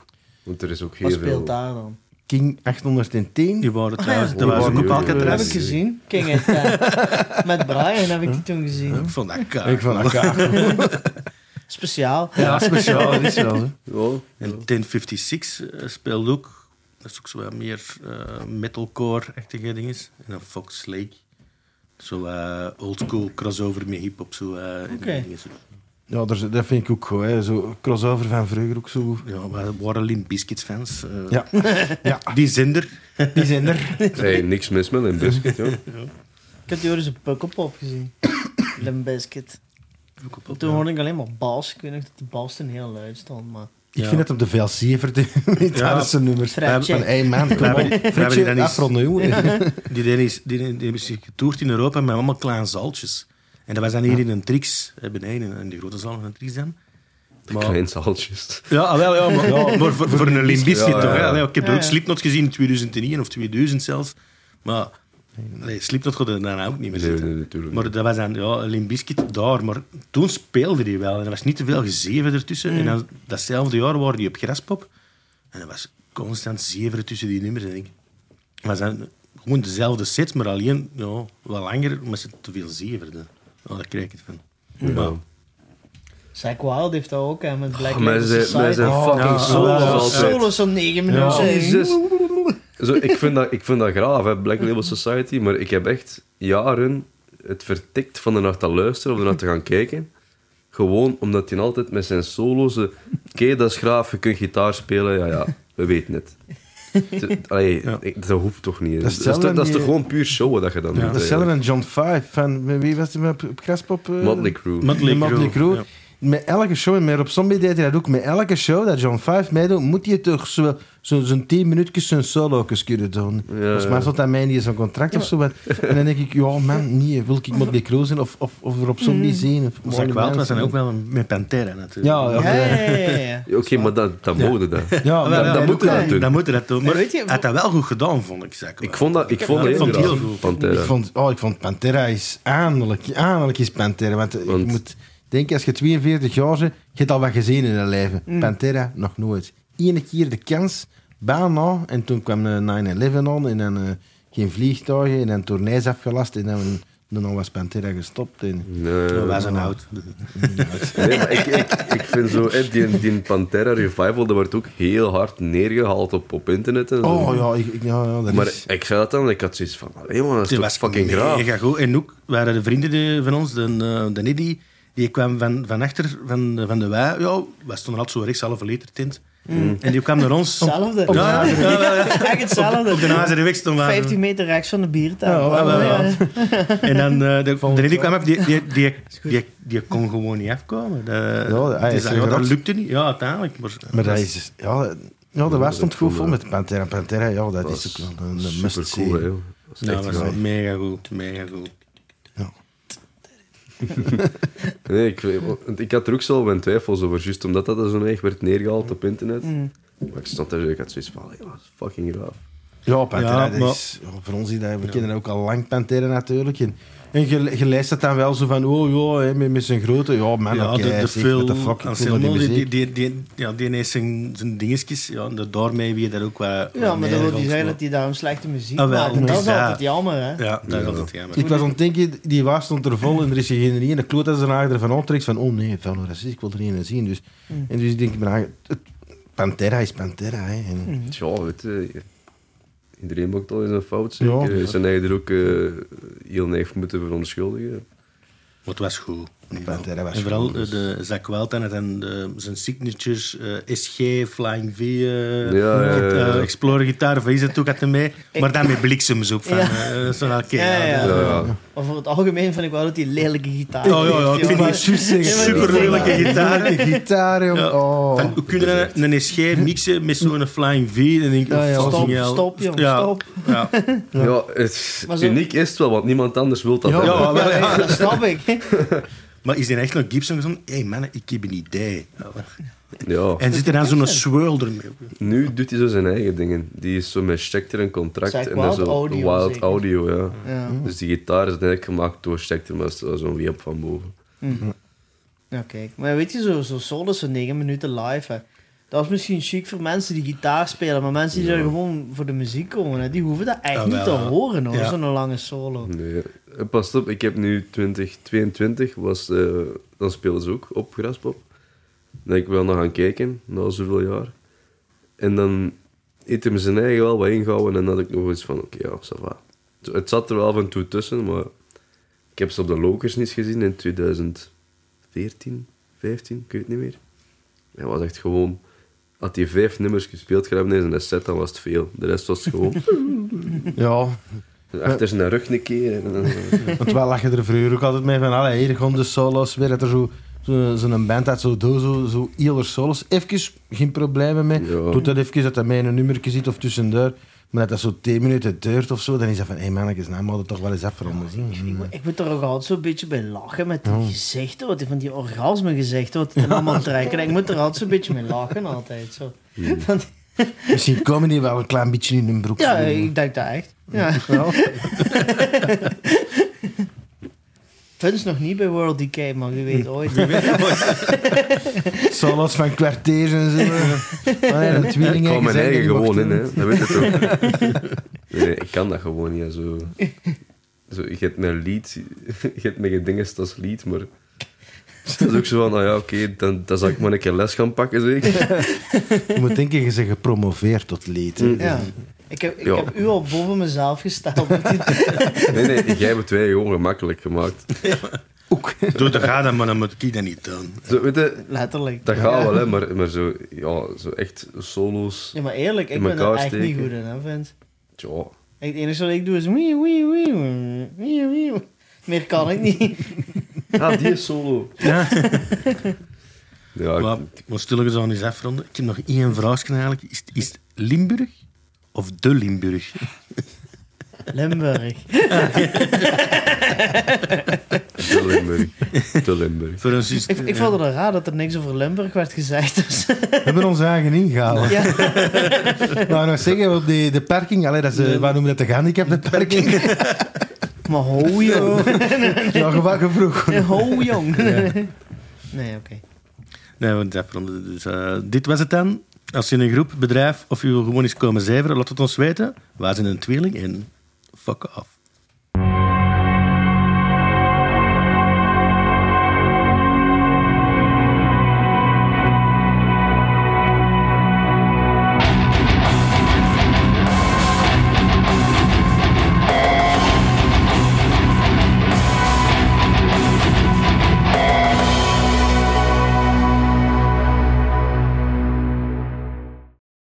Speaker 3: want er is ook heel
Speaker 4: Wat
Speaker 3: veel...
Speaker 4: speelt daar dan?
Speaker 2: King 810.
Speaker 1: Die waren trouwens,
Speaker 4: Oh, ja.
Speaker 1: dat was ook een
Speaker 3: Die waren-
Speaker 1: bepaalde
Speaker 4: Dat heb
Speaker 1: adres.
Speaker 4: ik gezien. King and Ted. Met Brian heb ik die toen gezien.
Speaker 1: Ik vond dat kaal.
Speaker 2: Ik van
Speaker 1: *laughs*
Speaker 2: elkaar.
Speaker 4: Speciaal.
Speaker 2: Ja, speciaal, dat *laughs* is wel zo.
Speaker 3: Ja,
Speaker 1: En 1056 eh, speelde ook. Dat is ook zo wat meer eh, metalcore-achtige dingen. En dan Fox Lake. Zo eh oldschool crossover met hip-hop. Zo, eh, en
Speaker 4: Oké.
Speaker 1: dingen zo.
Speaker 2: Ja, daar z- dat vind ik ook goed. Hè. Zo crossover van vroeger ook zo.
Speaker 1: Ja, we waren Limp Biscuit fans. eh, *laughs*
Speaker 2: Ja, ja
Speaker 1: Die zender.
Speaker 2: die zijn er.
Speaker 3: Hey, niks mis met een biscuit, joh.
Speaker 4: Ik heb die ooit eens een pukkelpop gezien. Limp Bizkit.
Speaker 1: Ook op- op-
Speaker 4: Toen hoorde ik alleen maar bas. Ik weet nog dat die bas toen heel luid stond, maar...
Speaker 2: Ik
Speaker 1: Ja.
Speaker 2: vind het op de VLC *laughs* verdient.
Speaker 1: Ja.
Speaker 2: Ja. zijn nummers.
Speaker 4: Fratje.
Speaker 2: Van één maand.
Speaker 1: We hebben die- we hebben die dan eens-
Speaker 2: afronden, jongen.
Speaker 1: Die deden is- die- die hebben zich getoerd in Europa met allemaal kleine zaaltjes. En dat was dan hier in een Trix, eh, beneden, in de grote zaal van een Trix dan. Maar-
Speaker 3: Klein zaaltjes.
Speaker 1: Ja, ah, wel, ja, maar, ja, maar voor, voor een limbist
Speaker 3: Ja, ja,
Speaker 1: toch? hè?
Speaker 3: ja.
Speaker 1: Allee, ik heb
Speaker 4: Ja,
Speaker 1: ook
Speaker 4: ja.
Speaker 1: Slipknot gezien in 2001 of 2000 zelfs. Maar nee, Slipknot gaat er daarna ook niet meer
Speaker 3: Nee,
Speaker 1: zitten.
Speaker 3: nee, natuurlijk
Speaker 1: maar
Speaker 3: niet.
Speaker 1: dat was dan ja, Limbiskit daar. Maar toen speelde die wel. En er was niet te veel gezeven ertussen. En dan, datzelfde jaar waren die op Graspop. En er was constant zeven tussen die nummers. En ik was dan gewoon dezelfde sets, maar alleen ja, wat langer, omdat ze te veel zeverden. Ja, daar krijg ik het van. Maar,
Speaker 4: Zack Wild heeft dat ook, hè, met Black
Speaker 3: Oh, maar
Speaker 4: Label
Speaker 3: ze, maar
Speaker 4: Society.
Speaker 3: ze
Speaker 2: Oh,
Speaker 3: fucking
Speaker 1: ja.
Speaker 3: solo's
Speaker 1: Ja.
Speaker 3: altijd. Oh,
Speaker 4: Solos van 9 minuten.
Speaker 2: Ja.
Speaker 3: Jezus. Zo, ik, vind dat, ik vind dat graaf, hè, Black Label Society, maar ik heb echt jaren het vertikt van ernaar te luisteren of ernaar te gaan kijken. Gewoon omdat hij altijd met zijn solo's... eh, Oké, dat is graaf, je kunt gitaar spelen, ja, ja, we weten het. Te- Allee,
Speaker 1: Ja.
Speaker 3: ik- dat hoeft toch niet. hè.
Speaker 2: Dat
Speaker 3: Dat
Speaker 2: is
Speaker 3: is, dat is,
Speaker 2: hetzelfde
Speaker 3: toch
Speaker 2: die-
Speaker 3: gewoon puur showen dat je dan doet.
Speaker 2: Dat is zelf
Speaker 3: eigenlijk.
Speaker 2: een John 5 van wie was die met- op Graspop? eh?
Speaker 3: Motley Crue.
Speaker 1: Motley
Speaker 2: De Motley
Speaker 1: Crue,
Speaker 2: Crue.
Speaker 1: ja.
Speaker 2: Met elke show, en met op Zombie deed hij dat ook, met elke show dat John 5 meedoet, moet hij toch zo'n zo, zo'n 10 minuutjes zijn solo's kunnen doen.
Speaker 3: Ja.
Speaker 2: Volgens mij stond dat mij niet in zo'n contract of zo. wat. En dan denk ik, ja man, nee, wil ik Motley Crue zijn of, of, of Rob Zombie zien. Of
Speaker 1: Zack Wild was dan
Speaker 2: zijn
Speaker 1: ook wel een- met Pantera natuurlijk.
Speaker 2: Ja,
Speaker 4: Ja,
Speaker 2: ja.
Speaker 4: ja, ja, ja.
Speaker 3: Oké, maar dat, dat mode dat.
Speaker 2: Ja,
Speaker 1: Ah, wel,
Speaker 3: dat
Speaker 1: ja,
Speaker 3: moet
Speaker 1: ja,
Speaker 3: je dat doen.
Speaker 1: Dat moet je dat doen. Maar
Speaker 4: Maar weet je-
Speaker 1: hij had dat wel goed gedaan, vond ik. Zeg.
Speaker 3: Ik vond dat, ik vond
Speaker 1: ja,
Speaker 3: dat
Speaker 1: ik vond het
Speaker 3: heel
Speaker 1: heel
Speaker 3: graaf,
Speaker 1: goed.
Speaker 3: Pantera.
Speaker 2: Ik vond, oh, ik vond Pantera is aanelijk. Aanelijk is Pantera. Want, eh, je
Speaker 3: Want-
Speaker 2: moet denken, als je 42 jaar bent, je hebt al wat gezien in je leven. Pantera nog nooit. Eén keer de kans, bijna. En toen kwam eh, 9-11 aan en dan eh, geen vliegtuigen en dan tournees afgelast en dan, dan was Pantera gestopt. En,
Speaker 3: Nee.
Speaker 1: Ja, wij zijn oud.
Speaker 3: Nee, maar ik, ik, ik vind zo, hè, die, die Pantera Revival, dat wordt ook heel hard neergehaald op, op internet. En zo.
Speaker 2: oh ja, ik, ik- ja, ja, dat
Speaker 3: Maar
Speaker 2: is...
Speaker 3: ik zei dat dan, ik had zoiets van, allee man, dat is
Speaker 1: Die
Speaker 3: toch
Speaker 1: was
Speaker 3: fucking graaf.
Speaker 1: mega goed. En ook waren de vrienden die- van ons, de, eh, de Niddy, die kwam van, van achter van, de- van de wij. Ja, wij stonden altijd zo rechtshalve liter tint. En die kwam naar ons.
Speaker 4: Hetzelfde.
Speaker 1: Ja, ja, ja, ja, ja.
Speaker 4: *laughs* Echt hetzelfde.
Speaker 1: Op de Hazerweg stonden wij.
Speaker 4: 15 meter rechts van de biertafel.
Speaker 1: Ja, wel, ja. En dan, eh, de, de Niddy kwam op, die, die,
Speaker 4: *laughs*
Speaker 1: die,
Speaker 4: goed.
Speaker 1: die, die kon gewoon niet afkomen. De,
Speaker 2: hij
Speaker 1: die
Speaker 2: is
Speaker 1: zei, ja, dat
Speaker 2: gerokt.
Speaker 1: lukte niet. Ja, uiteindelijk. Maar,
Speaker 2: Maar dat is... Ja, ja, de was stond goed vol
Speaker 3: Ja.
Speaker 2: met Pantera. Pantera, ja, dat
Speaker 3: Dat
Speaker 2: is
Speaker 3: is
Speaker 2: ook wel een, een
Speaker 3: super
Speaker 2: must
Speaker 3: cool, hè. joh. Dat
Speaker 1: Ja,
Speaker 3: is echt
Speaker 1: Nou, dat
Speaker 3: graaf.
Speaker 1: was mega goed. Mega goed.
Speaker 3: Nee, ik, weet- want ik had er ook zo mijn twijfels over, juist omdat dat zo erg werd neergehaald op internet.
Speaker 2: Mm.
Speaker 3: Maar ik stond daar, ik had zoiets van, allee, man, dat is fucking graaf.
Speaker 2: Ja, Pantera,
Speaker 1: Ja,
Speaker 2: dat
Speaker 1: maar-
Speaker 2: is, ja, voor ons is dat, we kennen ook al lang Pantera natuurlijk. En, en je, je leest dat dan wel zo van, oh ja, hè, met, met zijn grote, ja man,
Speaker 1: Ja,
Speaker 2: Ah, nou, oké,
Speaker 1: de, de
Speaker 2: zeg,
Speaker 1: Phil
Speaker 2: what the fuck, ik voel
Speaker 1: Anselmo,
Speaker 2: dat die
Speaker 1: die, die,
Speaker 2: muziek.
Speaker 1: die, die- ja, die heeft zijn, zijn dingetjes. Ja, en dat- daarmee wie daar ook wat...
Speaker 4: Ja, maar dat wil niet
Speaker 1: die
Speaker 4: zeggen dat hij daarom slechte muziek
Speaker 1: Ah, wel,
Speaker 4: maakt. En
Speaker 1: het
Speaker 4: dat
Speaker 1: is
Speaker 4: is
Speaker 1: dat.
Speaker 4: altijd jammer, hè.
Speaker 1: Ja, dat is altijd jammer.
Speaker 2: Ik was aan het denken, die waar stond er vol en er is geen ene kloot als een aarder van optrekt van, oh nee, van racist, ik wil er een zien. Dus,
Speaker 4: Mm.
Speaker 2: En dus ik denk ik, ben eigenlijk- het, Pantera is Pantera. Hè, en,
Speaker 4: Mm.
Speaker 3: Mhm. Tja, weet je, iedereen maakt al eens een fout, zeker.
Speaker 2: Ja.
Speaker 3: Ze zijn er ook eh, heel neig moeten verontschuldigen.
Speaker 1: Maar het was goed. Nee,
Speaker 2: Pantera was
Speaker 1: en vooral
Speaker 2: gewoon,
Speaker 1: eh, de Zach Welten en de- zijn signatures, eh, SG, Flying V, eh,
Speaker 3: Ja, ja, ja, ja.
Speaker 1: eh, Explorer gitaar, of is het ook altijd mee. Maar dan met bliksemzoek van,
Speaker 4: Ja.
Speaker 1: eh, zo'n oké.
Speaker 4: Ja, ja, ja.
Speaker 3: Ja, ja.
Speaker 4: Over het algemeen vind ik wel dat die lelijke gitaar
Speaker 1: Oh, ja, ja, ik
Speaker 4: heeft,
Speaker 1: vind
Speaker 4: joh.
Speaker 1: die
Speaker 2: juist zeggen.
Speaker 4: Ja, maar-
Speaker 1: Super lelijke
Speaker 4: *laughs*
Speaker 1: gitaar.
Speaker 2: De gitaar, jong.
Speaker 1: Ja.
Speaker 2: Oh.
Speaker 1: Van, hoe kunnen we een SG mixen met zo'n Flying V? En dan denk ik, oh,
Speaker 2: Ja, ja.
Speaker 1: fucking
Speaker 4: Stop,
Speaker 1: hell.
Speaker 4: stop, jong,
Speaker 1: Ja,
Speaker 4: stop.
Speaker 1: Ja.
Speaker 3: Ja, het is-
Speaker 4: Maar zo-
Speaker 3: uniek is het wel, want niemand anders wil dat
Speaker 2: Ja.
Speaker 3: hebben.
Speaker 1: Ja,
Speaker 4: Ja,
Speaker 1: wel,
Speaker 4: ja, dat snap ik. *laughs*
Speaker 1: Maar is die echt nog Gibson gezongen? Hé hey, mannen, ik heb een idee.
Speaker 3: Ja.
Speaker 1: En zit er dan zo'n swirl ermee?
Speaker 3: Nu doet hij zo zijn eigen dingen. Die is zo met Schecter een contract
Speaker 4: Zeg,
Speaker 3: en
Speaker 4: Wild
Speaker 3: dan zo
Speaker 4: Audio
Speaker 3: Wild
Speaker 4: zeker?
Speaker 3: Audio, ja.
Speaker 4: Ja,
Speaker 3: Dus die gitaar is eigenlijk gemaakt door Schecter, maar dat is zo'n weep van boven.
Speaker 4: ja kijk. Maar weet je, zo'n zo solos van 9 minuten live, hè. Dat is misschien chic voor mensen die gitaar spelen, maar mensen die daar gewoon voor de muziek komen, hè, die hoeven dat echt
Speaker 1: Ja,
Speaker 4: niet
Speaker 1: Ah, wel,
Speaker 4: te
Speaker 1: ja.
Speaker 4: horen, hoor,
Speaker 1: Ja.
Speaker 4: zo'n lange solo.
Speaker 3: Nee. Eh, Pas op, ik heb nu 2022, was, eh, dan speelden ze ook op Graspop. Dan ik wel naar gaan kijken, na zoveel jaar. En dan heeft hij me zijn eigen wel wat ingehouden en dan had ik nog eens van, oké, ja, ça va. Zo, Het zat er wel van toe tussen, maar ik heb ze op de Lokers niet gezien in 2014, 15, ik weet het niet meer. Hij was echt gewoon... Had hij vijf nummers gespeeld gehad in zijn set, dan was het veel. De rest was gewoon
Speaker 2: Ja,
Speaker 3: achter zijn rug een keer. En, dan-
Speaker 2: Want wel lag je er vroeger ook altijd mee van, allee, hier gewoon de solos, weer dat er zo'n zo, zo'n band had, zo, doe, zo, zo eeler solos. Even, geen problemen mee.
Speaker 3: Ja.
Speaker 2: Doet dat even, dat dat mij in een nummertje zit of tussendoor. Maar dat dat zo 10 minuten duurt of zo, dan is dat van, hé hey, mannetjes, nou moet het toch wel eens af voor ons zien.
Speaker 4: Ik, ik moet er ook altijd zo'n beetje bij lachen met
Speaker 3: Oh.
Speaker 4: die gezichten, wat die, van die orgasme gezichten,
Speaker 3: *laughs*
Speaker 4: wat die dan allemaal trekken. Ik moet er altijd zo'n beetje mee lachen, altijd. Zo. Van die-
Speaker 2: Misschien komen die wel een klein beetje in hun broek.
Speaker 4: ja, ik denk dat echt. Ja.
Speaker 2: Wel.
Speaker 4: Vince nog niet bij World Decay, maar wie weet ooit.
Speaker 2: Solos van kwartiers en zo. Maar nee, dat
Speaker 3: Ik
Speaker 2: tweelingen
Speaker 3: hou mijn
Speaker 2: gezegd,
Speaker 3: eigen
Speaker 2: die mocht
Speaker 3: gewoon in,
Speaker 2: doen.
Speaker 3: hè. dat weet je toch. *laughs* Nee, ik kan dat gewoon niet. hè, Zo. Zo, je hebt mijn lied, je hebt mijn dinges als lied, maar... Het is ook zo van, nou ja, oké, dan, dan zal ik maar een keer les gaan pakken, zeker.
Speaker 2: Je moet denken, je bent gepromoveerd tot leed.
Speaker 3: Mm.
Speaker 2: hè.
Speaker 4: Ja. Ik heb, ik
Speaker 3: Ja.
Speaker 4: heb u al boven mezelf
Speaker 3: *laughs*
Speaker 4: gesteld. met die-
Speaker 3: Nee, nee, jij hebt het wij gewoon gemakkelijk gemaakt.
Speaker 2: Ook.
Speaker 1: Doe de ga dan, maar dan moet ik dat niet doen.
Speaker 3: Zo, weet je,
Speaker 4: Letterlijk.
Speaker 3: dat gaat
Speaker 4: Ja.
Speaker 3: wel, hè, maar, maar zo, ja, zo echt solo's...
Speaker 4: Ja, maar eerlijk, ik
Speaker 3: In
Speaker 4: ben er
Speaker 3: elkaar
Speaker 4: echt niet
Speaker 3: steken.
Speaker 4: goed in, hè, Vince.
Speaker 3: Ja,
Speaker 4: Het enige wat ik doe is wee, wee, wee, wee, wee, wee. Meer kan ik niet.
Speaker 3: ah, die is solo.
Speaker 1: Ja.
Speaker 3: Ja, ik-
Speaker 1: Maar we zullen we zo eens afronden. Ik heb nog één vraagje eigenlijk. Is, het- is het Limburg of de Limburg?
Speaker 4: Limburg.
Speaker 3: de Limburg. De Limburg.
Speaker 1: Voor ons is het-
Speaker 4: Ik, ik vond het wel raar dat er niks over Limburg werd gezegd.
Speaker 3: *laughs*
Speaker 4: Dus.
Speaker 2: We hebben ons eigen ingehaald.
Speaker 4: Ja.
Speaker 2: Nou, nog zeggen op de, de parking, allee, dat is, eh, waar noemen we dat de gehandicapte parking? *laughs*
Speaker 4: Maar ho, jong.
Speaker 2: ja, gewakken vroeg.
Speaker 4: *laughs* Ho, jong. *laughs* Nee, oké.
Speaker 1: Nee, we moeten afronden. Dus, eh, dit was het dan. Als je in een groep, bedrijf of je wil gewoon eens komen zeiveren, laat het ons weten. Wij zijn een tweeling en fuck off.